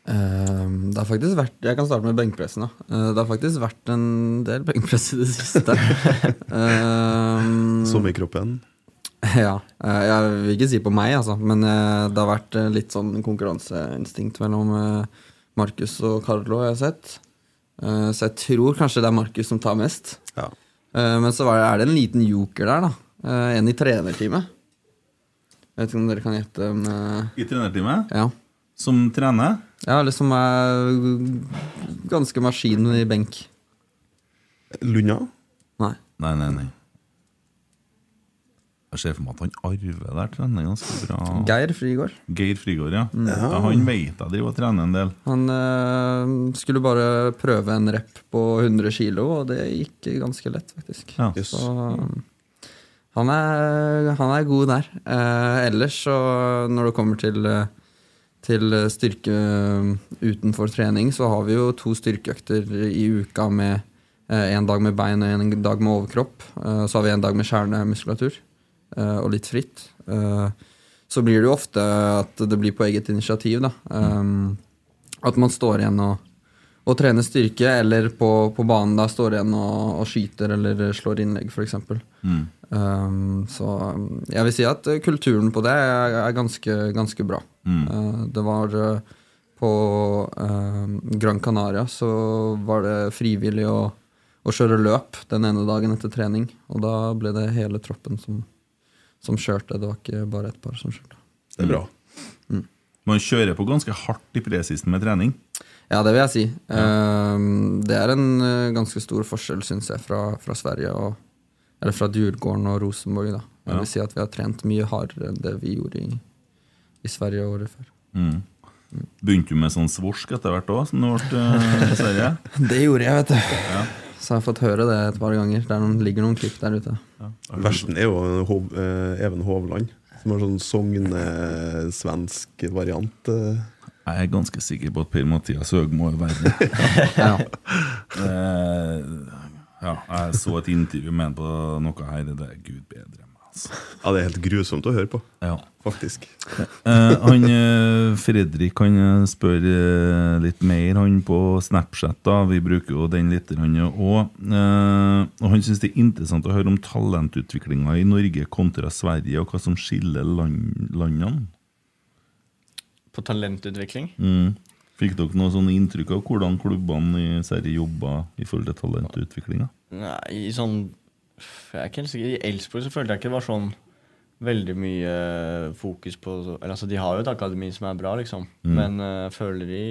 [SPEAKER 4] Ehm, det har faktisk vært Jeg kan starte med benkpressen. Da. Eh, det har faktisk vært en del benkpress i det siste.
[SPEAKER 3] Mm.
[SPEAKER 4] Ehm,
[SPEAKER 3] Sommerkroppen?
[SPEAKER 4] Ja. eh, Jeg vil ikke si på meg, altså, men eh, det har vært eh, litt sånn konkurranseinstinkt mellom eh, Markus og Carlo, har jeg sett. Eh, Så jeg tror kanskje det er Markus som tar mest.
[SPEAKER 3] Ja.
[SPEAKER 4] Eh, Men så var det, er det en liten joker der, da. Eh, En i trenerteamet. Jeg vet ikke om dere kan gjette, men eh,
[SPEAKER 2] I trenerteamet,
[SPEAKER 4] ja.
[SPEAKER 2] som trener
[SPEAKER 4] Ja, eller som er eh, ganske maskin i benk.
[SPEAKER 3] Lunda?
[SPEAKER 4] Nei.
[SPEAKER 2] Nei, nei, nei. Jeg ser for meg at han arver der trener ganske bra.
[SPEAKER 4] Geir Frigård.
[SPEAKER 2] Geir Frigård, ja.
[SPEAKER 3] Mm.
[SPEAKER 2] ja. Han vet jeg driver og trener en del.
[SPEAKER 4] Han eh, skulle bare prøve en rep på 100 kg, og det gikk ganske lett, faktisk.
[SPEAKER 2] Ja.
[SPEAKER 3] Yes.
[SPEAKER 4] Så um, han er, han er god der. Eh, ellers, så når det kommer til eh, til eh, styrke eh, utenfor trening, så har vi jo to styrkeøkter i uka med eh, en dag med bein og en dag med overkropp. Eh, Så har vi en dag med kjernemuskulatur eh, og litt fritt. Eh, Så blir det jo ofte at det blir på eget initiativ, da. Eh, At man står igjen og å trene styrke, eller på, på banen da står igjen og, og skyter eller slår innlegg, f.eks.
[SPEAKER 2] Mm.
[SPEAKER 4] Um, så um, jeg vil si at eh, kulturen på det er, er ganske, ganske bra.
[SPEAKER 2] Mm.
[SPEAKER 4] Eh, det var eh, på eh, Gran Canaria så var det frivillig å, å kjøre løp den ene dagen etter trening. Og da ble det hele troppen som, som kjørte, det var ikke bare et par som kjørte.
[SPEAKER 2] Det er bra. Man kjører på ganske hardt i presisen med trening.
[SPEAKER 4] Ja, det vil jeg si. Ehm, det er en eh, ganske stor forskjell, syns jeg, fra, fra Sverige og Eller fra Djurgården og Rosenborg, da. Jeg
[SPEAKER 2] Ja.
[SPEAKER 4] vil si at vi har trent mye hardere enn det vi gjorde i, i Sverige året før.
[SPEAKER 2] Mm. Begynte du med sånn svorsk etter hvert òg, som du ble eh, i Sverige?
[SPEAKER 4] Det gjorde jeg, vet du. Så jeg har fått høre det et par ganger. Det er noen, ligger noen klipp der ute.
[SPEAKER 3] Versten er jo Hov, eh, Even Hovland, som er sånn sogne-svensk variant. eh.
[SPEAKER 2] Jeg er ganske sikker på at Per-Mathias Høgmo er verre.
[SPEAKER 4] Ja.
[SPEAKER 2] Eh, ja, jeg så et intervju med han på noe her. Det er gud bedre enn meg, altså.
[SPEAKER 3] Ja, Det er helt grusomt å høre på,
[SPEAKER 2] Ja.
[SPEAKER 3] faktisk.
[SPEAKER 2] Eh, han eh, Fredrik han eh, spør eh, litt mer han på Snapchat. da Vi bruker jo den litt òg. Eh, og han syns det er interessant å høre om talentutviklinga i Norge kontra Sverige, og hva som skiller land, landene.
[SPEAKER 5] På talentutvikling?
[SPEAKER 2] Mm. Fikk dere noe sånn inntrykk av hvordan klubbene i Sverige jobba i forhold til talentutviklinga?
[SPEAKER 5] Nei, i sånn Jeg er ikke helt sikker. I Elsborg så følte jeg ikke det var sånn veldig mye eh, fokus på eller, altså, De har jo et akademi som er bra, liksom.
[SPEAKER 2] Mm.
[SPEAKER 5] Men eh, jeg føler i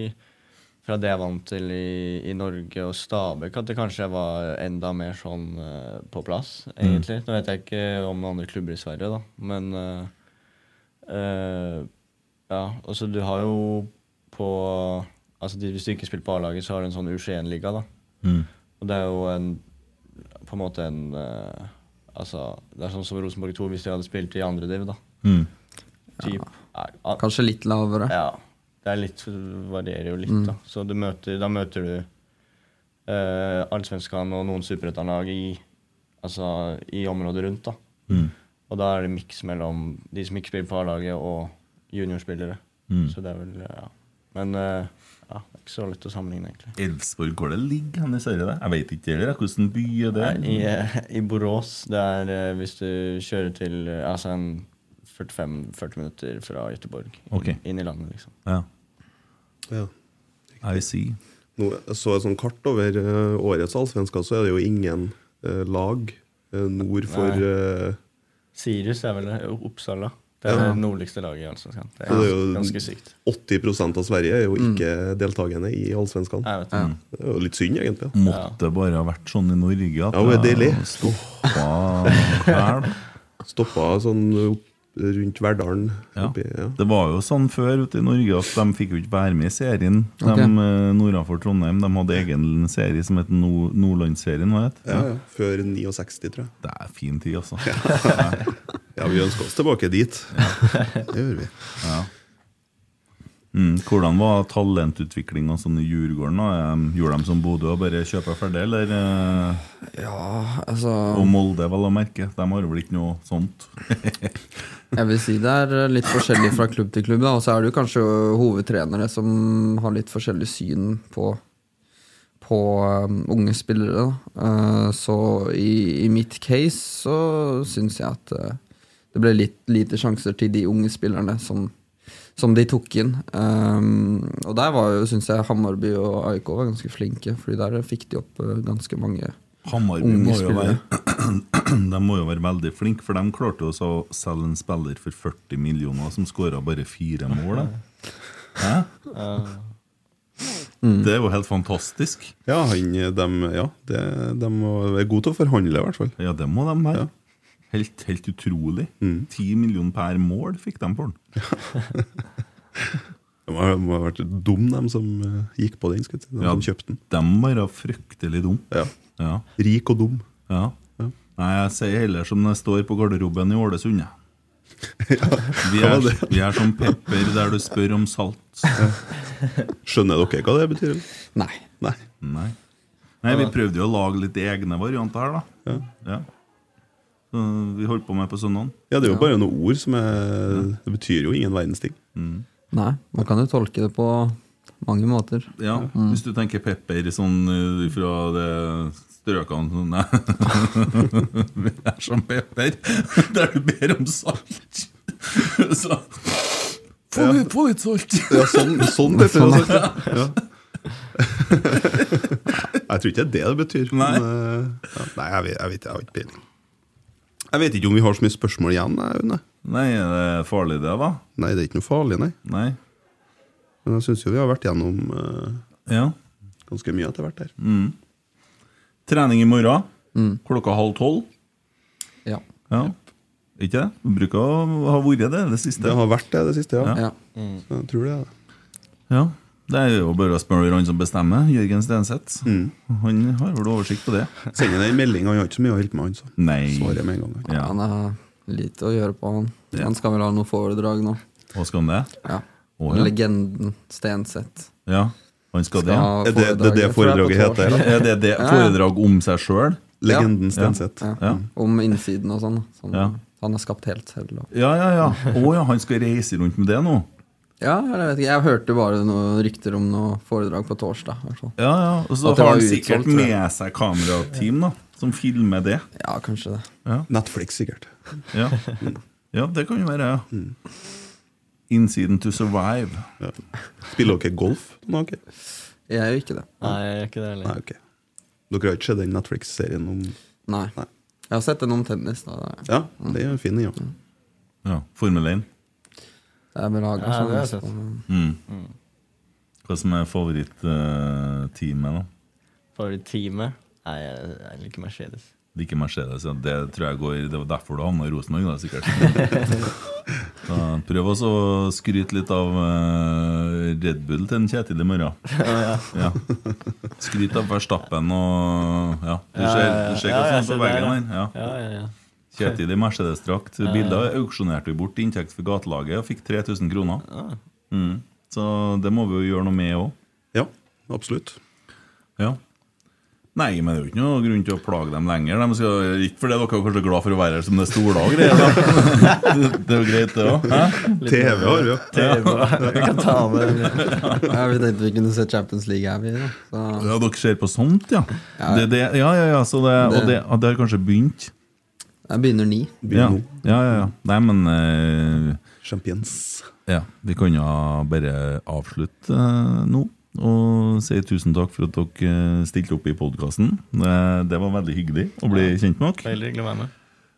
[SPEAKER 5] fra det jeg vant til i, i Norge og Stabæk, at det kanskje var enda mer sånn eh, på plass,
[SPEAKER 2] Mm.
[SPEAKER 5] egentlig. Nå vet jeg ikke om noen andre klubber i Sverige, da, men eh, eh, Ja, altså du har jo på Altså de- hvis du ikke spiller på A-laget, så har du en sånn U21-liga, da.
[SPEAKER 2] Mm.
[SPEAKER 5] Og det er jo en På en måte en eh, Altså, det er sånn som Rosenborg 2 hvis de hadde spilt i andre div, da.
[SPEAKER 2] Mm.
[SPEAKER 5] Typ. Nei, a-
[SPEAKER 4] Kanskje litt lavere.
[SPEAKER 5] ja. Det er litt, varierer jo litt, da. Så du møter, da møter du uh, Allsvenskan og noen superetterlag i, altså, i området rundt. da.
[SPEAKER 2] Mm.
[SPEAKER 5] Og da er det miks mellom de som ikke spiller på A-laget, og juniorspillere.
[SPEAKER 2] Mm.
[SPEAKER 5] Så det er vel Ja. Men eh, ja, det er ikke så lett å sammenligne, egentlig.
[SPEAKER 2] Elfsborg, hvor det ligger hen i Sverige? det? Jeg vet ikke heller. jeg. Hvordan by er det?
[SPEAKER 5] Nei, I, eh, I Borås, det er eh, hvis du kjører til eh, Altså en 45-40 minutter fra Göteborg inn,
[SPEAKER 2] Ok.
[SPEAKER 5] inn i landet, liksom.
[SPEAKER 2] Ja.
[SPEAKER 3] Ja.
[SPEAKER 2] I see.
[SPEAKER 3] Nå jeg så jeg sånn kart over eh, årets allsvensker, så er det jo ingen eh, lag eh, nord for
[SPEAKER 5] Nei.
[SPEAKER 3] eh,
[SPEAKER 5] Sirius er vel det? Oppsal, da. Det er
[SPEAKER 3] Ja.
[SPEAKER 5] det nordligste laget i Allsvenskan. Det
[SPEAKER 3] Så det
[SPEAKER 5] er
[SPEAKER 3] er jo-
[SPEAKER 5] ganske sykt. Mm.
[SPEAKER 3] 80 av Sverige er jo ikke deltakende i allsvenskene.
[SPEAKER 5] Jeg vet det.
[SPEAKER 3] Det er jo litt synd, egentlig. da.
[SPEAKER 2] Mm. Måtte bare ha vært sånn i Norge at
[SPEAKER 3] Ja, det er deilig.
[SPEAKER 2] stoppa her. da.
[SPEAKER 3] Stoppa sånn opp, rundt Verdalen.
[SPEAKER 2] Ja.
[SPEAKER 3] Oppi, ja.
[SPEAKER 2] Det var jo sånn før ute i Norge at de fikk jo ikke være med i serien. De
[SPEAKER 4] Ok.
[SPEAKER 2] eh, nordafor Trondheim de hadde egen serie som het Nord Nordlandsserien. hva het det?
[SPEAKER 3] Ja, ja. Før 69, tror jeg.
[SPEAKER 2] Det er fin tid, altså.
[SPEAKER 3] Ja, vi ønsker oss tilbake dit. Det gjør vi.
[SPEAKER 2] Mm, hvordan var talentutviklinga sånn i Djurgården? da? Eh, Gjorde de som Bodø og bare kjøpa ferdig, eller? eh,
[SPEAKER 4] Ja, altså
[SPEAKER 2] Og Molde, vel å merke. De har vel ikke noe sånt.
[SPEAKER 4] Jeg vil si det er eh, litt forskjellig fra klubb til klubb. da, Og så er det jo kanskje hovedtrenere som har litt forskjellig syn på, på um, unge spillere. da. Eh, så i, i mitt case så syns jeg at eh, det ble litt lite sjanser til de unge spillerne som, som de tok inn. Um, og der var jo, syns jeg, Hammarby og AIK var ganske flinke, Fordi der fikk de opp eh, ganske mange.
[SPEAKER 2] Hammarby
[SPEAKER 4] Unge
[SPEAKER 2] må jo være
[SPEAKER 4] spillere.
[SPEAKER 2] De må jo være veldig flinke, for de klarte jo også å selge en spiller for 40 millioner som skåra bare fire mål. da. Hæ? Det er jo helt fantastisk.
[SPEAKER 3] Ja, han, dem, ja det, de må- er gode til å forhandle, i hvert fall.
[SPEAKER 2] Ja, det må de være. Helt, helt utrolig. Ti millioner per mål fikk de for den.
[SPEAKER 3] De må, må ha vært dum, dem som eh, gikk på den. Skal jeg si. De
[SPEAKER 2] Ja.
[SPEAKER 3] som kjøpte den.
[SPEAKER 2] De må være fryktelig dumme.
[SPEAKER 3] Ja.
[SPEAKER 2] Ja.
[SPEAKER 3] Rik og dum.
[SPEAKER 2] Ja. Nei, jeg sier heller som det står på garderoben i Ålesund. jeg. Vi
[SPEAKER 3] Hva
[SPEAKER 2] er,
[SPEAKER 3] var det?
[SPEAKER 2] vi er som pepper der du spør om salt.
[SPEAKER 3] Skjønner dere hva det betyr?
[SPEAKER 4] Nei.
[SPEAKER 3] Nei.
[SPEAKER 2] Nei. Nei, vi prøvde jo å lage litt egne varianter her, da. Ja. Så vi holdt på med på søndagen.
[SPEAKER 3] Ja, det er jo bare noen ord som er Det betyr jo ingen verdens ting.
[SPEAKER 4] Nei, man kan jo tolke det på mange måter.
[SPEAKER 2] Ja,
[SPEAKER 3] Mm.
[SPEAKER 2] Hvis du tenker pepper sånn eh, fra det strøkene sånn, Nei. Vi er som pepper der du ber om salt. Så få litt, få litt salt!
[SPEAKER 3] Ja, sånn, sånn det tror jeg sagt. Ja. Jeg tror ikke det er det det betyr. Nei, men, eh, ja. Nei jeg, vet, jeg vet jeg har ikke peiling. Jeg vet ikke om vi har så mye spørsmål igjen. jeg, Une.
[SPEAKER 2] Nei, er det farlig det, da?
[SPEAKER 3] Nei, det er ikke noe farlig, nei.
[SPEAKER 2] Nei.
[SPEAKER 3] Men jeg syns jo vi har vært gjennom eh,
[SPEAKER 2] Ja.
[SPEAKER 3] ganske mye etter hvert her.
[SPEAKER 2] Mm. Trening i morgen
[SPEAKER 3] Mm.
[SPEAKER 2] klokka halv tolv.
[SPEAKER 4] Ja.
[SPEAKER 2] Ja. Ikke det? Det Bruker å ha vært det det siste.
[SPEAKER 3] Det har vært det det siste, ja.
[SPEAKER 4] Ja.
[SPEAKER 3] Jeg tror det. ja.
[SPEAKER 2] Ja, Det er jo bare å spørre han som bestemmer, Jørgen Stenseth. Han har vel oversikt på det?
[SPEAKER 3] Send ham en melding, han har ikke så mye å hjelpe med, han. Så.
[SPEAKER 2] Nei.
[SPEAKER 3] Svarer med en gang. han.
[SPEAKER 2] Ja.
[SPEAKER 4] Han har lite å gjøre på, han. Han skal vel ha noe foredrag nå.
[SPEAKER 2] Og skal han det?
[SPEAKER 4] Ja.
[SPEAKER 2] Å, ja.
[SPEAKER 4] Legenden Stenseth.
[SPEAKER 2] Ja, han skal, det.
[SPEAKER 4] ha
[SPEAKER 3] Er det- det er det
[SPEAKER 4] foredraget, tror jeg, på
[SPEAKER 3] foredraget heter,
[SPEAKER 4] torsdag.
[SPEAKER 2] ja. Er det, det foredrag om seg sjøl?
[SPEAKER 3] Legenden Stenseth.
[SPEAKER 4] Ja.
[SPEAKER 2] Ja.
[SPEAKER 4] Om innsiden og sånn. Som
[SPEAKER 2] Ja.
[SPEAKER 4] han har skapt helt selv. Og.
[SPEAKER 2] Ja, ja, ja. Å ja, han skal reise rundt med det nå?
[SPEAKER 4] Ja, jeg vet ikke. Jeg hørte bare noen rykter om noe foredrag på torsdag. i hvert fall.
[SPEAKER 2] Ja, ja. Og så
[SPEAKER 4] At det
[SPEAKER 2] har han
[SPEAKER 4] var
[SPEAKER 2] sikkert
[SPEAKER 4] utsolgt, tror jeg.
[SPEAKER 2] med seg kamerateam da, som filmer det.
[SPEAKER 4] Ja, kanskje det.
[SPEAKER 3] Netflix, sikkert.
[SPEAKER 2] Ja, ja det kan jo være, ja. Innsiden to survive.
[SPEAKER 3] Ja. Spiller dere golf? Nei, ok.
[SPEAKER 4] Jeg gjør ikke det.
[SPEAKER 5] Nei, jeg gjør ikke det
[SPEAKER 3] Nei,
[SPEAKER 5] heller.
[SPEAKER 3] ok. Dere har ikke sett den Netflix-serien om
[SPEAKER 4] Nei.
[SPEAKER 3] Nei.
[SPEAKER 4] Jeg har sett den om tennis. Da. Det
[SPEAKER 3] Ja, det er jo en fin, ja.
[SPEAKER 2] Ja, Formel 1.
[SPEAKER 4] er sånn, Belaga
[SPEAKER 5] Ja, det
[SPEAKER 4] som
[SPEAKER 5] har jeg
[SPEAKER 4] mest
[SPEAKER 5] sett.
[SPEAKER 4] på-
[SPEAKER 2] Hva som er favorittteamet, da?
[SPEAKER 5] Favorittteamet? Nei, jeg, jeg liker Mercedes.
[SPEAKER 2] Liker Mercedes. Ja. Det tror jeg går Det var derfor du havna i Rosenborg, da, sikkert. Da, prøv også å skryte litt av eh, Red Bull til en Kjetil i morgen. Ja. Skryt av Verstappen og Ja, du ser, du ser
[SPEAKER 5] Ja,
[SPEAKER 2] hva
[SPEAKER 5] jeg
[SPEAKER 2] som er
[SPEAKER 5] ser det,
[SPEAKER 2] på veggen her. Ja.
[SPEAKER 5] Ja, ja, ja.
[SPEAKER 2] Kjetil i Mercedes-drakt. Bildet auksjonerte vi bort til inntekt for gatelaget og fikk 3000 kroner.
[SPEAKER 5] Ah.
[SPEAKER 2] Mm. Så det må vi jo gjøre noe med òg.
[SPEAKER 3] Ja, absolutt.
[SPEAKER 2] Ja. Nei, men det er jo ikke noe grunn til å plage dem lenger. De skal, ikke fordi dere er kanskje glad for å være her som det er stoler og greier. da. Det, det er jo greit, det òg.
[SPEAKER 3] TV har vi jo.
[SPEAKER 5] Vi kan ta med den. litt.
[SPEAKER 4] Ja, vi tenkte vi kunne se Champions League her, vi. Da. Så,
[SPEAKER 2] Ja, dere ser på sånt, ja. Det, det, ja, ja, ja så det, og det, og det har kanskje begynt.
[SPEAKER 4] jeg begynner ni.
[SPEAKER 2] Ja, ja, ja. ja. Nei, men eh,
[SPEAKER 3] Champions.
[SPEAKER 2] ja, Vi kan jo bare avslutte eh, nå. Og si tusen takk for at dere eh, stilte opp i podkasten. Det var veldig hyggelig å bli kjent med dere.
[SPEAKER 5] Veldig hyggelig å være med.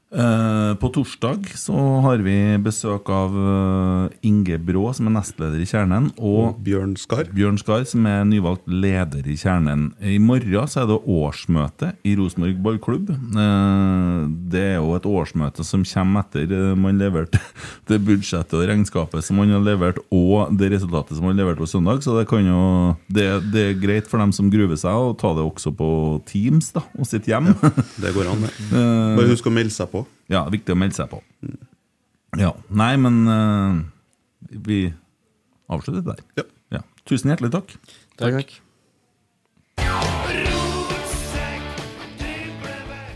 [SPEAKER 2] Eh, På torsdag så har vi besøk av eh, Inge Brå, som er nestleder i Kjernen,
[SPEAKER 5] Mm.
[SPEAKER 2] og
[SPEAKER 3] Bjørn Skar.
[SPEAKER 2] Bjørn Skar, som er nyvalgt leder i Kjernen. I morgen så er det årsmøte i Rosenborg ballklubb. Eh, Det er jo et årsmøte som kommer etter eh, man leverte det budsjettet og regnskapet som man har levert, og det resultatet som man leverte på søndag, så det, kan jo, det, det er greit for dem som gruver seg, å ta det også på Teams da, og sitt hjem.
[SPEAKER 3] Det går an, det. Bare husk å melde seg på.
[SPEAKER 2] Ja, viktig å melde seg på. Ja, Nei, men eh, vi avslutter der.
[SPEAKER 3] Ja.
[SPEAKER 2] Ja. Tusen hjertelig takk.
[SPEAKER 4] Takk. takk.
[SPEAKER 1] Rotsekk, dyprevekk.